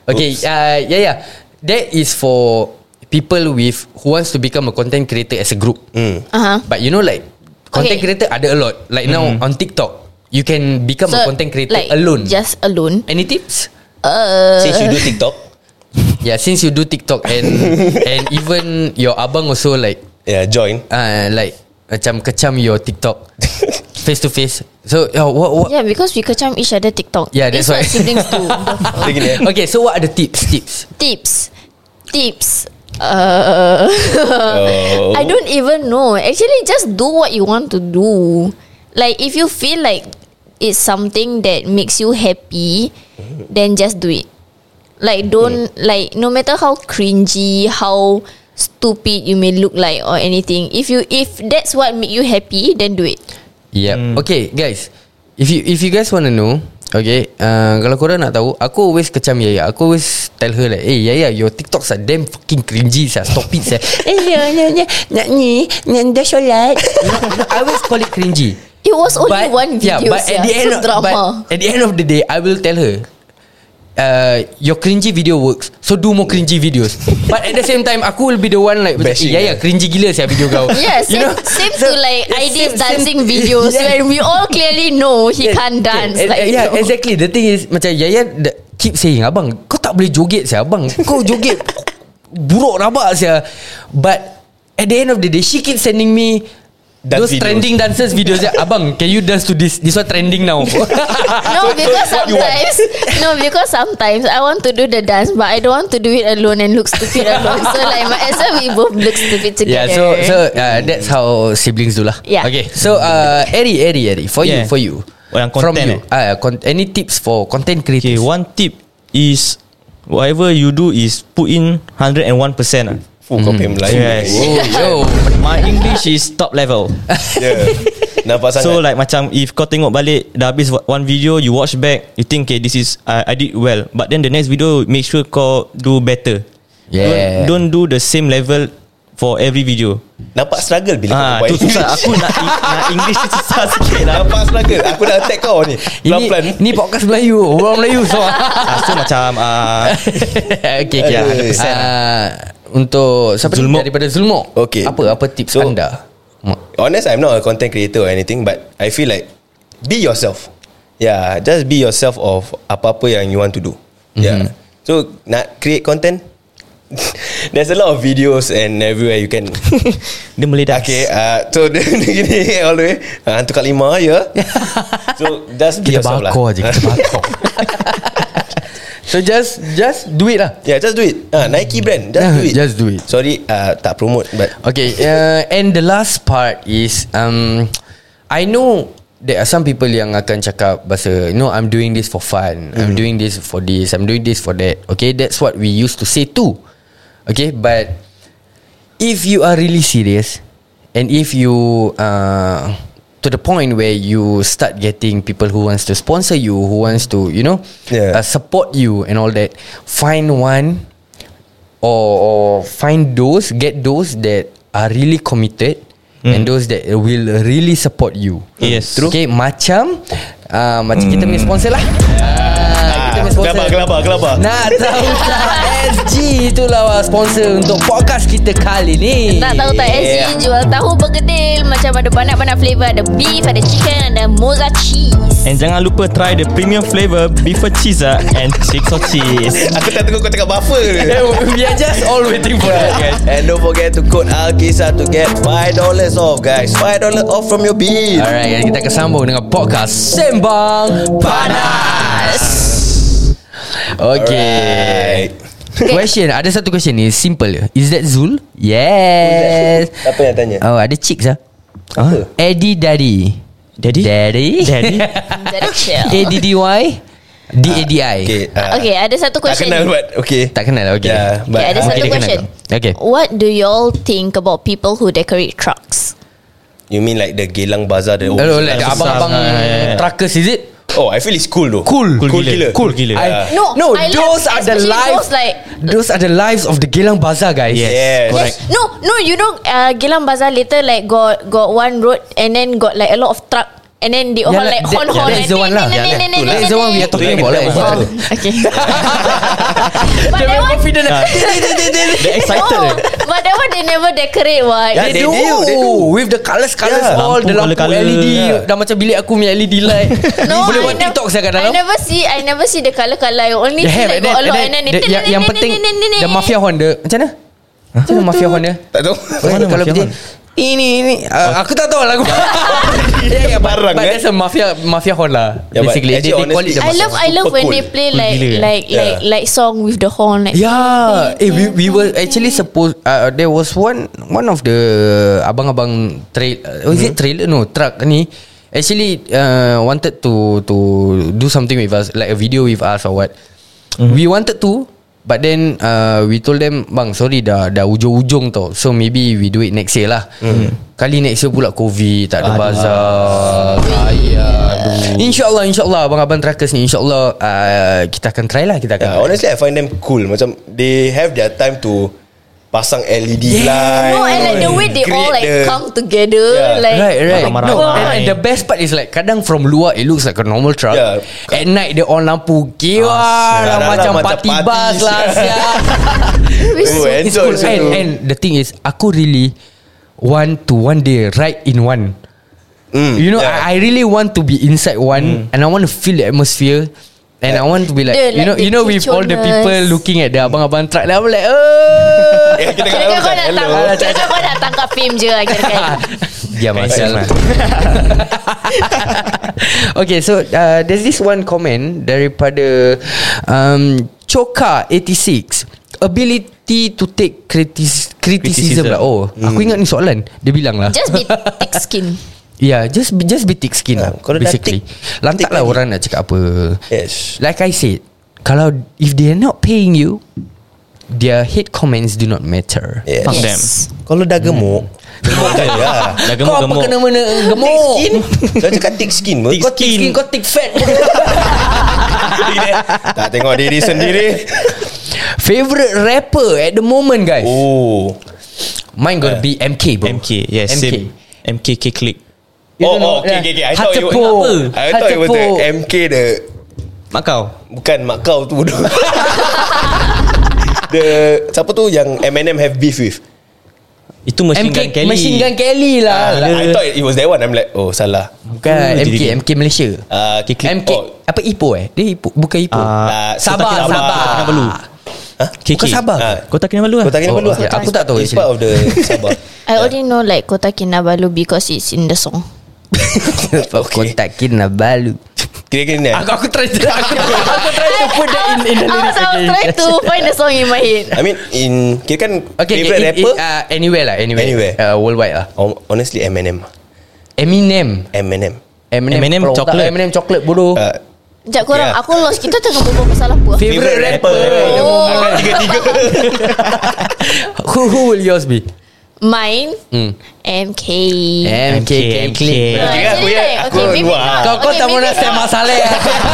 [SPEAKER 2] Okay, uh, yeah, yeah. That is for people with who wants to become a content creator as a group.
[SPEAKER 3] Hmm.
[SPEAKER 4] Uh-huh.
[SPEAKER 2] But you know, like content
[SPEAKER 4] Okay.
[SPEAKER 2] creator ada a lot. Like
[SPEAKER 3] Mm-hmm.
[SPEAKER 2] now on TikTok, you can become a content creator
[SPEAKER 4] like,
[SPEAKER 2] alone.
[SPEAKER 4] Just alone. Uh,
[SPEAKER 2] Any tips? Oh.
[SPEAKER 3] Since you do TikTok
[SPEAKER 2] Yeah, since you do TikTok and and even your abang also like
[SPEAKER 3] Yeah join
[SPEAKER 2] uh, like macam kecam your TikTok face to face. So yeah, what what
[SPEAKER 4] Yeah, because we kecam each other TikTok.
[SPEAKER 2] Yeah, that's
[SPEAKER 4] It's what
[SPEAKER 2] why.
[SPEAKER 4] siblings do.
[SPEAKER 3] Dia gini eh
[SPEAKER 2] Okay, so what are the tips? Tips.
[SPEAKER 4] tips tips
[SPEAKER 2] Oh.
[SPEAKER 4] uh,
[SPEAKER 3] uh,
[SPEAKER 4] I don't even know actually just do what you want to do like if you feel like it's something that makes you happy then just do it like don't
[SPEAKER 2] Mm.
[SPEAKER 4] like no matter how cringy how stupid you may look like or anything if you if that's what make you happy then do it
[SPEAKER 2] Yep.
[SPEAKER 3] Hmm.
[SPEAKER 2] Okay, guys. If you if you guys want to know, okay, uh, kalau korang nak tahu, aku always kecam Yaya. Aku always tell her like, "Hey Yaya, your TikToks are damn fucking cringy. Sah. Stop it, sah. Eh, ya, ya, ya. Nak ni, nak dah solat." No, no, I always call it cringy.
[SPEAKER 4] it was only one video
[SPEAKER 2] Yeah, but at the end, of,
[SPEAKER 4] drama
[SPEAKER 2] but at the end of the day, I will tell her, uh, your cringy video works, so do more cringy videos. but at the same time, aku will be the one like,
[SPEAKER 3] Bashing
[SPEAKER 2] yeah, yeah,
[SPEAKER 3] her.
[SPEAKER 2] cringy gila siapa video kau.
[SPEAKER 4] Yeah, same, same to like
[SPEAKER 2] yeah,
[SPEAKER 4] ideas
[SPEAKER 2] same-
[SPEAKER 4] dancing
[SPEAKER 2] same-
[SPEAKER 4] videos
[SPEAKER 2] yeah.
[SPEAKER 4] when we all clearly know he
[SPEAKER 2] Yeah,
[SPEAKER 4] can't dance.
[SPEAKER 2] yeah,
[SPEAKER 4] like,
[SPEAKER 2] Eh, yeah,
[SPEAKER 4] you know.
[SPEAKER 2] exactly. The thing is, macam Yaya d- keep saying, abang, kau tak boleh joget saya, abang. Kau joget buruk rabak saya. But at the end of the day, she keep sending me
[SPEAKER 3] Dance
[SPEAKER 2] those
[SPEAKER 3] videos.
[SPEAKER 2] trending dances videos. saya, abang, can you dance to this? This one trending now.
[SPEAKER 4] No, because
[SPEAKER 3] you want.
[SPEAKER 4] sometimes no, because sometimes I want to do the dance, but I don't want to do it alone and look stupid alone. So like, might as well we both look stupid
[SPEAKER 2] yeah,
[SPEAKER 4] together.
[SPEAKER 2] so so uh, that's how siblings do lah.
[SPEAKER 4] Yeah.
[SPEAKER 2] Okay. So uh, Eri, Eri, Eri, for you,
[SPEAKER 5] Yeah.
[SPEAKER 2] for you.
[SPEAKER 5] Oh, yang
[SPEAKER 2] From you,
[SPEAKER 5] content
[SPEAKER 2] uh,
[SPEAKER 5] eh?
[SPEAKER 2] con- any tips for content
[SPEAKER 5] Okay,
[SPEAKER 2] creators?
[SPEAKER 5] one tip is whatever you do is put in 101%. ah.
[SPEAKER 3] Fuh kau pay Melayu
[SPEAKER 5] Yes.
[SPEAKER 2] Oh, yo.
[SPEAKER 5] My English is top level.
[SPEAKER 3] Yeah Nampak sangat
[SPEAKER 5] So like macam if kau tengok balik dah habis one video you watch back you think okay this is uh, I did well but then the next video make sure kau do better.
[SPEAKER 2] Yeah.
[SPEAKER 5] Don't, don't do the same level for every video.
[SPEAKER 3] Nampak struggle bila
[SPEAKER 5] Ah,
[SPEAKER 3] kau
[SPEAKER 5] tu susah aku nak nak English tu susah sikit lah.
[SPEAKER 3] Nampak struggle Aku dah attack kau
[SPEAKER 2] Ini,
[SPEAKER 3] ni Pelan-pelan
[SPEAKER 2] ini podcast Melayu Orang Melayu so
[SPEAKER 5] Ah, so macam uh,
[SPEAKER 2] okay, okay.
[SPEAKER 3] Aduh.
[SPEAKER 2] Uh, Untuk siapa ni?
[SPEAKER 5] Zulmok.
[SPEAKER 2] daripada Zulmok.
[SPEAKER 3] Okay.
[SPEAKER 2] Apa apa tips
[SPEAKER 3] So-
[SPEAKER 2] anda? Ma-
[SPEAKER 3] honest, I'm not a content creator or anything, but I feel like be yourself. Yeah, just be yourself of apa-apa yang you want to do.
[SPEAKER 2] Mm-hmm.
[SPEAKER 3] Yeah. So nak create content, there's a lot of videos and everywhere you can.
[SPEAKER 5] Dia meledak
[SPEAKER 3] okay, uh, so dia gini all the way. Uh, hantu kat lima ya. Yeah. So just be
[SPEAKER 2] Kita
[SPEAKER 3] yourself lah.
[SPEAKER 2] bakar je, kita bakar. So just just do it lah.
[SPEAKER 3] yeah, just do it. Uh, Nike brand, just
[SPEAKER 2] Yeah,
[SPEAKER 3] do it.
[SPEAKER 2] just do it.
[SPEAKER 3] Sorry, uh, tak promote but
[SPEAKER 2] Okay, uh, and the last part is um, I know there are some people yang akan cakap bahasa, you know, I'm doing this for fun, I'm doing this for this, I'm doing this for that. Okay, that's what we used to say too. Okay, but if you are really serious, and if you uh, to the point where you start getting people who wants to sponsor you, who wants to, you know,
[SPEAKER 3] Yeah.
[SPEAKER 2] uh, support you and all that, find one or, or find those get those that are really committed mm. and those that will really support you.
[SPEAKER 5] Yes.
[SPEAKER 2] True. Okay, macam uh, macam kita punya sponsor lah. Ah, kita punya sponsor.
[SPEAKER 5] Kelapa, kelapa, kelapa.
[SPEAKER 2] Nak tahu tak SG itulah wah, sponsor untuk podcast kita kali ni.
[SPEAKER 4] Tak tahu tak SG jual tahu bergedil Macam ada banyak-banyak flavor Ada beef, ada chicken, ada mozzarella cheese
[SPEAKER 5] And jangan lupa try the premium flavour beef cheese ah and chicks or cheese.
[SPEAKER 3] Aku tak tengok kau cakap buffer ni.
[SPEAKER 2] We are just all waiting for that guys.
[SPEAKER 3] And don't forget to code Alkisa to get $5 off guys $5 off from your bill
[SPEAKER 2] Alright guys, kita akan sambung dengan podcast Sembang Panas. Okay.
[SPEAKER 3] Alright.
[SPEAKER 2] Question Ada satu question ni Simple je Is that Zul? Yes
[SPEAKER 3] Siapa yang tanya?
[SPEAKER 2] Oh ada chicks lah
[SPEAKER 5] Apa?
[SPEAKER 2] Eddie Daddy
[SPEAKER 5] Daddy?
[SPEAKER 2] Daddy
[SPEAKER 5] Daddy?
[SPEAKER 4] Jadi chill
[SPEAKER 2] A-D-D-Y D-A-D-I
[SPEAKER 3] Okay, uh,
[SPEAKER 4] Okay, ada satu
[SPEAKER 3] Tak
[SPEAKER 4] question
[SPEAKER 3] kenal but Okay
[SPEAKER 2] Tak kenal lah okay
[SPEAKER 3] Yeah, but
[SPEAKER 4] Okay, ada
[SPEAKER 2] Okay,
[SPEAKER 4] satu
[SPEAKER 2] dia kenal
[SPEAKER 4] question
[SPEAKER 2] kau. Okay.
[SPEAKER 4] What do y'all think about people who decorate trucks?
[SPEAKER 3] You mean like the Geylang Bazaar the
[SPEAKER 2] Hello Oh, like
[SPEAKER 5] besar
[SPEAKER 2] abang-abang
[SPEAKER 5] sangat.
[SPEAKER 2] Truckers is it?
[SPEAKER 3] Oh I feel it's cool Ah, though
[SPEAKER 2] Cool
[SPEAKER 5] Cool gila.
[SPEAKER 2] Cool
[SPEAKER 5] Cool gila.
[SPEAKER 2] I-
[SPEAKER 4] No,
[SPEAKER 2] No
[SPEAKER 4] I
[SPEAKER 2] Those
[SPEAKER 4] love-
[SPEAKER 2] are the
[SPEAKER 4] especially
[SPEAKER 2] lives
[SPEAKER 4] those like-
[SPEAKER 2] Those are the lives Of the Geylang Bazaar guys
[SPEAKER 5] Yes.
[SPEAKER 3] Yes.
[SPEAKER 5] Correct.
[SPEAKER 4] Yes. No, no, you know, uh, Geylang Bazaar later like got got one road and then got like a lot of truck and then they all
[SPEAKER 2] Yeah,
[SPEAKER 4] Oh, like
[SPEAKER 2] that-
[SPEAKER 4] horn
[SPEAKER 2] yeah,
[SPEAKER 4] horn.
[SPEAKER 2] that's the one lah.
[SPEAKER 4] like,
[SPEAKER 2] Yeah,
[SPEAKER 4] nen- nen- nen-
[SPEAKER 2] that
[SPEAKER 4] nen-
[SPEAKER 2] is the one we are
[SPEAKER 4] nen-
[SPEAKER 2] talking
[SPEAKER 3] Itu yang
[SPEAKER 2] about lah.
[SPEAKER 3] kita buat tu.
[SPEAKER 4] nen- Okay.
[SPEAKER 2] But
[SPEAKER 4] that one-
[SPEAKER 2] confident lah.
[SPEAKER 5] Dia excited
[SPEAKER 4] Oh,
[SPEAKER 5] eh.
[SPEAKER 4] but that one they never decorate what.
[SPEAKER 3] Yeah,
[SPEAKER 2] Eh, They,
[SPEAKER 3] Ya,
[SPEAKER 2] do,
[SPEAKER 3] They do, they do. Ya,
[SPEAKER 2] With the colours colours
[SPEAKER 5] Yeah.
[SPEAKER 2] all The lampu
[SPEAKER 5] Lampu colour-colour.
[SPEAKER 2] LED
[SPEAKER 5] Yeah.
[SPEAKER 2] Dah macam bilik aku punya LED light Boleh buat
[SPEAKER 4] I nev-
[SPEAKER 2] TikTok saya kat dalam
[SPEAKER 4] I never see I never see the color color. I only
[SPEAKER 2] They
[SPEAKER 4] see
[SPEAKER 2] have
[SPEAKER 4] like
[SPEAKER 2] and then,
[SPEAKER 4] got a lot
[SPEAKER 2] and
[SPEAKER 4] and
[SPEAKER 2] then,
[SPEAKER 4] then
[SPEAKER 2] the- yang, yang penting The mafia Honda Macam mana? Macam mana mafia Honda?
[SPEAKER 3] Tak tahu
[SPEAKER 5] Mana
[SPEAKER 2] kalau
[SPEAKER 5] mafia
[SPEAKER 2] betul ini ini uh, aku tak tahu lagu. yeah, yeah, but,
[SPEAKER 3] Barang,
[SPEAKER 2] but
[SPEAKER 3] eh?
[SPEAKER 2] that's a mafia mafia horn lah.
[SPEAKER 3] Yeah, but
[SPEAKER 2] basically, they, they call it
[SPEAKER 3] actually,
[SPEAKER 2] the mafia.
[SPEAKER 3] honestly,
[SPEAKER 4] I
[SPEAKER 2] Oh,
[SPEAKER 4] love I love
[SPEAKER 3] Super
[SPEAKER 4] when
[SPEAKER 3] cool.
[SPEAKER 4] they play
[SPEAKER 5] Cool
[SPEAKER 4] like
[SPEAKER 5] gila.
[SPEAKER 4] like like like song with the horn like.
[SPEAKER 2] Yeah, eh, we we were actually supposed. Uh, there was one one of the uh, abang-abang trail. Uh, is it trailer? No, truck ni. Actually, uh, wanted to to do something with us, like a video with us or what. We wanted to, but then uh, we told them, bang, sorry dah dah ujung-ujung tau. So maybe we do it next year lah. Kali next year pula COVID, tak ada bazar. Ayah, InsyaAllah, insyaAllah Abang-abang truckers ni InsyaAllah uh, Kita akan try lah Kita akan
[SPEAKER 3] yeah,
[SPEAKER 2] try.
[SPEAKER 3] Ya, Honestly I find them cool Macam They have their time to Pasang LED light
[SPEAKER 4] No, and like the way they all
[SPEAKER 3] create
[SPEAKER 4] like
[SPEAKER 3] the-
[SPEAKER 4] come together
[SPEAKER 3] Yeah.
[SPEAKER 4] like
[SPEAKER 2] Right right
[SPEAKER 5] Marah-marah.
[SPEAKER 2] no, and, and
[SPEAKER 5] Right.
[SPEAKER 2] the best part is like Kadang from luar It looks like a normal truck
[SPEAKER 3] Yeah.
[SPEAKER 2] At night dia on lampu Kiwa lah
[SPEAKER 3] sial.
[SPEAKER 2] Macam
[SPEAKER 3] Macam
[SPEAKER 2] party
[SPEAKER 3] party,
[SPEAKER 2] bus lah
[SPEAKER 3] sial.
[SPEAKER 2] sial.
[SPEAKER 3] Oh, and
[SPEAKER 2] It's
[SPEAKER 3] so-
[SPEAKER 2] cool
[SPEAKER 3] so-
[SPEAKER 2] and, and the thing is Aku really Want to one day Ride in one
[SPEAKER 3] Mm,
[SPEAKER 2] You know
[SPEAKER 3] yeah.
[SPEAKER 2] I, I really want to be inside one And I want to feel the atmosphere And I want to be like,
[SPEAKER 4] The-
[SPEAKER 2] You know
[SPEAKER 4] like
[SPEAKER 2] You
[SPEAKER 4] the
[SPEAKER 2] know with all the
[SPEAKER 4] kitcheners.
[SPEAKER 2] people Looking at the abang-abang truck lah I'm like oh.
[SPEAKER 3] Eh, Kita kena
[SPEAKER 4] Kira-kira kau nak
[SPEAKER 3] Hello
[SPEAKER 4] tangkap Kira-kira kau nak tangkap fame je lah Kira-kira
[SPEAKER 2] Diam lah
[SPEAKER 5] Cancel
[SPEAKER 2] sial.
[SPEAKER 5] lah.
[SPEAKER 2] Okay so uh, There's this one comment Daripada um, Choka86 Ability to take critis- criticism,
[SPEAKER 5] Criticism.
[SPEAKER 2] lah. Oh, mm.
[SPEAKER 3] Hmm.
[SPEAKER 2] aku ingat ni soalan. Dia bilang lah.
[SPEAKER 4] Just be thick skin
[SPEAKER 2] yeah, just be- just be thick skin lah.
[SPEAKER 3] Ah, kalau dah
[SPEAKER 2] Basically,
[SPEAKER 3] thick-
[SPEAKER 2] lantak
[SPEAKER 3] thick
[SPEAKER 2] lah
[SPEAKER 3] lagi.
[SPEAKER 2] orang nak cakap apa.
[SPEAKER 3] Yes
[SPEAKER 2] Like I said, kalau if they are not paying you, their hate comments do not matter.
[SPEAKER 3] Yes
[SPEAKER 5] Fuck them.
[SPEAKER 4] Yes
[SPEAKER 3] Kalau dah gemuk Gemuk je lah
[SPEAKER 5] Dah
[SPEAKER 2] Kau apa kena
[SPEAKER 5] gemuk-gemuk.
[SPEAKER 2] mena gemuk?
[SPEAKER 3] Saya cakap thick skin pun
[SPEAKER 5] Thick
[SPEAKER 2] Kau thick skin,
[SPEAKER 5] Skin.
[SPEAKER 2] kau thick fat.
[SPEAKER 3] Tak tengok diri sendiri
[SPEAKER 2] Favorite rapper at the moment, guys.
[SPEAKER 3] Oh Uh,
[SPEAKER 2] Mine gotta be MK bro
[SPEAKER 5] MK, yes,
[SPEAKER 2] MK
[SPEAKER 5] same. MKK click.
[SPEAKER 2] You don't
[SPEAKER 3] Oh,
[SPEAKER 2] know, Ya.
[SPEAKER 3] oh, okay,
[SPEAKER 2] yeah.
[SPEAKER 3] okay, okay. I thought you
[SPEAKER 2] Hatepo.
[SPEAKER 3] were, I thought it was the
[SPEAKER 2] Hatepo.
[SPEAKER 3] MK the
[SPEAKER 5] Mak kau.
[SPEAKER 3] bukan mak kau tu bodoh. The Siapa tu yang Eminem have beef with
[SPEAKER 5] Itu Machine
[SPEAKER 2] MK
[SPEAKER 5] Gun Kelly
[SPEAKER 2] Machine Gun Kelly lah
[SPEAKER 3] ah, I thought it was that one I'm like Oh salah
[SPEAKER 2] Bukan MK
[SPEAKER 5] Apa jadi-
[SPEAKER 2] MK Malaysia
[SPEAKER 3] Ah, okay, clip.
[SPEAKER 2] MK
[SPEAKER 3] Oh.
[SPEAKER 2] Apa Ipoh eh Dia Ipoh Bukan Ipoh
[SPEAKER 5] Ah,
[SPEAKER 2] Sabah
[SPEAKER 5] Kota
[SPEAKER 2] Sabah
[SPEAKER 5] Kota Kinabalu KK
[SPEAKER 2] Bukan Sabah
[SPEAKER 3] Ah,
[SPEAKER 5] Kota Kinabalu lah
[SPEAKER 3] Kau tak kena
[SPEAKER 2] Oh,
[SPEAKER 3] perlu
[SPEAKER 2] okay. Aku tak tahu
[SPEAKER 3] It's
[SPEAKER 2] actually.
[SPEAKER 3] part of the Sabah
[SPEAKER 4] I already know like Kota Kinabalu because it's in the song.
[SPEAKER 2] okay. Kota Kinabalu
[SPEAKER 3] Kira-kira ni
[SPEAKER 2] Aku aku try to Aku, aku try to put that in, in the
[SPEAKER 4] I
[SPEAKER 2] lyrics
[SPEAKER 4] Ah, was, I was
[SPEAKER 2] okay.
[SPEAKER 4] trying to find the song in my head.
[SPEAKER 3] I mean in Kira kan
[SPEAKER 2] Okay, okay
[SPEAKER 3] Favorite
[SPEAKER 2] it,
[SPEAKER 3] rapper
[SPEAKER 2] It, uh, anywhere lah Anywhere,
[SPEAKER 3] Anywhere.
[SPEAKER 2] Uh, Worldwide lah
[SPEAKER 3] Hon- Honestly Eminem
[SPEAKER 2] Eminem
[SPEAKER 3] Eminem
[SPEAKER 2] Eminem,
[SPEAKER 5] Eminem
[SPEAKER 2] kalau tak,
[SPEAKER 5] chocolate.
[SPEAKER 2] Eminem coklat bodoh
[SPEAKER 3] Ah,
[SPEAKER 4] Sekejap korang,
[SPEAKER 3] Yeah.
[SPEAKER 4] aku lost. Kita tengah berbual pasal apa?
[SPEAKER 2] Favorite rapper
[SPEAKER 4] Oh.
[SPEAKER 3] Kan tiga-tiga
[SPEAKER 2] Who who will yours be
[SPEAKER 4] Mine,
[SPEAKER 2] Hmm.
[SPEAKER 4] MK. Eh.
[SPEAKER 2] MK
[SPEAKER 5] MK.
[SPEAKER 4] No,
[SPEAKER 3] Tiga, aku
[SPEAKER 4] actually,
[SPEAKER 3] ya,
[SPEAKER 4] like,
[SPEAKER 3] aku
[SPEAKER 4] okay, maybe
[SPEAKER 3] luar.
[SPEAKER 4] not.
[SPEAKER 2] Kau kau
[SPEAKER 4] Okay,
[SPEAKER 2] tak
[SPEAKER 4] maybe
[SPEAKER 2] nak
[SPEAKER 4] not.
[SPEAKER 2] saya masalah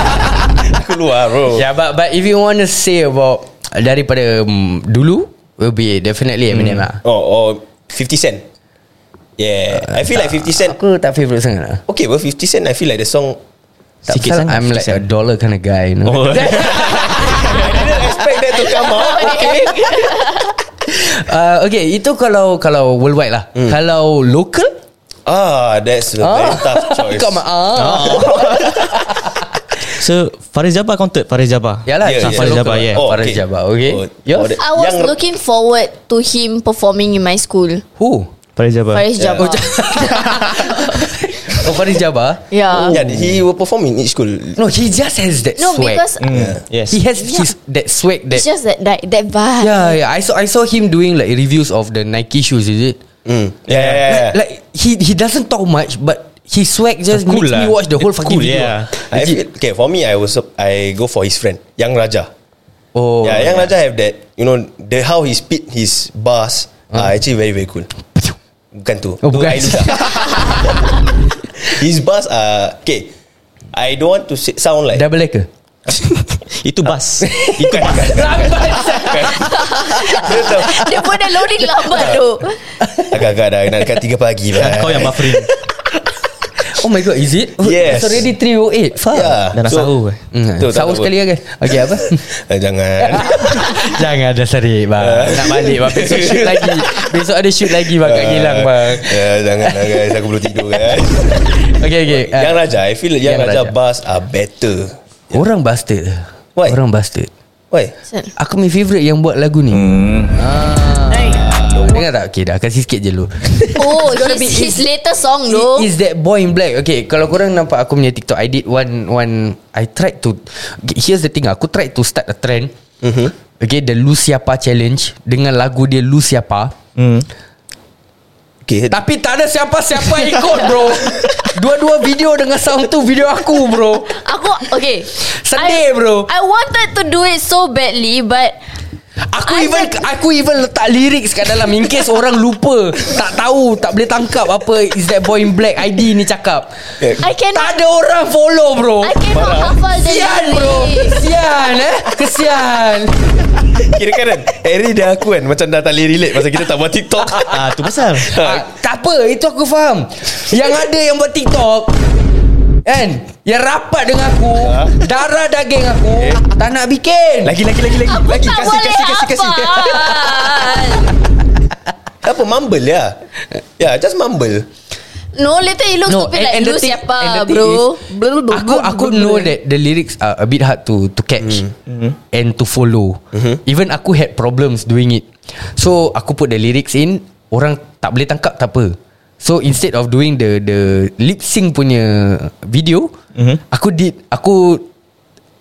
[SPEAKER 3] Aku keluar bro
[SPEAKER 2] Yeah but but if you want to say about Daripada um, dulu Will be definitely Eminem lah
[SPEAKER 3] Oh oh 50 cent Yeah I feel like 50 cent
[SPEAKER 2] Aku tak favourite sangat lah
[SPEAKER 3] Okay well 50 cent I feel like the song
[SPEAKER 2] Tak
[SPEAKER 5] Sikit
[SPEAKER 2] pasal
[SPEAKER 5] sangat,
[SPEAKER 2] I'm
[SPEAKER 5] sikit
[SPEAKER 2] like a
[SPEAKER 5] sangat.
[SPEAKER 2] dollar kind of guy you know?
[SPEAKER 3] I
[SPEAKER 5] Oh.
[SPEAKER 3] didn't expect that to come out Okay
[SPEAKER 2] uh, Okay itu kalau Kalau worldwide lah Kalau local
[SPEAKER 3] Ah that's a very tough choice
[SPEAKER 2] Kau ma- ah.
[SPEAKER 5] So Faris Jabbar counted Faris Jabbar
[SPEAKER 2] Yalah
[SPEAKER 3] Yeah,
[SPEAKER 2] yeah,
[SPEAKER 3] yeah.
[SPEAKER 2] Faris
[SPEAKER 5] Local.
[SPEAKER 2] Jabbar yeah.
[SPEAKER 3] Oh,
[SPEAKER 2] Faris
[SPEAKER 3] okay.
[SPEAKER 2] Jabbar okay
[SPEAKER 3] Oh,
[SPEAKER 2] Yours?
[SPEAKER 3] oh, that-
[SPEAKER 4] I was
[SPEAKER 3] Yang- Oh,
[SPEAKER 4] looking forward to him performing in my school.
[SPEAKER 2] Who?
[SPEAKER 5] Faris Jabbar
[SPEAKER 4] Faris Jabbar.
[SPEAKER 2] Oh Faris Jabbar
[SPEAKER 4] Yeah.
[SPEAKER 3] Yeah he will perform in each school
[SPEAKER 2] No he just has that
[SPEAKER 4] No,
[SPEAKER 2] swag
[SPEAKER 4] because
[SPEAKER 3] Mm,
[SPEAKER 5] Hmm, Yes
[SPEAKER 2] He has his, that swag that
[SPEAKER 4] it's just that that, that vibe.
[SPEAKER 2] Yeah, yeah. I saw I saw him doing like reviews of the Nike shoes. Is it?
[SPEAKER 3] Mm. Yeah, yeah, yeah, yeah.
[SPEAKER 2] Like he he doesn't talk much, but his swag just
[SPEAKER 5] cool
[SPEAKER 2] makes me
[SPEAKER 5] lah.
[SPEAKER 2] watch the whole
[SPEAKER 5] It's
[SPEAKER 2] fucking
[SPEAKER 5] cool,
[SPEAKER 2] video.
[SPEAKER 5] yeah.
[SPEAKER 3] I feel, okay, for me, I was I go for his friend, Yang Raja.
[SPEAKER 2] Oh,
[SPEAKER 3] yeah, Yang Raja have that. You know the how he spit his bars are actually very very cool. Bukan tu.
[SPEAKER 2] Oh,
[SPEAKER 3] tu
[SPEAKER 2] bukan.
[SPEAKER 3] Ainuza. his bars are okay. I don't want to say, sound like
[SPEAKER 2] double decker.
[SPEAKER 5] Itu bas
[SPEAKER 3] Itu bukan. bukan, bukan, bukan. Dia macam
[SPEAKER 4] Dia pun dah loading lambat tu.
[SPEAKER 3] agak-agak dah nak dekat 3 pagi lah.
[SPEAKER 5] Ah, Kau yang buffering
[SPEAKER 2] Oh my god, is it?
[SPEAKER 3] Yes.
[SPEAKER 2] It's already 308. Fuck.
[SPEAKER 3] Yeah.
[SPEAKER 5] Dah nak
[SPEAKER 3] So-
[SPEAKER 5] sahur eh.
[SPEAKER 2] Mm,
[SPEAKER 3] Tu tak
[SPEAKER 2] sahur
[SPEAKER 3] apa.
[SPEAKER 2] sekali lah guys Okay apa
[SPEAKER 3] Eh, Jangan.
[SPEAKER 2] Jangan dah serik bang Nak balik bang Besok shoot lagi Besok ada shoot lagi bang Kat Gilang bang
[SPEAKER 3] Ya, jangan lah guys, aku belum tidur guys.
[SPEAKER 2] Okay okay
[SPEAKER 3] Uh, yang Raja I feel Yang, yang
[SPEAKER 2] Yang
[SPEAKER 3] Raja,
[SPEAKER 2] Raja.
[SPEAKER 3] bars are better
[SPEAKER 2] Orang bastard
[SPEAKER 3] Why?
[SPEAKER 2] Orang bastard
[SPEAKER 3] Why?
[SPEAKER 2] Aku punya favourite yang buat lagu ni ah. Dengar tak? Okay dah Kasih sikit je lu
[SPEAKER 4] Oh,
[SPEAKER 2] It's gotta
[SPEAKER 4] his,
[SPEAKER 2] be-
[SPEAKER 4] his latest
[SPEAKER 2] It
[SPEAKER 4] song though.
[SPEAKER 2] is that boy in black Okay Kalau korang nampak aku punya TikTok I did one one I tried to Here's the thing ah. Aku tried to start a trend mm-hmm. Okay The Lu Siapa Challenge Dengan lagu dia Lu Siapa
[SPEAKER 5] Hmm.
[SPEAKER 3] Okay
[SPEAKER 2] Tapi tak ada siapa-siapa ikut bro Dua-dua video dengan sound tu Video aku bro
[SPEAKER 4] Aku okay.
[SPEAKER 2] Sedih,
[SPEAKER 4] I,
[SPEAKER 2] bro.
[SPEAKER 4] I wanted to do it so badly but
[SPEAKER 2] Aku
[SPEAKER 4] I
[SPEAKER 2] even
[SPEAKER 4] said-
[SPEAKER 2] Aku even letak lyrics kat dalam In case orang lupa Tak tahu Tak boleh tangkap Apa Is that boy in black ID ni cakap
[SPEAKER 4] I
[SPEAKER 2] Tak
[SPEAKER 4] cannot
[SPEAKER 2] ada orang follow bro
[SPEAKER 4] I cannot hafal the
[SPEAKER 2] Kesian bro
[SPEAKER 4] lyrics.
[SPEAKER 2] Kesian eh Kesian
[SPEAKER 3] Kira kan Harry dah aku kan Macam dah tak boleh relate Pasal kita tak buat TikTok
[SPEAKER 5] Ah tu pasal
[SPEAKER 2] ah, Tak apa Itu aku faham Yang ada yang buat TikTok Kan Yang rapat dengan aku Darah daging aku Tak nak bikin
[SPEAKER 3] Lagi lagi lagi lagi
[SPEAKER 4] Aku
[SPEAKER 3] lagi
[SPEAKER 4] tak
[SPEAKER 3] kasih,
[SPEAKER 4] boleh
[SPEAKER 3] kasih, kasih, kasih.
[SPEAKER 4] hafal
[SPEAKER 3] Apa mumble ya Ya yeah, just mumble
[SPEAKER 4] No later it looks stupid like
[SPEAKER 2] the thing- and
[SPEAKER 4] Lu
[SPEAKER 2] the
[SPEAKER 4] siapa
[SPEAKER 2] thing
[SPEAKER 4] bro
[SPEAKER 2] is, Aku aku know that The lyrics are a bit hard to to catch And to follow Even aku had problems doing it So aku put the lyrics in Orang tak boleh tangkap tak apa So instead of doing the the lip sync punya video Aku did Aku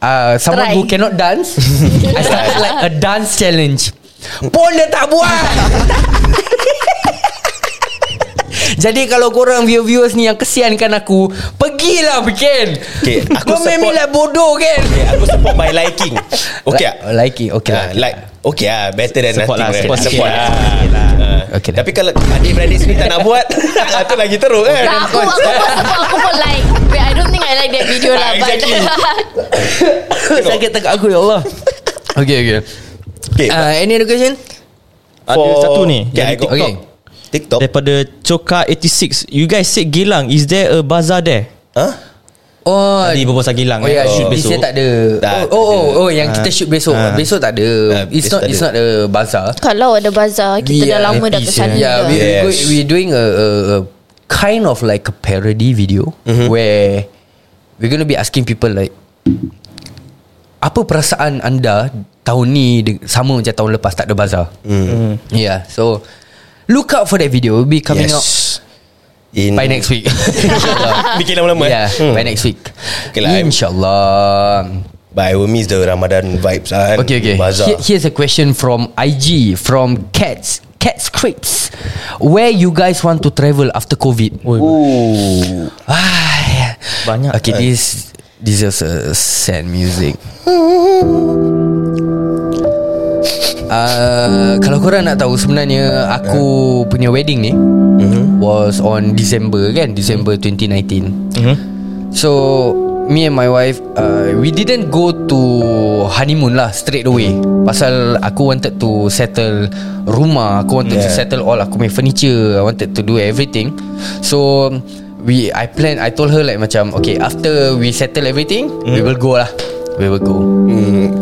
[SPEAKER 2] uh, Someone
[SPEAKER 4] Try.
[SPEAKER 2] who cannot dance I started like a dance challenge Pun dia tak buat Jadi kalau korang viewer-viewers ni yang kesiankan aku Pergilah bikin
[SPEAKER 3] Okay, aku
[SPEAKER 2] Kau main
[SPEAKER 3] support-
[SPEAKER 2] lah bodoh kan
[SPEAKER 3] okay, Eh, Aku support by liking Okay
[SPEAKER 2] Like- liking, okay lah,
[SPEAKER 3] Ah,
[SPEAKER 2] okay
[SPEAKER 3] Like Okay lah Better than
[SPEAKER 5] Support lah,
[SPEAKER 3] nothing
[SPEAKER 5] support
[SPEAKER 3] right?
[SPEAKER 5] sikit
[SPEAKER 3] Support
[SPEAKER 5] lah.
[SPEAKER 3] lah Ah.
[SPEAKER 2] Okay lah.
[SPEAKER 3] Tapi kalau Adik-beradik sini tak nak buat ah, tu lagi teruk kan
[SPEAKER 4] Tak, aku, aku pun support Aku pun like Wait I don't think I like that video
[SPEAKER 2] Ah,
[SPEAKER 4] lah But
[SPEAKER 3] Exactly.
[SPEAKER 2] Sakit tengok aku ya Allah Okay
[SPEAKER 3] Eh,
[SPEAKER 2] okay
[SPEAKER 3] Okay,
[SPEAKER 2] uh, Any other question?
[SPEAKER 5] Ada
[SPEAKER 3] for-
[SPEAKER 5] satu ni
[SPEAKER 3] okay,
[SPEAKER 5] Dari
[SPEAKER 3] I got-
[SPEAKER 5] TikTok
[SPEAKER 2] Okay.
[SPEAKER 3] TikTok
[SPEAKER 5] Daripada Coka 86 You guys said Gilang Is there a bazaar there?
[SPEAKER 3] Huh?
[SPEAKER 2] Oh
[SPEAKER 5] Tadi berbual pasal kilang
[SPEAKER 2] Oh ya
[SPEAKER 5] eh, shoot
[SPEAKER 2] yeah,
[SPEAKER 5] besok.
[SPEAKER 2] besok tak ada
[SPEAKER 3] Tak,
[SPEAKER 2] Oh oh,
[SPEAKER 3] tak ada.
[SPEAKER 2] oh, oh yang
[SPEAKER 5] Ah.
[SPEAKER 2] kita shoot besok
[SPEAKER 5] Ah.
[SPEAKER 2] Besok tak ada
[SPEAKER 3] Ah,
[SPEAKER 2] It's
[SPEAKER 3] besok
[SPEAKER 2] not
[SPEAKER 3] tak
[SPEAKER 2] it's
[SPEAKER 3] ada.
[SPEAKER 2] not a bazaar
[SPEAKER 4] Kalau ada bazar Kita
[SPEAKER 2] We
[SPEAKER 4] dah
[SPEAKER 2] are
[SPEAKER 4] lama dah ke
[SPEAKER 5] happy,
[SPEAKER 4] sana
[SPEAKER 2] Yeah, we
[SPEAKER 4] dah.
[SPEAKER 2] we
[SPEAKER 3] Yes.
[SPEAKER 2] go, we're doing a, a, a kind of like a parody video mm-hmm. where we're gonna be asking people like apa perasaan anda tahun ni de- sama macam tahun lepas tak ada bazar. Mm.
[SPEAKER 4] Hmm.
[SPEAKER 2] Yeah, so look out for that video. It'll be coming yes. out
[SPEAKER 3] In
[SPEAKER 2] by next week.
[SPEAKER 3] Bikin lama-lama
[SPEAKER 2] yeah,
[SPEAKER 3] eh?
[SPEAKER 2] by next week. Okay
[SPEAKER 3] Okay lah,
[SPEAKER 2] lah,
[SPEAKER 3] I'm-
[SPEAKER 2] Insyaallah.
[SPEAKER 3] But I will miss the Ramadan vibes lah kan
[SPEAKER 2] Okay, okay.
[SPEAKER 3] Bazaar
[SPEAKER 2] Here, here's a question from IG from Cats Cat Scripts. Where you guys want to travel after COVID?
[SPEAKER 3] Ooh.
[SPEAKER 2] Ah,
[SPEAKER 5] Banyak.
[SPEAKER 2] Okay, this this is a sad music. Uh, kalau korang nak tahu sebenarnya aku
[SPEAKER 3] Eh.
[SPEAKER 2] punya wedding ni
[SPEAKER 3] Mhm.
[SPEAKER 2] was on December kan December 2019
[SPEAKER 5] Mhm.
[SPEAKER 2] so me and my wife uh, we didn't go to honeymoon lah straight away pasal aku wanted to settle rumah aku wanted yeah. to
[SPEAKER 3] Yeah.
[SPEAKER 2] settle all aku punya furniture I wanted to do everything so we I plan I told her like macam okay after we settle everything we will go lah we will go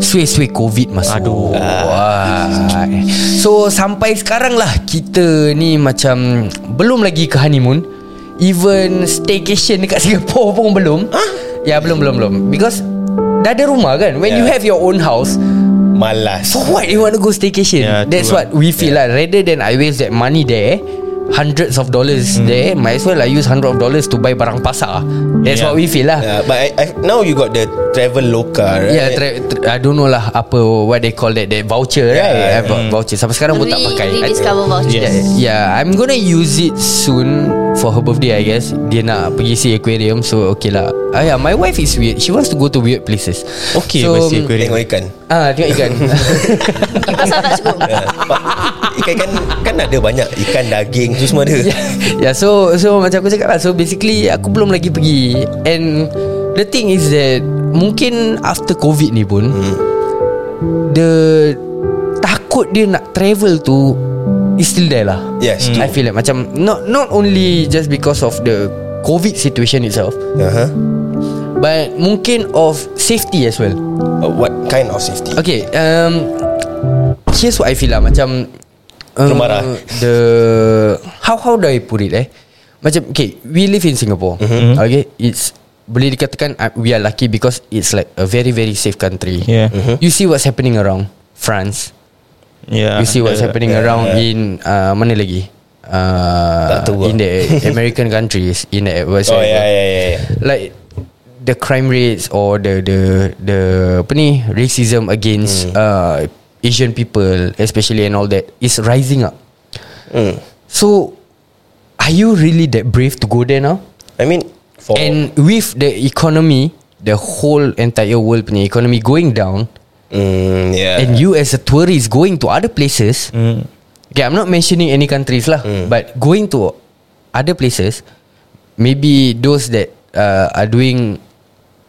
[SPEAKER 2] Sui-sui COVID masuk Aduh Wah. So sampai sekarang lah Kita ni macam Belum lagi ke honeymoon Even staycation dekat Singapore pun belum Ya belum belum belum Because Dah ada rumah kan When yeah. you
[SPEAKER 3] Yeah.
[SPEAKER 2] have your own house
[SPEAKER 3] Malas
[SPEAKER 2] So what you want to go staycation yeah,
[SPEAKER 5] Yeah,
[SPEAKER 2] That's
[SPEAKER 5] true
[SPEAKER 2] what we feel yeah. lah Rather than I waste that money there Hundreds of dollars mm. there Might as well I use hundred of dollars To buy barang pasar That's yeah.
[SPEAKER 5] Yeah.
[SPEAKER 2] what we feel lah
[SPEAKER 3] yeah, Ya, But I, I, now you got the travel loka right?
[SPEAKER 2] Yeah, Ya, tra- tra- I don't know lah apa what they call that that voucher yeah, right?
[SPEAKER 3] yeah.
[SPEAKER 2] Yeah, yeah. Voucher sampai sekarang pun tak
[SPEAKER 4] Re-
[SPEAKER 2] pakai.
[SPEAKER 4] rediscover voucher.
[SPEAKER 2] Yeah, yeah, I'm gonna use it soon for her birthday I guess. Dia nak pergi see aquarium so okay lah. Ah, yeah, my wife is weird. She wants to go to weird places.
[SPEAKER 5] Okay,
[SPEAKER 2] so,
[SPEAKER 5] masih aquarium.
[SPEAKER 3] Tengok ikan
[SPEAKER 2] Ah, tengok ikan.
[SPEAKER 4] Pasal tak cukup
[SPEAKER 3] Ah, pak, Ikan kan, kan ada banyak Ikan, daging tu semua ada
[SPEAKER 2] Ya. yeah, so so macam aku cakap lah. So basically aku belum lagi pergi and the thing is that mungkin after covid ni pun hmm. the takut dia nak travel tu is still there lah.
[SPEAKER 3] Yes,
[SPEAKER 2] I feel like macam not not only just because of the covid situation itself
[SPEAKER 3] uh-huh.
[SPEAKER 2] but mungkin of safety as well.
[SPEAKER 3] Uh, What kind of safety?
[SPEAKER 2] Okay um, Here's what I feel lah Macam uh,
[SPEAKER 3] Belum marah.
[SPEAKER 2] The How how do I put it eh Macam okay We live in Singapore mm-hmm. Okay It's Boleh dikatakan uh, We are lucky because It's like a very very safe country
[SPEAKER 5] Yeah. Mhm.
[SPEAKER 2] You see what's happening around France
[SPEAKER 5] Yeah.
[SPEAKER 2] You see what's
[SPEAKER 5] Ah, Yeah.
[SPEAKER 2] happening around in uh, Mana lagi uh,
[SPEAKER 3] Tak tahu
[SPEAKER 2] In the American countries In the
[SPEAKER 3] Oh yeah, yeah, yeah, yeah.
[SPEAKER 2] like the crime rates or the the the apa ni racism against uh, Asian people especially and all that is rising up. So are you really that brave to go there now?
[SPEAKER 3] I mean for
[SPEAKER 2] And with the economy, the whole entire world punya economy going down,
[SPEAKER 3] mm, yeah.
[SPEAKER 2] and you as a tourist going to other places.
[SPEAKER 3] Hmm.
[SPEAKER 2] Okay, I'm not mentioning any countries lah, but going to other places, maybe those that uh, are doing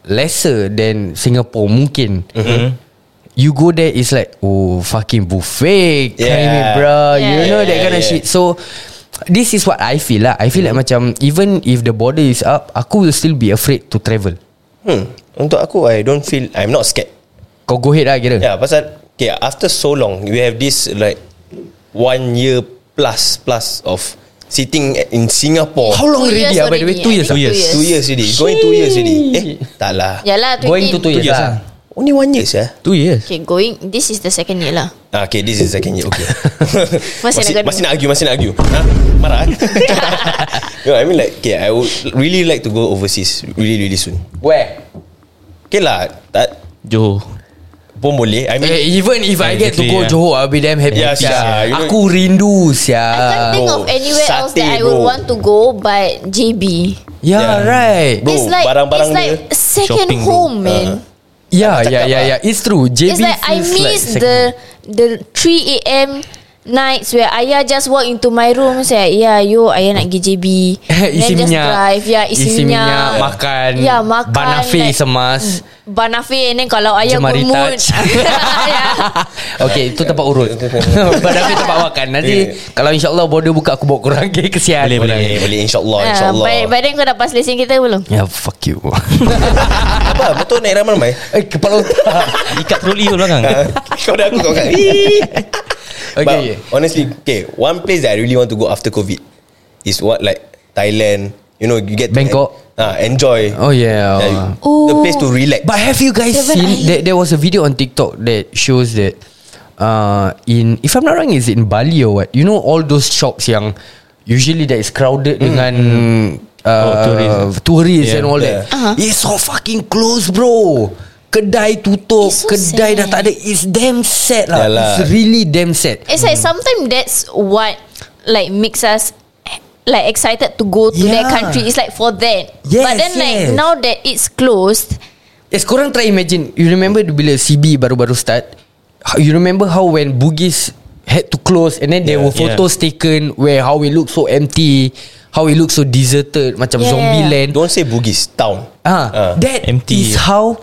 [SPEAKER 2] lesser than Singapore mungkin.
[SPEAKER 3] Mm-hmm.
[SPEAKER 2] You go there, it's like oh fucking buffet,
[SPEAKER 3] Yeah.
[SPEAKER 2] creamy bro,
[SPEAKER 4] Yeah.
[SPEAKER 2] you know that
[SPEAKER 3] Yeah,
[SPEAKER 2] kind of
[SPEAKER 3] yeah. Mm.
[SPEAKER 2] shit. So. This is what I feel lah I feel like macam Even if the border is up Aku will still be afraid to travel
[SPEAKER 3] hmm. Untuk aku I don't feel I'm not scared
[SPEAKER 2] Kau go ahead lah kira
[SPEAKER 3] Yeah, pasal okay, after so long, we have this like one year plus plus of sitting in Singapore.
[SPEAKER 2] How long
[SPEAKER 4] Two
[SPEAKER 2] already
[SPEAKER 4] years
[SPEAKER 2] ah, by the way
[SPEAKER 4] already, eh.
[SPEAKER 2] Two
[SPEAKER 4] I
[SPEAKER 2] years ah?
[SPEAKER 4] think two years.
[SPEAKER 3] Two years already. Going two years already. Eh, tak lah.
[SPEAKER 2] Ya.
[SPEAKER 4] Yalah 20,
[SPEAKER 2] Going to two years,
[SPEAKER 5] years
[SPEAKER 2] lah.
[SPEAKER 3] Only one year sah.
[SPEAKER 5] Two years.
[SPEAKER 4] Okay going This is the second year lah
[SPEAKER 3] Ah, okay, this is second year. Okay.
[SPEAKER 4] Masih nak gaduh.
[SPEAKER 3] masih nak argue, masih nak argue. Ha? Marah. eh? no, I mean like, okay, I would really like to go overseas really, really soon.
[SPEAKER 2] Where?
[SPEAKER 3] Okay lah, tak
[SPEAKER 5] Johor.
[SPEAKER 3] pun boleh. I mean,
[SPEAKER 2] Eh, even if I get to
[SPEAKER 5] Exactly,
[SPEAKER 2] go
[SPEAKER 5] yeah.
[SPEAKER 2] Johor, I'll be damn happy.
[SPEAKER 3] Yeah,
[SPEAKER 2] sia.
[SPEAKER 3] sia. You know-
[SPEAKER 2] Aku rindu
[SPEAKER 4] I can't
[SPEAKER 2] sia.
[SPEAKER 4] think
[SPEAKER 3] bro.
[SPEAKER 4] of anywhere else
[SPEAKER 3] Satay,
[SPEAKER 4] That I would
[SPEAKER 3] bro.
[SPEAKER 4] want to go But JB
[SPEAKER 2] Yeah,
[SPEAKER 3] Yeah.
[SPEAKER 2] Ya, right.
[SPEAKER 3] Bro,
[SPEAKER 4] It's like
[SPEAKER 3] barang-barang
[SPEAKER 4] It's like
[SPEAKER 3] dia
[SPEAKER 4] second
[SPEAKER 5] shopping, bro.
[SPEAKER 4] home man
[SPEAKER 2] Yeah,
[SPEAKER 3] cakap
[SPEAKER 2] ya, yeah, yeah,
[SPEAKER 3] lah.
[SPEAKER 2] yeah. It's true. JB
[SPEAKER 4] It's like I
[SPEAKER 2] feels
[SPEAKER 4] miss
[SPEAKER 2] like
[SPEAKER 4] the the 3 a.m. nights where ayah just walk into my room say, "Yeah, yo, ayah nak pergi JB."
[SPEAKER 2] isi
[SPEAKER 4] Then just
[SPEAKER 2] minyak
[SPEAKER 4] drive. Yeah, isi,
[SPEAKER 2] isi minyak Makan
[SPEAKER 4] Yeah, makan.
[SPEAKER 2] Banafi
[SPEAKER 4] like,
[SPEAKER 2] semas
[SPEAKER 4] Banafi and then kalau ayah Ya.
[SPEAKER 2] Jemari
[SPEAKER 4] good mood.
[SPEAKER 2] touch
[SPEAKER 4] yeah.
[SPEAKER 2] Okay itu tempat urut Banafi tempat makan Nanti Kalau insyaAllah border buka Aku bawa korang ke Kesian
[SPEAKER 5] Boleh, boleh.
[SPEAKER 3] Boleh boleh insyaAllah
[SPEAKER 4] Ah,
[SPEAKER 3] insyaAllah.
[SPEAKER 4] But, but then kau dah pass lesen kita belum?
[SPEAKER 2] Ya fuck you
[SPEAKER 3] Apa betul naik ramai-ramai?
[SPEAKER 2] Eh kepala otak
[SPEAKER 5] Ikat troli tu belakang
[SPEAKER 3] kau dah aku kau kan. But
[SPEAKER 2] Okay
[SPEAKER 3] honestly, okay, one place that I really want to go after COVID is what like Thailand. You know, you get to-
[SPEAKER 2] Bangkok.
[SPEAKER 3] Ah, enjoy.
[SPEAKER 2] Oh yeah
[SPEAKER 3] Yeah,
[SPEAKER 4] Oh.
[SPEAKER 3] the place to relax.
[SPEAKER 2] But have you guys
[SPEAKER 4] Seven
[SPEAKER 2] seen
[SPEAKER 4] Islands.
[SPEAKER 2] that there was a video on TikTok that shows that uh in if I'm not wrong is it in Bali or what? You know all those shops yang usually that is crowded dengan uh,
[SPEAKER 5] Mm, Oh, tourists.
[SPEAKER 2] tourists
[SPEAKER 5] Yeah.
[SPEAKER 2] and all that.
[SPEAKER 4] Uh-huh.
[SPEAKER 2] It's so fucking close, bro. Kedai tutup,
[SPEAKER 4] It's so
[SPEAKER 2] kedai dah
[SPEAKER 4] sad.
[SPEAKER 2] tak ada. It's damn sad lah.
[SPEAKER 3] Yalah.
[SPEAKER 2] It's really damn sad.
[SPEAKER 4] It's like sometimes that's what like makes us like excited to go to that
[SPEAKER 2] Yeah.
[SPEAKER 4] country. It's like for that.
[SPEAKER 2] Yes,
[SPEAKER 4] but then like
[SPEAKER 2] yes.
[SPEAKER 4] now that it's closed,
[SPEAKER 2] Yes, korang try imagine You remember bila CB baru-baru start how- You remember how when Bugis Had to close And then there
[SPEAKER 5] Yeah.
[SPEAKER 2] were photos taken Where how it looked so empty How it looked so deserted Macam
[SPEAKER 4] Yeah.
[SPEAKER 2] zombie land
[SPEAKER 3] Don't say Bugis town.
[SPEAKER 2] ah,
[SPEAKER 3] Ah.
[SPEAKER 2] That
[SPEAKER 5] Empty.
[SPEAKER 2] empty. is how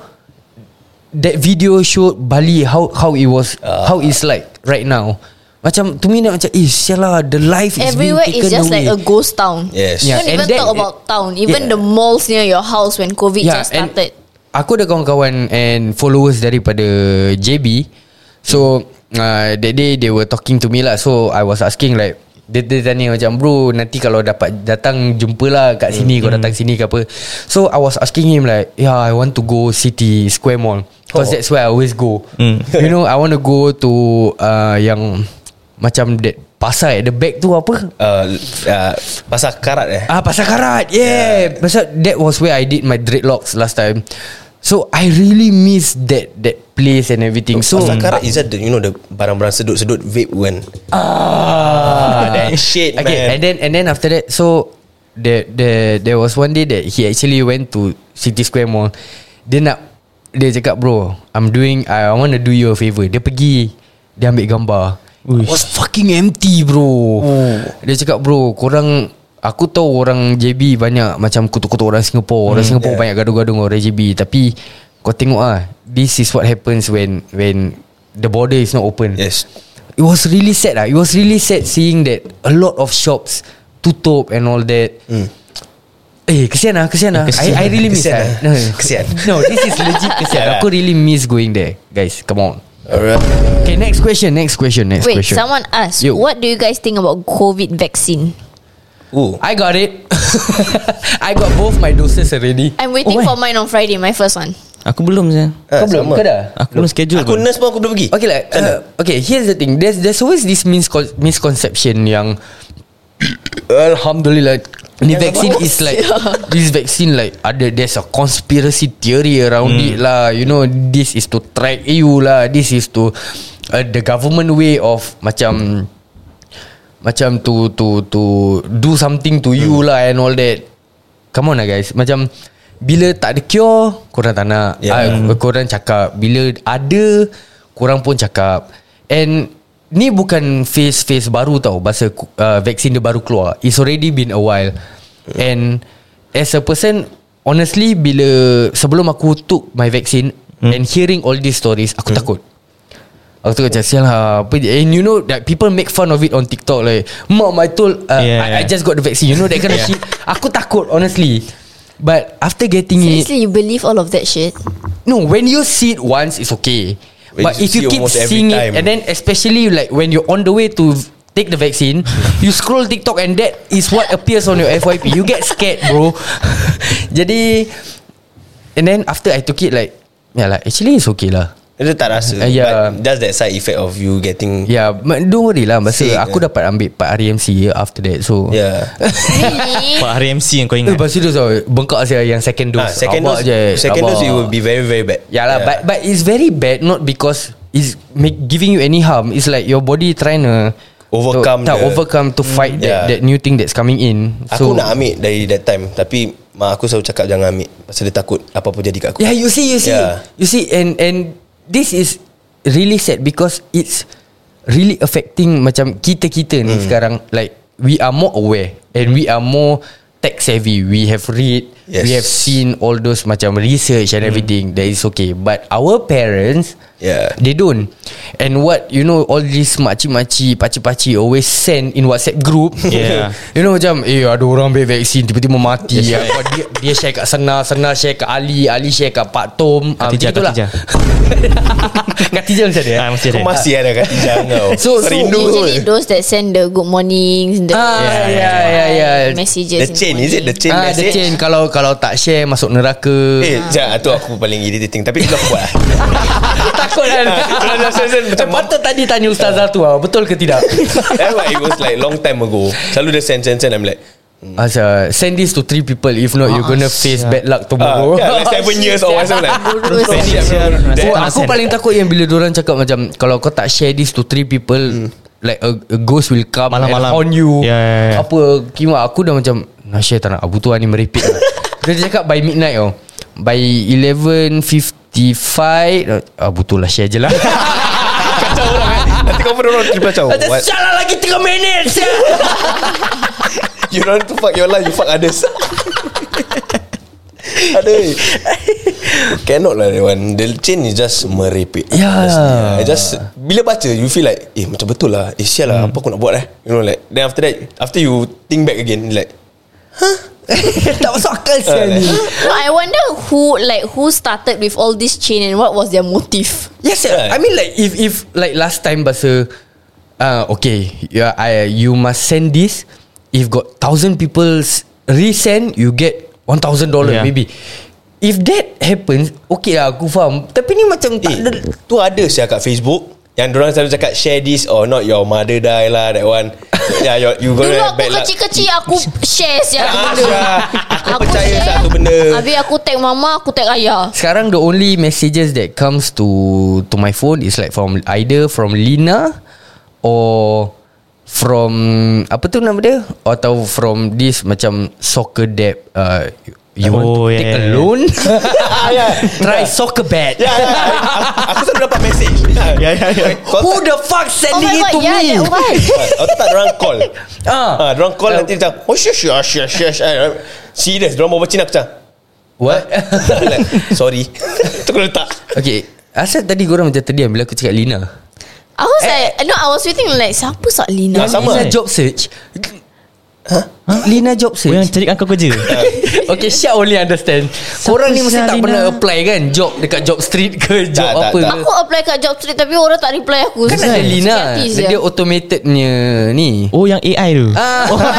[SPEAKER 2] That video showed Bali How how it was How it's like right now Macam to me that macam Eh sial lah The life is
[SPEAKER 4] everywhere
[SPEAKER 2] being taken
[SPEAKER 4] is just
[SPEAKER 2] away.
[SPEAKER 4] like a ghost town.
[SPEAKER 3] Yes.
[SPEAKER 2] Yeah,
[SPEAKER 4] Don't
[SPEAKER 2] and
[SPEAKER 4] even
[SPEAKER 2] that-
[SPEAKER 4] talk about town. Even the malls near your house when COVID just
[SPEAKER 2] and
[SPEAKER 4] started.
[SPEAKER 2] Aku ada kawan-kawan And followers daripada JB So uh, That day they were talking to me lah So I was asking like dia, dia tanya macam Bro nanti kalau dapat Datang jumpa lah kat sini Kau datang sini ke apa So I was asking him like Yeah I want to go City Square Mall Cause that's where I always go You know I want to go to uh, Yang Macam that Pasar at the back tu apa
[SPEAKER 3] Uh, uh, pasar karat eh.
[SPEAKER 2] Ah pasal karat Yeah, yeah. Pasal that was where I did my dreadlocks last time So I really miss that that place and everything So
[SPEAKER 3] pasar karat is that the, you know the barang-barang sedut-sedut vape when.
[SPEAKER 2] Ah
[SPEAKER 3] that shit,
[SPEAKER 2] okay,
[SPEAKER 3] man.
[SPEAKER 2] And then and then after that So There there there was one day that He actually went to City Square Mall Dia nak Dia cakap bro I'm doing I want to do you a favour Dia pergi Dia ambil gambar It was fucking empty
[SPEAKER 3] Oh.
[SPEAKER 2] bro Dia cakap bro Korang Aku tahu orang JB banyak Macam kutuk-kutuk orang Singapore
[SPEAKER 3] Hmm,
[SPEAKER 2] Orang Singapore banyak gaduh-gaduh dengan orang JB Tapi Kau tengok ah This is what happens when When The border is not open
[SPEAKER 3] Yes.
[SPEAKER 2] It was really sad lah. It was really sad seeing that a lot of shops tutup and all that. Mm. Eh, kesian lah, kesian lah. I, I really miss
[SPEAKER 3] Hmm. Kesian
[SPEAKER 2] that.
[SPEAKER 3] lah. Kesian.
[SPEAKER 2] No, this is legit kesian.
[SPEAKER 3] Yeah.
[SPEAKER 2] Aku really miss going there. Guys, come on.
[SPEAKER 3] Alright.
[SPEAKER 2] Okay, next question, next question, next
[SPEAKER 4] Wait,
[SPEAKER 2] question.
[SPEAKER 4] someone asked,
[SPEAKER 2] You.
[SPEAKER 4] what do you guys think about COVID vaccine?
[SPEAKER 3] Ooh.
[SPEAKER 2] I got it. I got both my doses already.
[SPEAKER 4] I'm waiting
[SPEAKER 2] Oh,
[SPEAKER 4] for mine on Friday, my first one.
[SPEAKER 5] Aku belum
[SPEAKER 3] Eh,
[SPEAKER 5] je
[SPEAKER 2] Kau belum ke dah?
[SPEAKER 5] Aku belum
[SPEAKER 3] ah,
[SPEAKER 5] schedule
[SPEAKER 3] Aku
[SPEAKER 5] pun
[SPEAKER 3] nurse pun aku belum pergi.
[SPEAKER 2] Okay lah uh, Okay here's the thing There's there's always this miscon- misconception Yang Alhamdulillah Ni vaccine is like This vaccine like ada There's a conspiracy theory around it lah You know This is to track you lah This is to uh, The government way of Macam Macam to to to Do something to you lah And all that Come on lah guys Macam Bila tak ada cure Korang tak nak
[SPEAKER 3] Yeah.
[SPEAKER 2] yeah. Korang cakap Bila ada Korang pun cakap And Ni bukan phase-phase baru tau Bahasa uh, vaksin dia baru keluar It's already been a while And As a person Honestly Bila Sebelum aku took my vaccine And hearing all these stories Aku takut Aku tu macam sial lah apa dia- And you know that People make fun of it on TikTok like Mom I told uh,
[SPEAKER 5] Yeah,
[SPEAKER 2] yeah, I, I
[SPEAKER 5] yeah.
[SPEAKER 2] just got the vaccine You know that kind of shit Aku takut honestly But after getting it
[SPEAKER 4] Seriously, you believe all of that shit?
[SPEAKER 2] No when you see it once It's okay
[SPEAKER 3] When
[SPEAKER 2] But
[SPEAKER 3] you
[SPEAKER 2] if you
[SPEAKER 3] see
[SPEAKER 2] keep
[SPEAKER 3] almost every
[SPEAKER 2] seeing it
[SPEAKER 3] time.
[SPEAKER 2] And then especially like When you're on the way to Take the vaccine You scroll TikTok And that is what appears on your FYP You get scared bro Jadi And then after I took it like Yeah like actually it's okay lah
[SPEAKER 3] Dia tak
[SPEAKER 2] Uh,
[SPEAKER 3] rasa.
[SPEAKER 2] yeah.
[SPEAKER 3] But that's that side effect of you getting
[SPEAKER 2] Yeah but Don't worry lah Masa
[SPEAKER 3] Sick,
[SPEAKER 2] aku
[SPEAKER 3] yeah.
[SPEAKER 2] dapat ambil Part RMC ya, After that so
[SPEAKER 3] Yeah.
[SPEAKER 4] Really?
[SPEAKER 5] Pak hari MC yang kau
[SPEAKER 2] Eh
[SPEAKER 5] ingat
[SPEAKER 2] but serious tau Bengkak saya yang second dose
[SPEAKER 3] Ah, second
[SPEAKER 2] Rabak eh.
[SPEAKER 3] dose, second
[SPEAKER 2] rabak.
[SPEAKER 3] dose, it will be Ya. very very bad.
[SPEAKER 2] Yeah lah but, but it's very bad Not because It's make, giving you any harm It's like your body trying to
[SPEAKER 3] Overcome
[SPEAKER 2] to, tak,
[SPEAKER 3] the-
[SPEAKER 2] Overcome to fight that,
[SPEAKER 3] Yeah.
[SPEAKER 2] that new thing that's coming in
[SPEAKER 3] Aku nak ambil dari that time Tapi Mak aku selalu cakap jangan ambil Pasal dia takut Apa-apa jadi kat aku
[SPEAKER 2] Yeah, you see, you see,
[SPEAKER 3] Yeah.
[SPEAKER 2] you see, and and this is really sad because it's really affecting macam kita-kita ni sekarang like we are more aware and we are more tech savvy we have read yes. we
[SPEAKER 3] Yes.
[SPEAKER 2] have seen all those macam research and everything that is okay but our parents
[SPEAKER 3] Yeah.
[SPEAKER 2] they don't and what you know all these makcik-makcik pakcik-pakcik always send in whatsapp group
[SPEAKER 5] Yeah.
[SPEAKER 2] you know macam eh ada orang ambil vaksin tiba-tiba mati yes, dia, dia share kat Sena Sena share kat Ali Ali share kat Pak Tom Ah,
[SPEAKER 5] Katijah,
[SPEAKER 2] macam
[SPEAKER 5] Katijah.
[SPEAKER 2] Katijah macam dia
[SPEAKER 5] Ah, mesti
[SPEAKER 3] Kau
[SPEAKER 5] ada.
[SPEAKER 3] masih ada kat Tijang kau
[SPEAKER 2] So- so
[SPEAKER 3] Rindu
[SPEAKER 4] Usually
[SPEAKER 3] kot.
[SPEAKER 4] those that send the good mornings, the
[SPEAKER 2] Ah, yeah, yeah, yeah, yeah.
[SPEAKER 3] The
[SPEAKER 4] messages. in
[SPEAKER 3] chain Is it the
[SPEAKER 4] morning.
[SPEAKER 3] chain
[SPEAKER 2] Ah, the
[SPEAKER 3] message?
[SPEAKER 2] chain kalau kalau tak share masuk neraka.
[SPEAKER 3] Eh, sekejap Itu aku paling irritating Tapi kalau aku buat lah
[SPEAKER 2] takut kan.
[SPEAKER 3] Kalau dah send macam
[SPEAKER 2] Macam patut tadi tanya ustazah tu ah, betul ke tidak?
[SPEAKER 3] That's why it was like Long time ago Selalu dia send send send I'm like
[SPEAKER 2] Asa send this to three people if not you're gonna face bad luck
[SPEAKER 3] ah,
[SPEAKER 2] tomorrow.
[SPEAKER 3] yeah, Like seven years or something like
[SPEAKER 4] Bodoh
[SPEAKER 3] Panic,
[SPEAKER 4] sih.
[SPEAKER 3] I'm like,
[SPEAKER 2] So, Oh,
[SPEAKER 5] Saya tak
[SPEAKER 2] aku
[SPEAKER 5] send.
[SPEAKER 2] paling takut yang bila orang cakap macam kalau kau tak share this to three people like a, a ghost will come
[SPEAKER 5] Malam-malam.
[SPEAKER 2] and haunt you.
[SPEAKER 5] Yeah, yeah, yeah.
[SPEAKER 2] Apa kima aku dah macam nak share tak nak abu tu ni merepek. lah." Dia cakap by midnight oh. By 11.55 Abu tu lah share je lah
[SPEAKER 3] Kacau orang eh. Nanti kau pun orang Terima kacau
[SPEAKER 2] Macam lah,
[SPEAKER 3] What?
[SPEAKER 2] salah lagi 3 minit
[SPEAKER 3] You don't want to fuck your life You fuck others Aduh Cannot lah that one The chain is just merepek
[SPEAKER 2] Yeah.
[SPEAKER 3] Honestly, I just Bila baca You feel like Eh macam betul lah Eh sial lah Apa aku nak buat eh You know like Then after that After you think back again Like uh,
[SPEAKER 2] Tak masuk akal
[SPEAKER 3] sial ni.
[SPEAKER 4] No, I wonder who like who started with all this chain and what was their motive.
[SPEAKER 2] Yes sir. I mean like If if like last time Bahasa uh, Okay you, are- I, you must send this If got Thousand people s- Resend You get One thousand dollar
[SPEAKER 5] Yeah.
[SPEAKER 2] maybe If that happens Okay lah aku faham Tapi ni macam tak
[SPEAKER 3] Eh
[SPEAKER 2] ada
[SPEAKER 3] Tu ada sial kat Facebook Yang dorang selalu cakap Share this or not Your mother die lah That one Yeah your, you
[SPEAKER 4] Dulu
[SPEAKER 3] gonna have
[SPEAKER 4] aku
[SPEAKER 3] bad luck
[SPEAKER 4] kecil-kecil aku share siapa
[SPEAKER 3] Ah,
[SPEAKER 4] benda.
[SPEAKER 3] Syah, aku percaya satu benda.
[SPEAKER 4] Habis aku tag mama, aku tag ayah.
[SPEAKER 2] Sekarang the only messages that comes to to my phone is like from either from Lina or from apa tu nama dia atau from this macam soccer debt uh, you want to
[SPEAKER 5] Oh, yeah,
[SPEAKER 2] take a
[SPEAKER 5] yeah, yeah.
[SPEAKER 2] loan
[SPEAKER 3] yeah.
[SPEAKER 2] try soccer bet
[SPEAKER 3] Ya, ya, ya. Aku- Aku selalu dapat message
[SPEAKER 5] Ya, ya, ya.
[SPEAKER 2] who the fuck sending it to
[SPEAKER 4] Oh yeah,
[SPEAKER 2] me
[SPEAKER 4] that one.
[SPEAKER 3] Aku tak dorang call
[SPEAKER 2] Ah.
[SPEAKER 3] Ah, Dorang call nanti macam Oh shush shush shush shush Ah, Serious Dorang bawa Cina aku macam
[SPEAKER 2] what
[SPEAKER 3] like, Sorry Tu kena letak
[SPEAKER 2] okay asal tadi korang macam terdiam bila aku cakap Lina
[SPEAKER 3] Eh.
[SPEAKER 4] I was like, no, I was waiting like, siapa sak
[SPEAKER 3] Ah,
[SPEAKER 4] Lina?
[SPEAKER 3] sama.
[SPEAKER 2] Lina
[SPEAKER 5] eh.
[SPEAKER 2] job search Ya, Huh? Lina job
[SPEAKER 5] Kau yang
[SPEAKER 2] search
[SPEAKER 5] cari kau kerja
[SPEAKER 2] Okay Syah only understand Korang ni mesti tak
[SPEAKER 5] Syarina?
[SPEAKER 2] pernah apply kan Job dekat job street ke Job apa
[SPEAKER 3] tak, tak.
[SPEAKER 2] ke
[SPEAKER 4] Aku apply kat job street tapi orang tak reply aku.
[SPEAKER 2] Kan ada Lina Dia
[SPEAKER 4] Dia
[SPEAKER 2] automated punya Ni
[SPEAKER 5] Oh yang AI tu Oh,
[SPEAKER 2] Ah,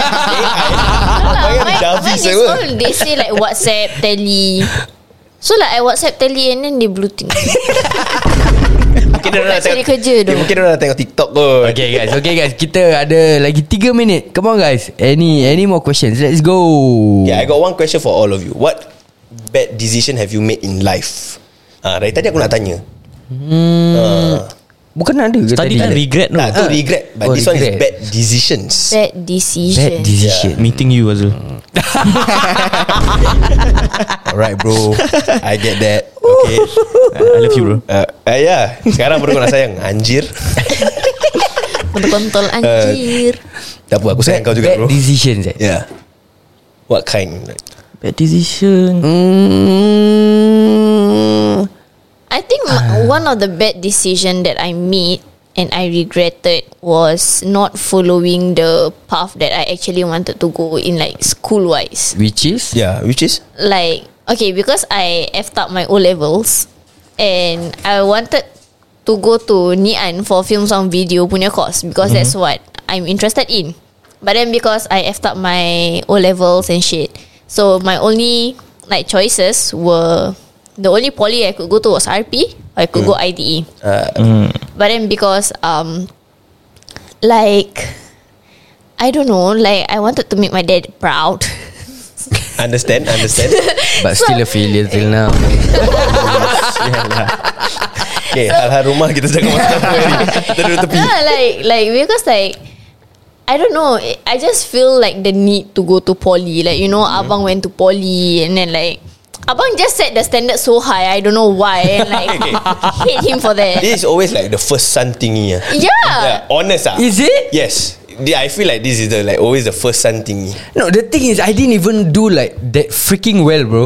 [SPEAKER 3] Bayang
[SPEAKER 4] Mine
[SPEAKER 3] Javi
[SPEAKER 4] mine is
[SPEAKER 3] sewa.
[SPEAKER 4] all They say like WhatsApp, Tele. So like I WhatsApp Tele and then they blue tick.
[SPEAKER 3] Mungkin dorang nak
[SPEAKER 4] tak cari
[SPEAKER 3] tengok-
[SPEAKER 4] kerja tu.
[SPEAKER 3] Eh, Mungkin dorang nak tengok TikTok kot
[SPEAKER 2] Okay guys Okay guys Kita ada lagi 3 minit Come on guys Any any more questions Let's go
[SPEAKER 3] Yeah, I got one question for all of you. What bad decision have you made in life? Ah, dari tadi aku nak tanya. Hmm.
[SPEAKER 2] Bukan ada ke
[SPEAKER 5] Tadi
[SPEAKER 2] tadi
[SPEAKER 5] kan regret
[SPEAKER 3] Uh,
[SPEAKER 5] no
[SPEAKER 3] nah, tu regret,
[SPEAKER 2] Oh,
[SPEAKER 3] but this one is
[SPEAKER 2] regret.
[SPEAKER 3] bad decisions.
[SPEAKER 4] Bad
[SPEAKER 2] Bad
[SPEAKER 4] decision.
[SPEAKER 2] decision
[SPEAKER 5] Meeting you Azul
[SPEAKER 3] Alright, bro. I get that. Okay.
[SPEAKER 5] I love you bro
[SPEAKER 3] Uh, uh, yeah. Sekarang baru kau nak sayang Anjir
[SPEAKER 4] Kontol
[SPEAKER 3] Eh.
[SPEAKER 4] anjir.
[SPEAKER 3] Tak apa aku sayang kau juga
[SPEAKER 2] Bad
[SPEAKER 3] bro
[SPEAKER 2] decisions eh
[SPEAKER 3] Yeah What kind Like,
[SPEAKER 5] Bad decision
[SPEAKER 2] Hmm.
[SPEAKER 4] I think m one of the bad decision that I made and I regretted was not following the path that I actually wanted to go in like school wise.
[SPEAKER 2] Which is
[SPEAKER 3] Yeah which is
[SPEAKER 4] Like okay, because I effed up my O levels and I wanted to go to Nian for film sound video punya course because that's what I'm interested in. But then because I effed up my O levels and shit, so my only like choices were the only poly I could go to was RP or I could go IDE.
[SPEAKER 3] uh,
[SPEAKER 4] But then because um like I don't know, like I wanted to make my dad proud.
[SPEAKER 3] Understand Understand
[SPEAKER 2] But still a failure till now
[SPEAKER 3] Okay hal-hal rumah kita jangan masuk apa ni Kita duduk tepi
[SPEAKER 4] Yeah, like like because like I don't know.
[SPEAKER 3] Mm-hmm.
[SPEAKER 4] I just feel like the need to go to poly. Like you know, Abang went to poly, and then like Abang just set the standard so high. I don't know why. And like, hate him for that.
[SPEAKER 3] This is always like the first son thingy. ah.
[SPEAKER 4] Yeah.
[SPEAKER 3] Yeah, honest ah.
[SPEAKER 2] Is it?
[SPEAKER 3] Yes. The- I feel like this is the like always the first son thingy.
[SPEAKER 2] No, the thing is, I didn't even do like that freaking well, bro.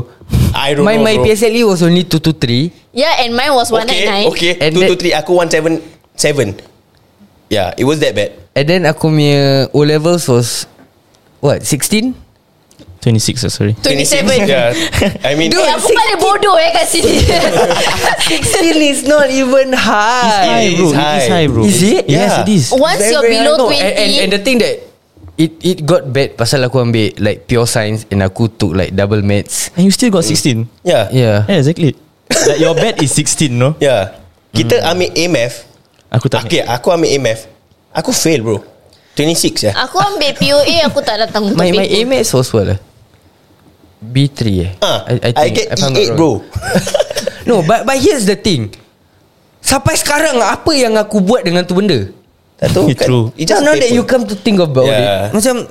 [SPEAKER 3] I don't
[SPEAKER 2] my
[SPEAKER 3] know.
[SPEAKER 2] my
[SPEAKER 3] bro.
[SPEAKER 2] PSLE E was only two to three.
[SPEAKER 4] Yeah, and mine was one
[SPEAKER 3] okay,
[SPEAKER 4] nine nine.
[SPEAKER 3] Okay,
[SPEAKER 2] And
[SPEAKER 3] two
[SPEAKER 2] that-
[SPEAKER 3] to three. Aku one seven seven. Yeah, it was that bad.
[SPEAKER 2] And then aku punya O levels was what 16?
[SPEAKER 5] 26 ah, sorry
[SPEAKER 4] 27.
[SPEAKER 3] Yeah, I mean,
[SPEAKER 2] Dude,
[SPEAKER 4] Eh, aku paling bodoh eh kat sini.
[SPEAKER 2] 16 is not even high.
[SPEAKER 3] It is
[SPEAKER 5] It is
[SPEAKER 3] high.
[SPEAKER 5] high bro
[SPEAKER 2] Is it?
[SPEAKER 5] Yes
[SPEAKER 3] Yeah.
[SPEAKER 5] it is
[SPEAKER 4] Once
[SPEAKER 2] Very,
[SPEAKER 4] you're
[SPEAKER 2] very high.
[SPEAKER 4] below
[SPEAKER 2] No, and, and, and the
[SPEAKER 4] 20,
[SPEAKER 2] thing that it it got bad pasal aku ambil like pure science and aku took like double maths.
[SPEAKER 5] And you still got 16
[SPEAKER 3] yeah, yeah.
[SPEAKER 2] Yeah.
[SPEAKER 5] Yeah exactly like Your bet is 16 no
[SPEAKER 3] yeah. Kita ambil AMF.
[SPEAKER 5] Aku tak
[SPEAKER 3] Okay, aku ambil AMF. Aku fail bro. 26 ya.
[SPEAKER 4] aku ambil POA aku tak datang untuk
[SPEAKER 2] My my A
[SPEAKER 4] paper.
[SPEAKER 2] maths was what? eh? B3 eh.
[SPEAKER 3] Ah, I,
[SPEAKER 2] think,
[SPEAKER 3] get
[SPEAKER 2] if I'm not
[SPEAKER 3] E8
[SPEAKER 2] wrong.
[SPEAKER 3] bro.
[SPEAKER 2] No, but but here's the thing. Sampai sekarang apa yang aku buat dengan tu benda?
[SPEAKER 3] Tak tahu
[SPEAKER 5] It's true.
[SPEAKER 3] It
[SPEAKER 2] Just
[SPEAKER 3] just
[SPEAKER 2] now
[SPEAKER 3] paper.
[SPEAKER 2] that you come to think about
[SPEAKER 3] Yeah.
[SPEAKER 2] it, macam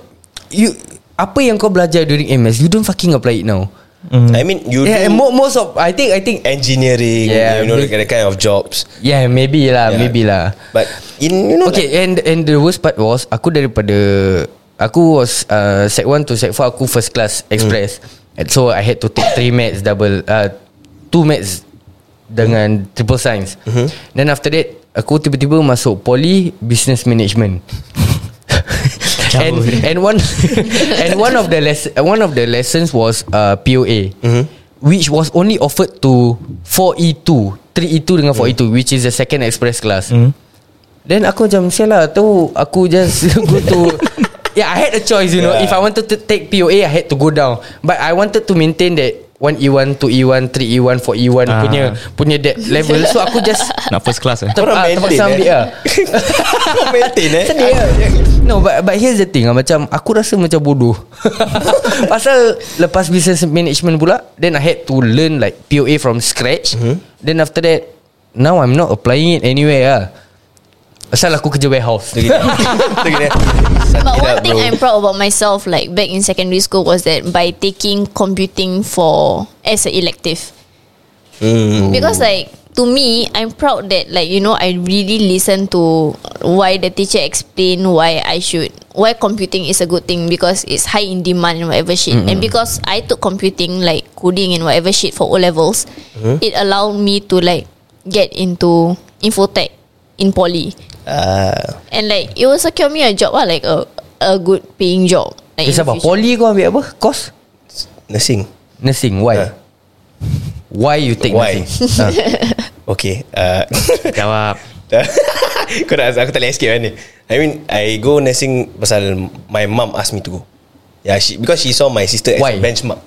[SPEAKER 2] you apa yang kau belajar during MS, you don't fucking apply it now.
[SPEAKER 3] I mean, you
[SPEAKER 2] Yeah,
[SPEAKER 3] do
[SPEAKER 2] and mo- most of I think I think
[SPEAKER 3] engineering.
[SPEAKER 2] Yeah,
[SPEAKER 3] you know
[SPEAKER 2] big-
[SPEAKER 3] the kind of jobs.
[SPEAKER 2] yeah maybe lah,
[SPEAKER 3] Yeah.
[SPEAKER 2] maybe lah.
[SPEAKER 3] But in you know
[SPEAKER 2] Okay, and and the worst part was aku daripada aku was uh, sec 1 to sec 4 aku first class
[SPEAKER 3] Hmm.
[SPEAKER 2] express. And so I had to take three maths double uh, two maths dengan triple science.
[SPEAKER 3] Hmm.
[SPEAKER 2] Then after that aku tiba-tiba masuk poly business management. and and one and one of the less, one of the lessons was uh, POA.
[SPEAKER 3] Hmm.
[SPEAKER 2] Which was only offered to E 4E2 3E2 dengan 4E2
[SPEAKER 3] Hmm.
[SPEAKER 2] Which is the second express class Then aku macam Sial lah tu Aku just go to Yeah I had a choice you know
[SPEAKER 3] Yeah.
[SPEAKER 2] If I wanted to take POA I had to go down But I wanted to maintain that E 1E1, 2E1, 3E1, 4E1
[SPEAKER 5] Ah.
[SPEAKER 2] E Punya punya that level So aku just
[SPEAKER 5] Nak first class eh
[SPEAKER 2] ter,
[SPEAKER 3] Korang
[SPEAKER 2] ah, terpaksa
[SPEAKER 3] maintain,
[SPEAKER 2] ambil
[SPEAKER 3] eh?
[SPEAKER 2] lah
[SPEAKER 3] Kau maintain eh
[SPEAKER 2] Sedih lah No but, but here's the thing ah, Macam aku rasa macam bodoh Pasal Lepas business management pula Then I had to learn like POA from scratch mm-hmm.
[SPEAKER 3] Mhm.
[SPEAKER 2] Then after that Now I'm not applying it anywhere lah Asal aku kerja warehouse
[SPEAKER 3] Kita gini. Kita gini. Suck it up,
[SPEAKER 4] But one thing
[SPEAKER 3] bro.
[SPEAKER 4] I'm proud about myself, like back in secondary school, was that by taking computing for as an elective, because
[SPEAKER 3] Oh.
[SPEAKER 4] like to me, I'm proud that like you know I really listen to why the teacher explain why I should why computing is a good thing because it's high in demand and whatever shit, and because I took computing like coding and whatever shit for O levels,
[SPEAKER 3] Uh-huh.
[SPEAKER 4] it allowed me to like get into infotech in poly.
[SPEAKER 3] Ah,
[SPEAKER 4] And like it will secure me a job lah, like a a good paying job.
[SPEAKER 2] Eh
[SPEAKER 4] Like in the
[SPEAKER 2] sabar
[SPEAKER 4] future.
[SPEAKER 2] Poly kau ambil apa? Course?
[SPEAKER 3] Nursing
[SPEAKER 2] Nursing Why?
[SPEAKER 3] Ah.
[SPEAKER 2] Why you take
[SPEAKER 3] Why?
[SPEAKER 2] nursing?
[SPEAKER 3] Ah. Okay uh,
[SPEAKER 5] Jawab
[SPEAKER 3] Kau nak Aku tak boleh escape kan ni I mean I go nursing Pasal My mum asked me to go Yeah she, Because she saw my sister As
[SPEAKER 2] Why?
[SPEAKER 3] a benchmark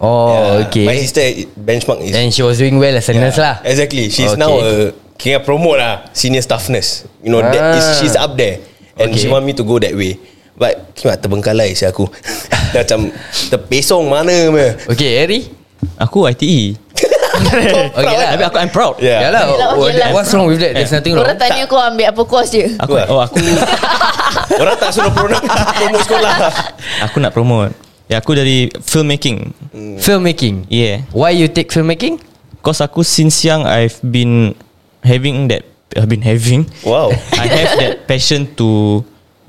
[SPEAKER 2] Oh
[SPEAKER 3] Yeah,
[SPEAKER 2] okay
[SPEAKER 3] Ya, My sister Benchmark is
[SPEAKER 2] And she was doing well as a nurse lah
[SPEAKER 3] Exactly She's
[SPEAKER 2] Okay.
[SPEAKER 3] now a Kira promote lah Senior staff nurse You know that is,
[SPEAKER 2] Ah.
[SPEAKER 3] She's up there And
[SPEAKER 2] Okay.
[SPEAKER 3] she want me to go that way But Kimak terbengkalai si aku Dah macam Terpesong mana me.
[SPEAKER 2] Okay Harry
[SPEAKER 5] Aku E. ITE
[SPEAKER 2] Okay
[SPEAKER 3] eh?
[SPEAKER 2] lah
[SPEAKER 5] Tapi aku I'm proud
[SPEAKER 3] Yeah.
[SPEAKER 2] Yalah,
[SPEAKER 4] Okay lah, okay lah.
[SPEAKER 2] What's wrong with that There's nothing wrong
[SPEAKER 4] Orang tanya kau ambil apa course je
[SPEAKER 5] Aku
[SPEAKER 3] Wah.
[SPEAKER 5] oh aku
[SPEAKER 3] Orang tak suruh promote Promote sekolah
[SPEAKER 5] aku nak promote. Ya aku dari filmmaking.
[SPEAKER 2] Filmmaking
[SPEAKER 5] Yeah.
[SPEAKER 2] Why you take filmmaking?
[SPEAKER 5] Cause aku since young I've been having that I've been having
[SPEAKER 3] Wow
[SPEAKER 5] I have that passion to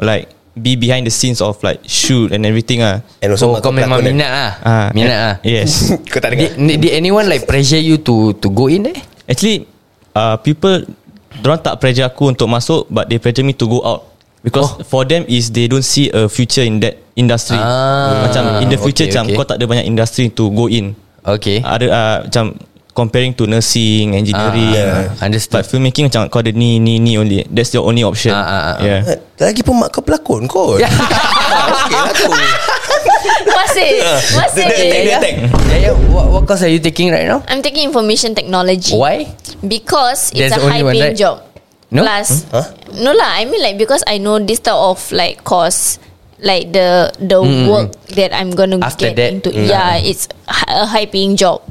[SPEAKER 5] like be behind the scenes of like shoot and everything ah.
[SPEAKER 3] And
[SPEAKER 2] So oh,
[SPEAKER 3] mak
[SPEAKER 2] kau
[SPEAKER 3] aku
[SPEAKER 2] memang
[SPEAKER 3] pelakon eh.
[SPEAKER 2] minat lah ah, Minat
[SPEAKER 5] eh.
[SPEAKER 2] lah
[SPEAKER 5] Yes.
[SPEAKER 3] Kau tak dengar
[SPEAKER 2] Did, did anyone like pressure you to to go in eh?
[SPEAKER 5] Actually uh, people Diorang tak pressure aku untuk masuk But they pressure me to go out Because oh. for them is They don't see a future in that industry
[SPEAKER 2] Ah,
[SPEAKER 5] Macam in the future
[SPEAKER 2] okay,
[SPEAKER 5] Macam
[SPEAKER 2] okay.
[SPEAKER 5] kau tak ada banyak industry To go in
[SPEAKER 2] Okay
[SPEAKER 5] ada uh, macam comparing to nursing,
[SPEAKER 2] Ah,
[SPEAKER 5] engineering, uh,
[SPEAKER 2] yeah. Understood.
[SPEAKER 5] But filmmaking macam kau ada ni ni ni only. That's your only option.
[SPEAKER 2] Ah, ah, ah.
[SPEAKER 5] yeah.
[SPEAKER 3] Ha, Lagi pun mak kau pelakon kot yeah. Okay lah aku
[SPEAKER 4] Masih Masih ya.
[SPEAKER 3] Dia- dia- dia- dia-
[SPEAKER 2] Yeah, yeah. What, what course are you taking right now?
[SPEAKER 4] I'm taking information technology
[SPEAKER 2] Why?
[SPEAKER 4] Because it's
[SPEAKER 2] There's
[SPEAKER 4] a
[SPEAKER 2] only
[SPEAKER 4] high
[SPEAKER 2] one,
[SPEAKER 4] paying
[SPEAKER 2] right?
[SPEAKER 4] job
[SPEAKER 2] No?
[SPEAKER 4] Plus
[SPEAKER 3] Huh?
[SPEAKER 4] No lah I mean like Because I know this type of like course Like the The work That I'm gonna
[SPEAKER 2] Mm-hmm. After
[SPEAKER 4] get
[SPEAKER 2] that, mm.
[SPEAKER 4] into Yeah it's hi- A high paying job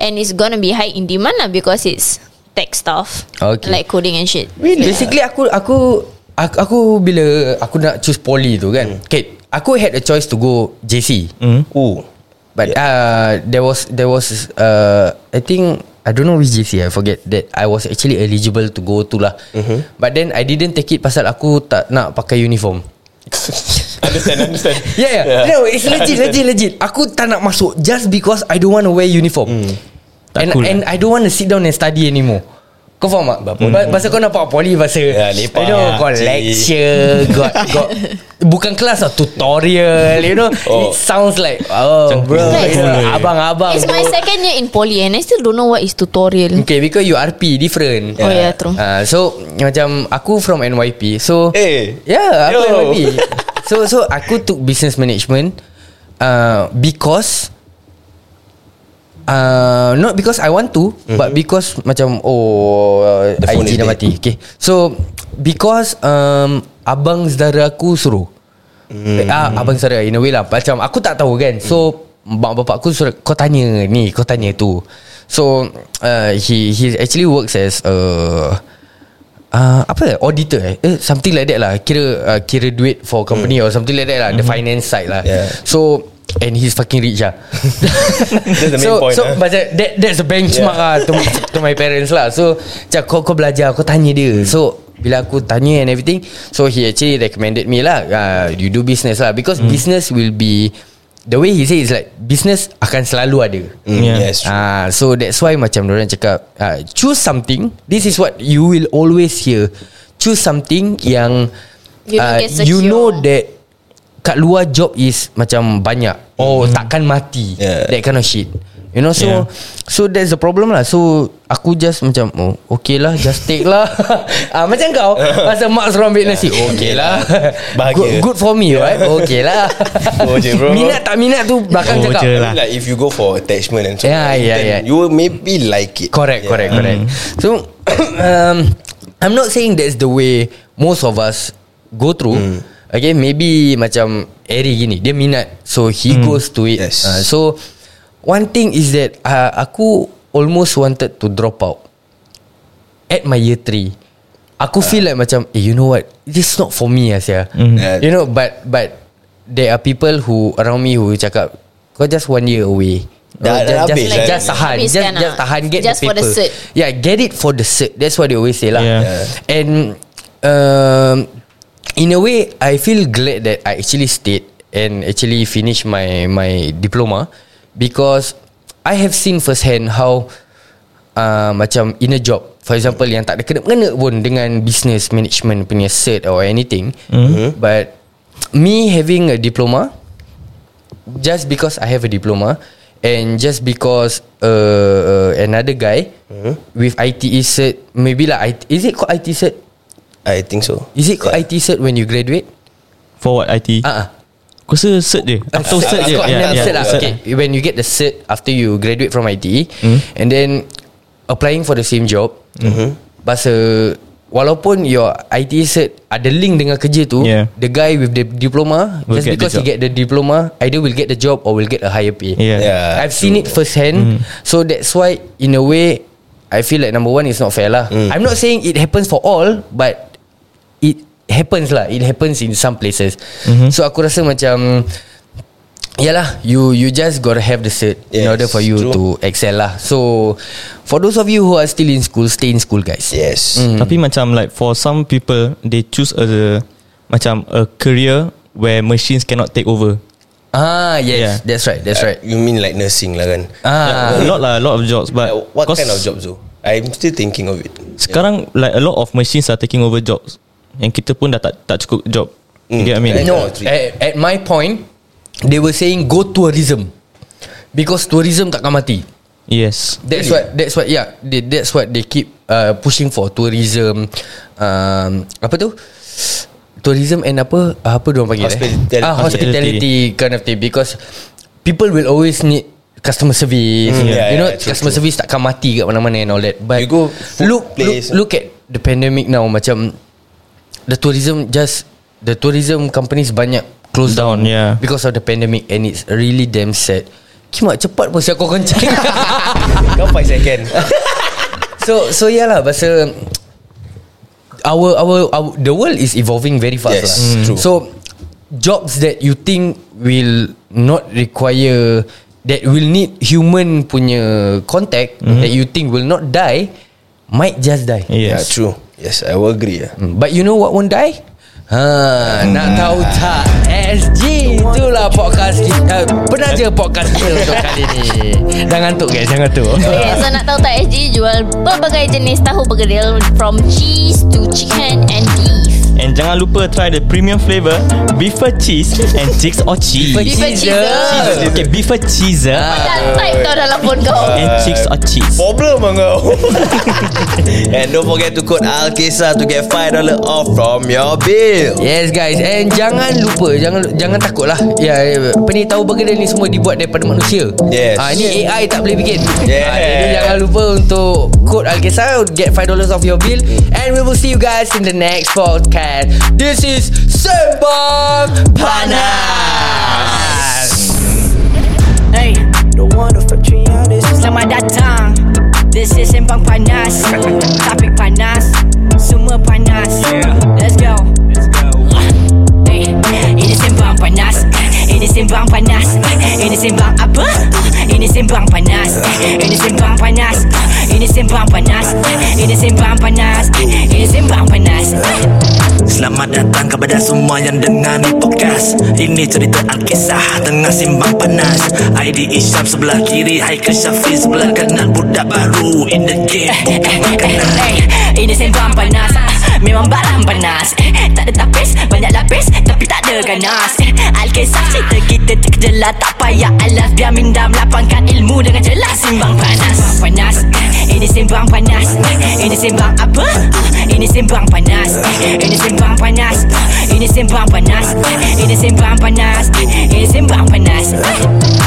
[SPEAKER 4] And it's gonna be high in demand lah Because it's Tech stuff
[SPEAKER 2] Okay.
[SPEAKER 4] Like coding and shit
[SPEAKER 2] Really? Basically aku aku aku, aku bila Hmm. aku nak choose poly tu kan. Okay, aku had a choice to go JC.
[SPEAKER 3] Oh
[SPEAKER 2] But uh, there was there was uh, I think I don't know which JC I forget that I was actually eligible to go to lah. Mm-hmm. But then I didn't take it pasal aku tak nak pakai uniform.
[SPEAKER 3] understand, understand.
[SPEAKER 2] Yeah, yeah. yeah. No, it's legit, legit, legit. Aku tak nak masuk just because I don't want to wear uniform. Mm.
[SPEAKER 5] Tak
[SPEAKER 2] And,
[SPEAKER 5] cool
[SPEAKER 2] cool and I don't want to sit down and study anymore. Kau faham tak? Ba- Pasal kau nampak poli Pasal yeah,
[SPEAKER 3] Ya, lepak
[SPEAKER 2] You know
[SPEAKER 3] lah,
[SPEAKER 2] Kau
[SPEAKER 3] cik.
[SPEAKER 2] lecture got, got, Bukan kelas lah Tutorial You know
[SPEAKER 3] Oh.
[SPEAKER 2] It sounds like Oh
[SPEAKER 5] Macam
[SPEAKER 2] bro
[SPEAKER 4] kuno,
[SPEAKER 2] you know,
[SPEAKER 5] kuno.
[SPEAKER 2] Abang-abang
[SPEAKER 4] It's my
[SPEAKER 2] bro.
[SPEAKER 4] second year in poly And I still don't know what is tutorial
[SPEAKER 2] Okay because you RP different
[SPEAKER 4] Oh, yeah, true.
[SPEAKER 2] Ah, So Macam Aku from NYP So
[SPEAKER 3] Eh.
[SPEAKER 2] Yeah Aku
[SPEAKER 3] Yo.
[SPEAKER 2] NYP So so aku took business management uh, Because Uh, not because I want to mm-hmm. But because macam Oh uh,
[SPEAKER 3] Mhm. The phone is
[SPEAKER 2] IG dah
[SPEAKER 3] dead.
[SPEAKER 2] mati okay. So Because um, Abang saudara aku suruh mm. ah,
[SPEAKER 3] Hmm.
[SPEAKER 2] Abang saudara in a way lah Macam aku tak tahu kan So Mak bapak aku suruh Kau tanya ni Kau tanya tu So uh, He he actually works as uh, uh, Apa eh? Auditor eh? eh Something like that lah Kira uh, Kira duit for company Or something like that lah The finance side lah
[SPEAKER 3] Hmm. Yeah.
[SPEAKER 2] So And he's fucking rich lah
[SPEAKER 3] That's the main
[SPEAKER 2] so,
[SPEAKER 3] point,
[SPEAKER 2] So
[SPEAKER 3] eh?
[SPEAKER 2] macam that, That's the benchmark yeah. lah to, my, to my parents lah So Macam kau, kau belajar Kau tanya dia So Bila aku tanya and everything So he actually recommended me lah uh, You do business lah Because mm. business will be The way he say is like Business akan selalu ada
[SPEAKER 3] Mm,
[SPEAKER 5] Yeah.
[SPEAKER 3] Yes. true.
[SPEAKER 2] Ah, so that's why macam orang cakap ah, choose something. This is what you will always hear. Choose something yang
[SPEAKER 4] You
[SPEAKER 2] ah,
[SPEAKER 4] can secure.
[SPEAKER 2] you know that kat luar job is macam banyak. Oh, takkan mati.
[SPEAKER 3] Yeah.
[SPEAKER 2] That kind of shit. You know so
[SPEAKER 5] Yeah.
[SPEAKER 2] yeah. so that's the problem lah. So aku just macam oh okay lah just take lah. ah macam kau masa mak suruh ambil nasi. Okay lah.
[SPEAKER 3] Bahagia.
[SPEAKER 2] Good, good for me right? Okay lah.
[SPEAKER 3] Go je, bro.
[SPEAKER 2] Minat tak minat tu belakang
[SPEAKER 5] Go
[SPEAKER 2] cakap.
[SPEAKER 5] je
[SPEAKER 3] I
[SPEAKER 5] lah.
[SPEAKER 3] mean, like if you go for attachment and so
[SPEAKER 2] Yeah,
[SPEAKER 3] on,
[SPEAKER 2] yeah,
[SPEAKER 3] then
[SPEAKER 2] yeah.
[SPEAKER 3] you will maybe like it.
[SPEAKER 2] Correct,
[SPEAKER 3] Yeah.
[SPEAKER 2] correct, correct. So, um, I'm not saying that's the way most of us go through. Okay, maybe macam Eri gini, dia minat. So, he goes to it.
[SPEAKER 3] Yes.
[SPEAKER 2] Uh, so, one thing is that uh, aku almost wanted to drop out at my year 3. Aku feel like macam, eh, you know what? This is not for me, Asia.
[SPEAKER 3] Yeah.
[SPEAKER 2] You know, but but there are people who around me who cakap, kau just one year away.
[SPEAKER 3] Dah- dah
[SPEAKER 2] Oh, just, just, just,
[SPEAKER 3] habis dah.
[SPEAKER 2] just tahan
[SPEAKER 4] Habis
[SPEAKER 2] just,
[SPEAKER 4] kan,
[SPEAKER 2] just
[SPEAKER 4] ah.
[SPEAKER 2] tahan Get
[SPEAKER 4] Just
[SPEAKER 2] the
[SPEAKER 4] for the
[SPEAKER 2] paper
[SPEAKER 4] cert.
[SPEAKER 2] Yeah get it for the cert That's what they always say lah
[SPEAKER 5] Yeah.
[SPEAKER 3] Yeah.
[SPEAKER 2] And um, In a way I feel glad that I actually stayed And actually finished my My diploma Because I have seen firsthand how uh, Macam in a job For example Yang tak ada kena-mengena pun Dengan business management Punya cert or anything mm-hmm. But Me having a diploma just because I have a diploma and just because uh, uh, another guy mm-hmm. with ITE cert maybe lah IT, is it called ITE cert
[SPEAKER 3] I think so.
[SPEAKER 2] is it called yeah. ITE cert when you graduate
[SPEAKER 5] For what IT
[SPEAKER 2] ah uh-uh.
[SPEAKER 5] Aku rasa cert je Atau cert
[SPEAKER 2] It's
[SPEAKER 5] je
[SPEAKER 2] called
[SPEAKER 5] Yeah,
[SPEAKER 2] NM
[SPEAKER 5] yeah,
[SPEAKER 2] cert lah
[SPEAKER 5] cert. Hmm.
[SPEAKER 2] okay when you get the cert after you graduate from ITE and then applying for the same job mm-hmm. bahasa Walaupun your ITE cert Ada link dengan kerja tu
[SPEAKER 5] Yeah.
[SPEAKER 2] The guy with the diploma
[SPEAKER 5] Will
[SPEAKER 2] Just
[SPEAKER 5] get the
[SPEAKER 2] because he
[SPEAKER 5] job.
[SPEAKER 2] get the diploma Either will get the job Or will get a higher pay
[SPEAKER 5] Yeah.
[SPEAKER 3] Yeah,
[SPEAKER 2] I've seen it
[SPEAKER 3] true.
[SPEAKER 2] firsthand. Mm. So that's why, in a way, I feel like number one is not fair lah. Mm. I'm not saying it happens for all, but it happens lah. It happens in some places. Mm-hmm. So aku rasa macam, yalah, you you just gotta have the cert yes, in
[SPEAKER 3] Yes,
[SPEAKER 2] order for you
[SPEAKER 3] true.
[SPEAKER 2] true. to excel lah. So for those of you who are still in school, stay in school, guys.
[SPEAKER 3] Yes.
[SPEAKER 2] Mm,
[SPEAKER 5] Hmm. Tapi macam like For some people They choose a Macam a career Where machines cannot take over
[SPEAKER 2] Ah yes,
[SPEAKER 5] Yeah.
[SPEAKER 2] yeah. that's right, that's right.
[SPEAKER 3] You mean like nursing lah kan?
[SPEAKER 2] Ah,
[SPEAKER 5] A lot lah A lot of jobs But
[SPEAKER 3] Like, what
[SPEAKER 5] cause
[SPEAKER 3] kind of jobs though? I'm still thinking of it.
[SPEAKER 5] Sekarang like a lot of machines Are taking over jobs Yang kita pun dah tak Tak cukup job You
[SPEAKER 3] Mm.
[SPEAKER 5] get what I mean
[SPEAKER 3] Like,
[SPEAKER 2] Hmm. No,
[SPEAKER 3] uh,
[SPEAKER 2] at, at my point, they were saying go tourism because tourism takkan mati.
[SPEAKER 5] Yes
[SPEAKER 2] That's what that's what yeah they, that's what they keep uh, pushing for tourism um, apa tu tourism and apa ah, apa dia panggil
[SPEAKER 3] Hospitality.
[SPEAKER 2] eh ah hospitality kind of thing because people will always need customer service
[SPEAKER 3] Mm, yeah,
[SPEAKER 2] you know
[SPEAKER 3] yeah, true,
[SPEAKER 2] customer
[SPEAKER 3] true.
[SPEAKER 2] service takkan mati kat mana-mana and all that but
[SPEAKER 3] You go food
[SPEAKER 2] look
[SPEAKER 3] place.
[SPEAKER 2] look look at the pandemic now macam the tourism just the tourism companies banyak close down,
[SPEAKER 5] Down, yeah.
[SPEAKER 2] because of the pandemic and it's really damn sad Kimak cepat pun saya kau kencing
[SPEAKER 3] Kau 5 second.
[SPEAKER 2] So so yeah lah Pasal our, our our the world is evolving very fast
[SPEAKER 3] Yes,
[SPEAKER 2] lah.
[SPEAKER 3] Mm. true.
[SPEAKER 2] So jobs that you think will not require that will need human punya contact mm-hmm. that you think will not die might just die.
[SPEAKER 3] Yeah,
[SPEAKER 5] Yes.
[SPEAKER 3] true. Yes, I will agree. Yeah.
[SPEAKER 2] Mm. But you know what won't die? Ha, nak tahu tak? SG itulah podcast kita. Pernah je podcast kita untuk kali ni. Jangan ngantuk guys, jangan ngantuk.
[SPEAKER 4] Okay, so nak tahu tak SG jual pelbagai jenis tahu bergedil from cheese to chicken and beef.
[SPEAKER 5] And jangan lupa try the premium flavour Beaver cheese and chicks or cheese
[SPEAKER 2] Beaver
[SPEAKER 4] Beaver
[SPEAKER 2] cheese.
[SPEAKER 4] cheeser.
[SPEAKER 5] Cheese. Okay, beaver cheese ah.
[SPEAKER 4] Dah type tau dalam phone kau.
[SPEAKER 5] and chicks or cheese.
[SPEAKER 3] Problem ah kau And don't forget to code Alkisah To get $5 off from your bill
[SPEAKER 2] Yes guys And jangan lupa Jangan jangan takut lah Ya ya, Apa ni tahu bergedil ni Semua dibuat daripada manusia
[SPEAKER 3] Yes.
[SPEAKER 2] ha, Ni AI tak boleh bikin
[SPEAKER 3] Yes.
[SPEAKER 2] Ah, Jadi jangan lupa untuk Kod Alkisah Get $5 off your bill And we will see you guys In the next podcast This is Sembang Panas
[SPEAKER 6] Hey, Selamat datang This is Sembang Panas Topik panas Semua panas Let's go Hey, Ini Sembang Panas Ini Sembang Panas Ini Sembang apa? Ini Sembang Panas Ini Sembang Panas Ini Sembang Panas Ini Sembang Panas Ini Sembang Panas
[SPEAKER 7] Selamat datang kepada semua yang dengar ni podcast Ini cerita Alkisah tengah simbang panas ID Isyam sebelah kiri Haikal Syafiq sebelah kanan Budak baru in the game bukan makanan
[SPEAKER 6] Hey, Eh, Ini sembang panas Ah, Memang barang panas Eh, Tak ada tapis Banyak lapis Tapi tak ada ganas Eh, Alkisah cerita kita terkejelah Tak payah alas Biar minda melapangkan ilmu Dengan jelas Simbang panas Sembang panas Eh, Ini sembang panas Eh, Ini sembang apa? Ah, Ini sembang panas Eh, Ini sembang panas Ah, Ini sembang panas Eh, Ini sembang panas Eh, Ini sembang panas Eh,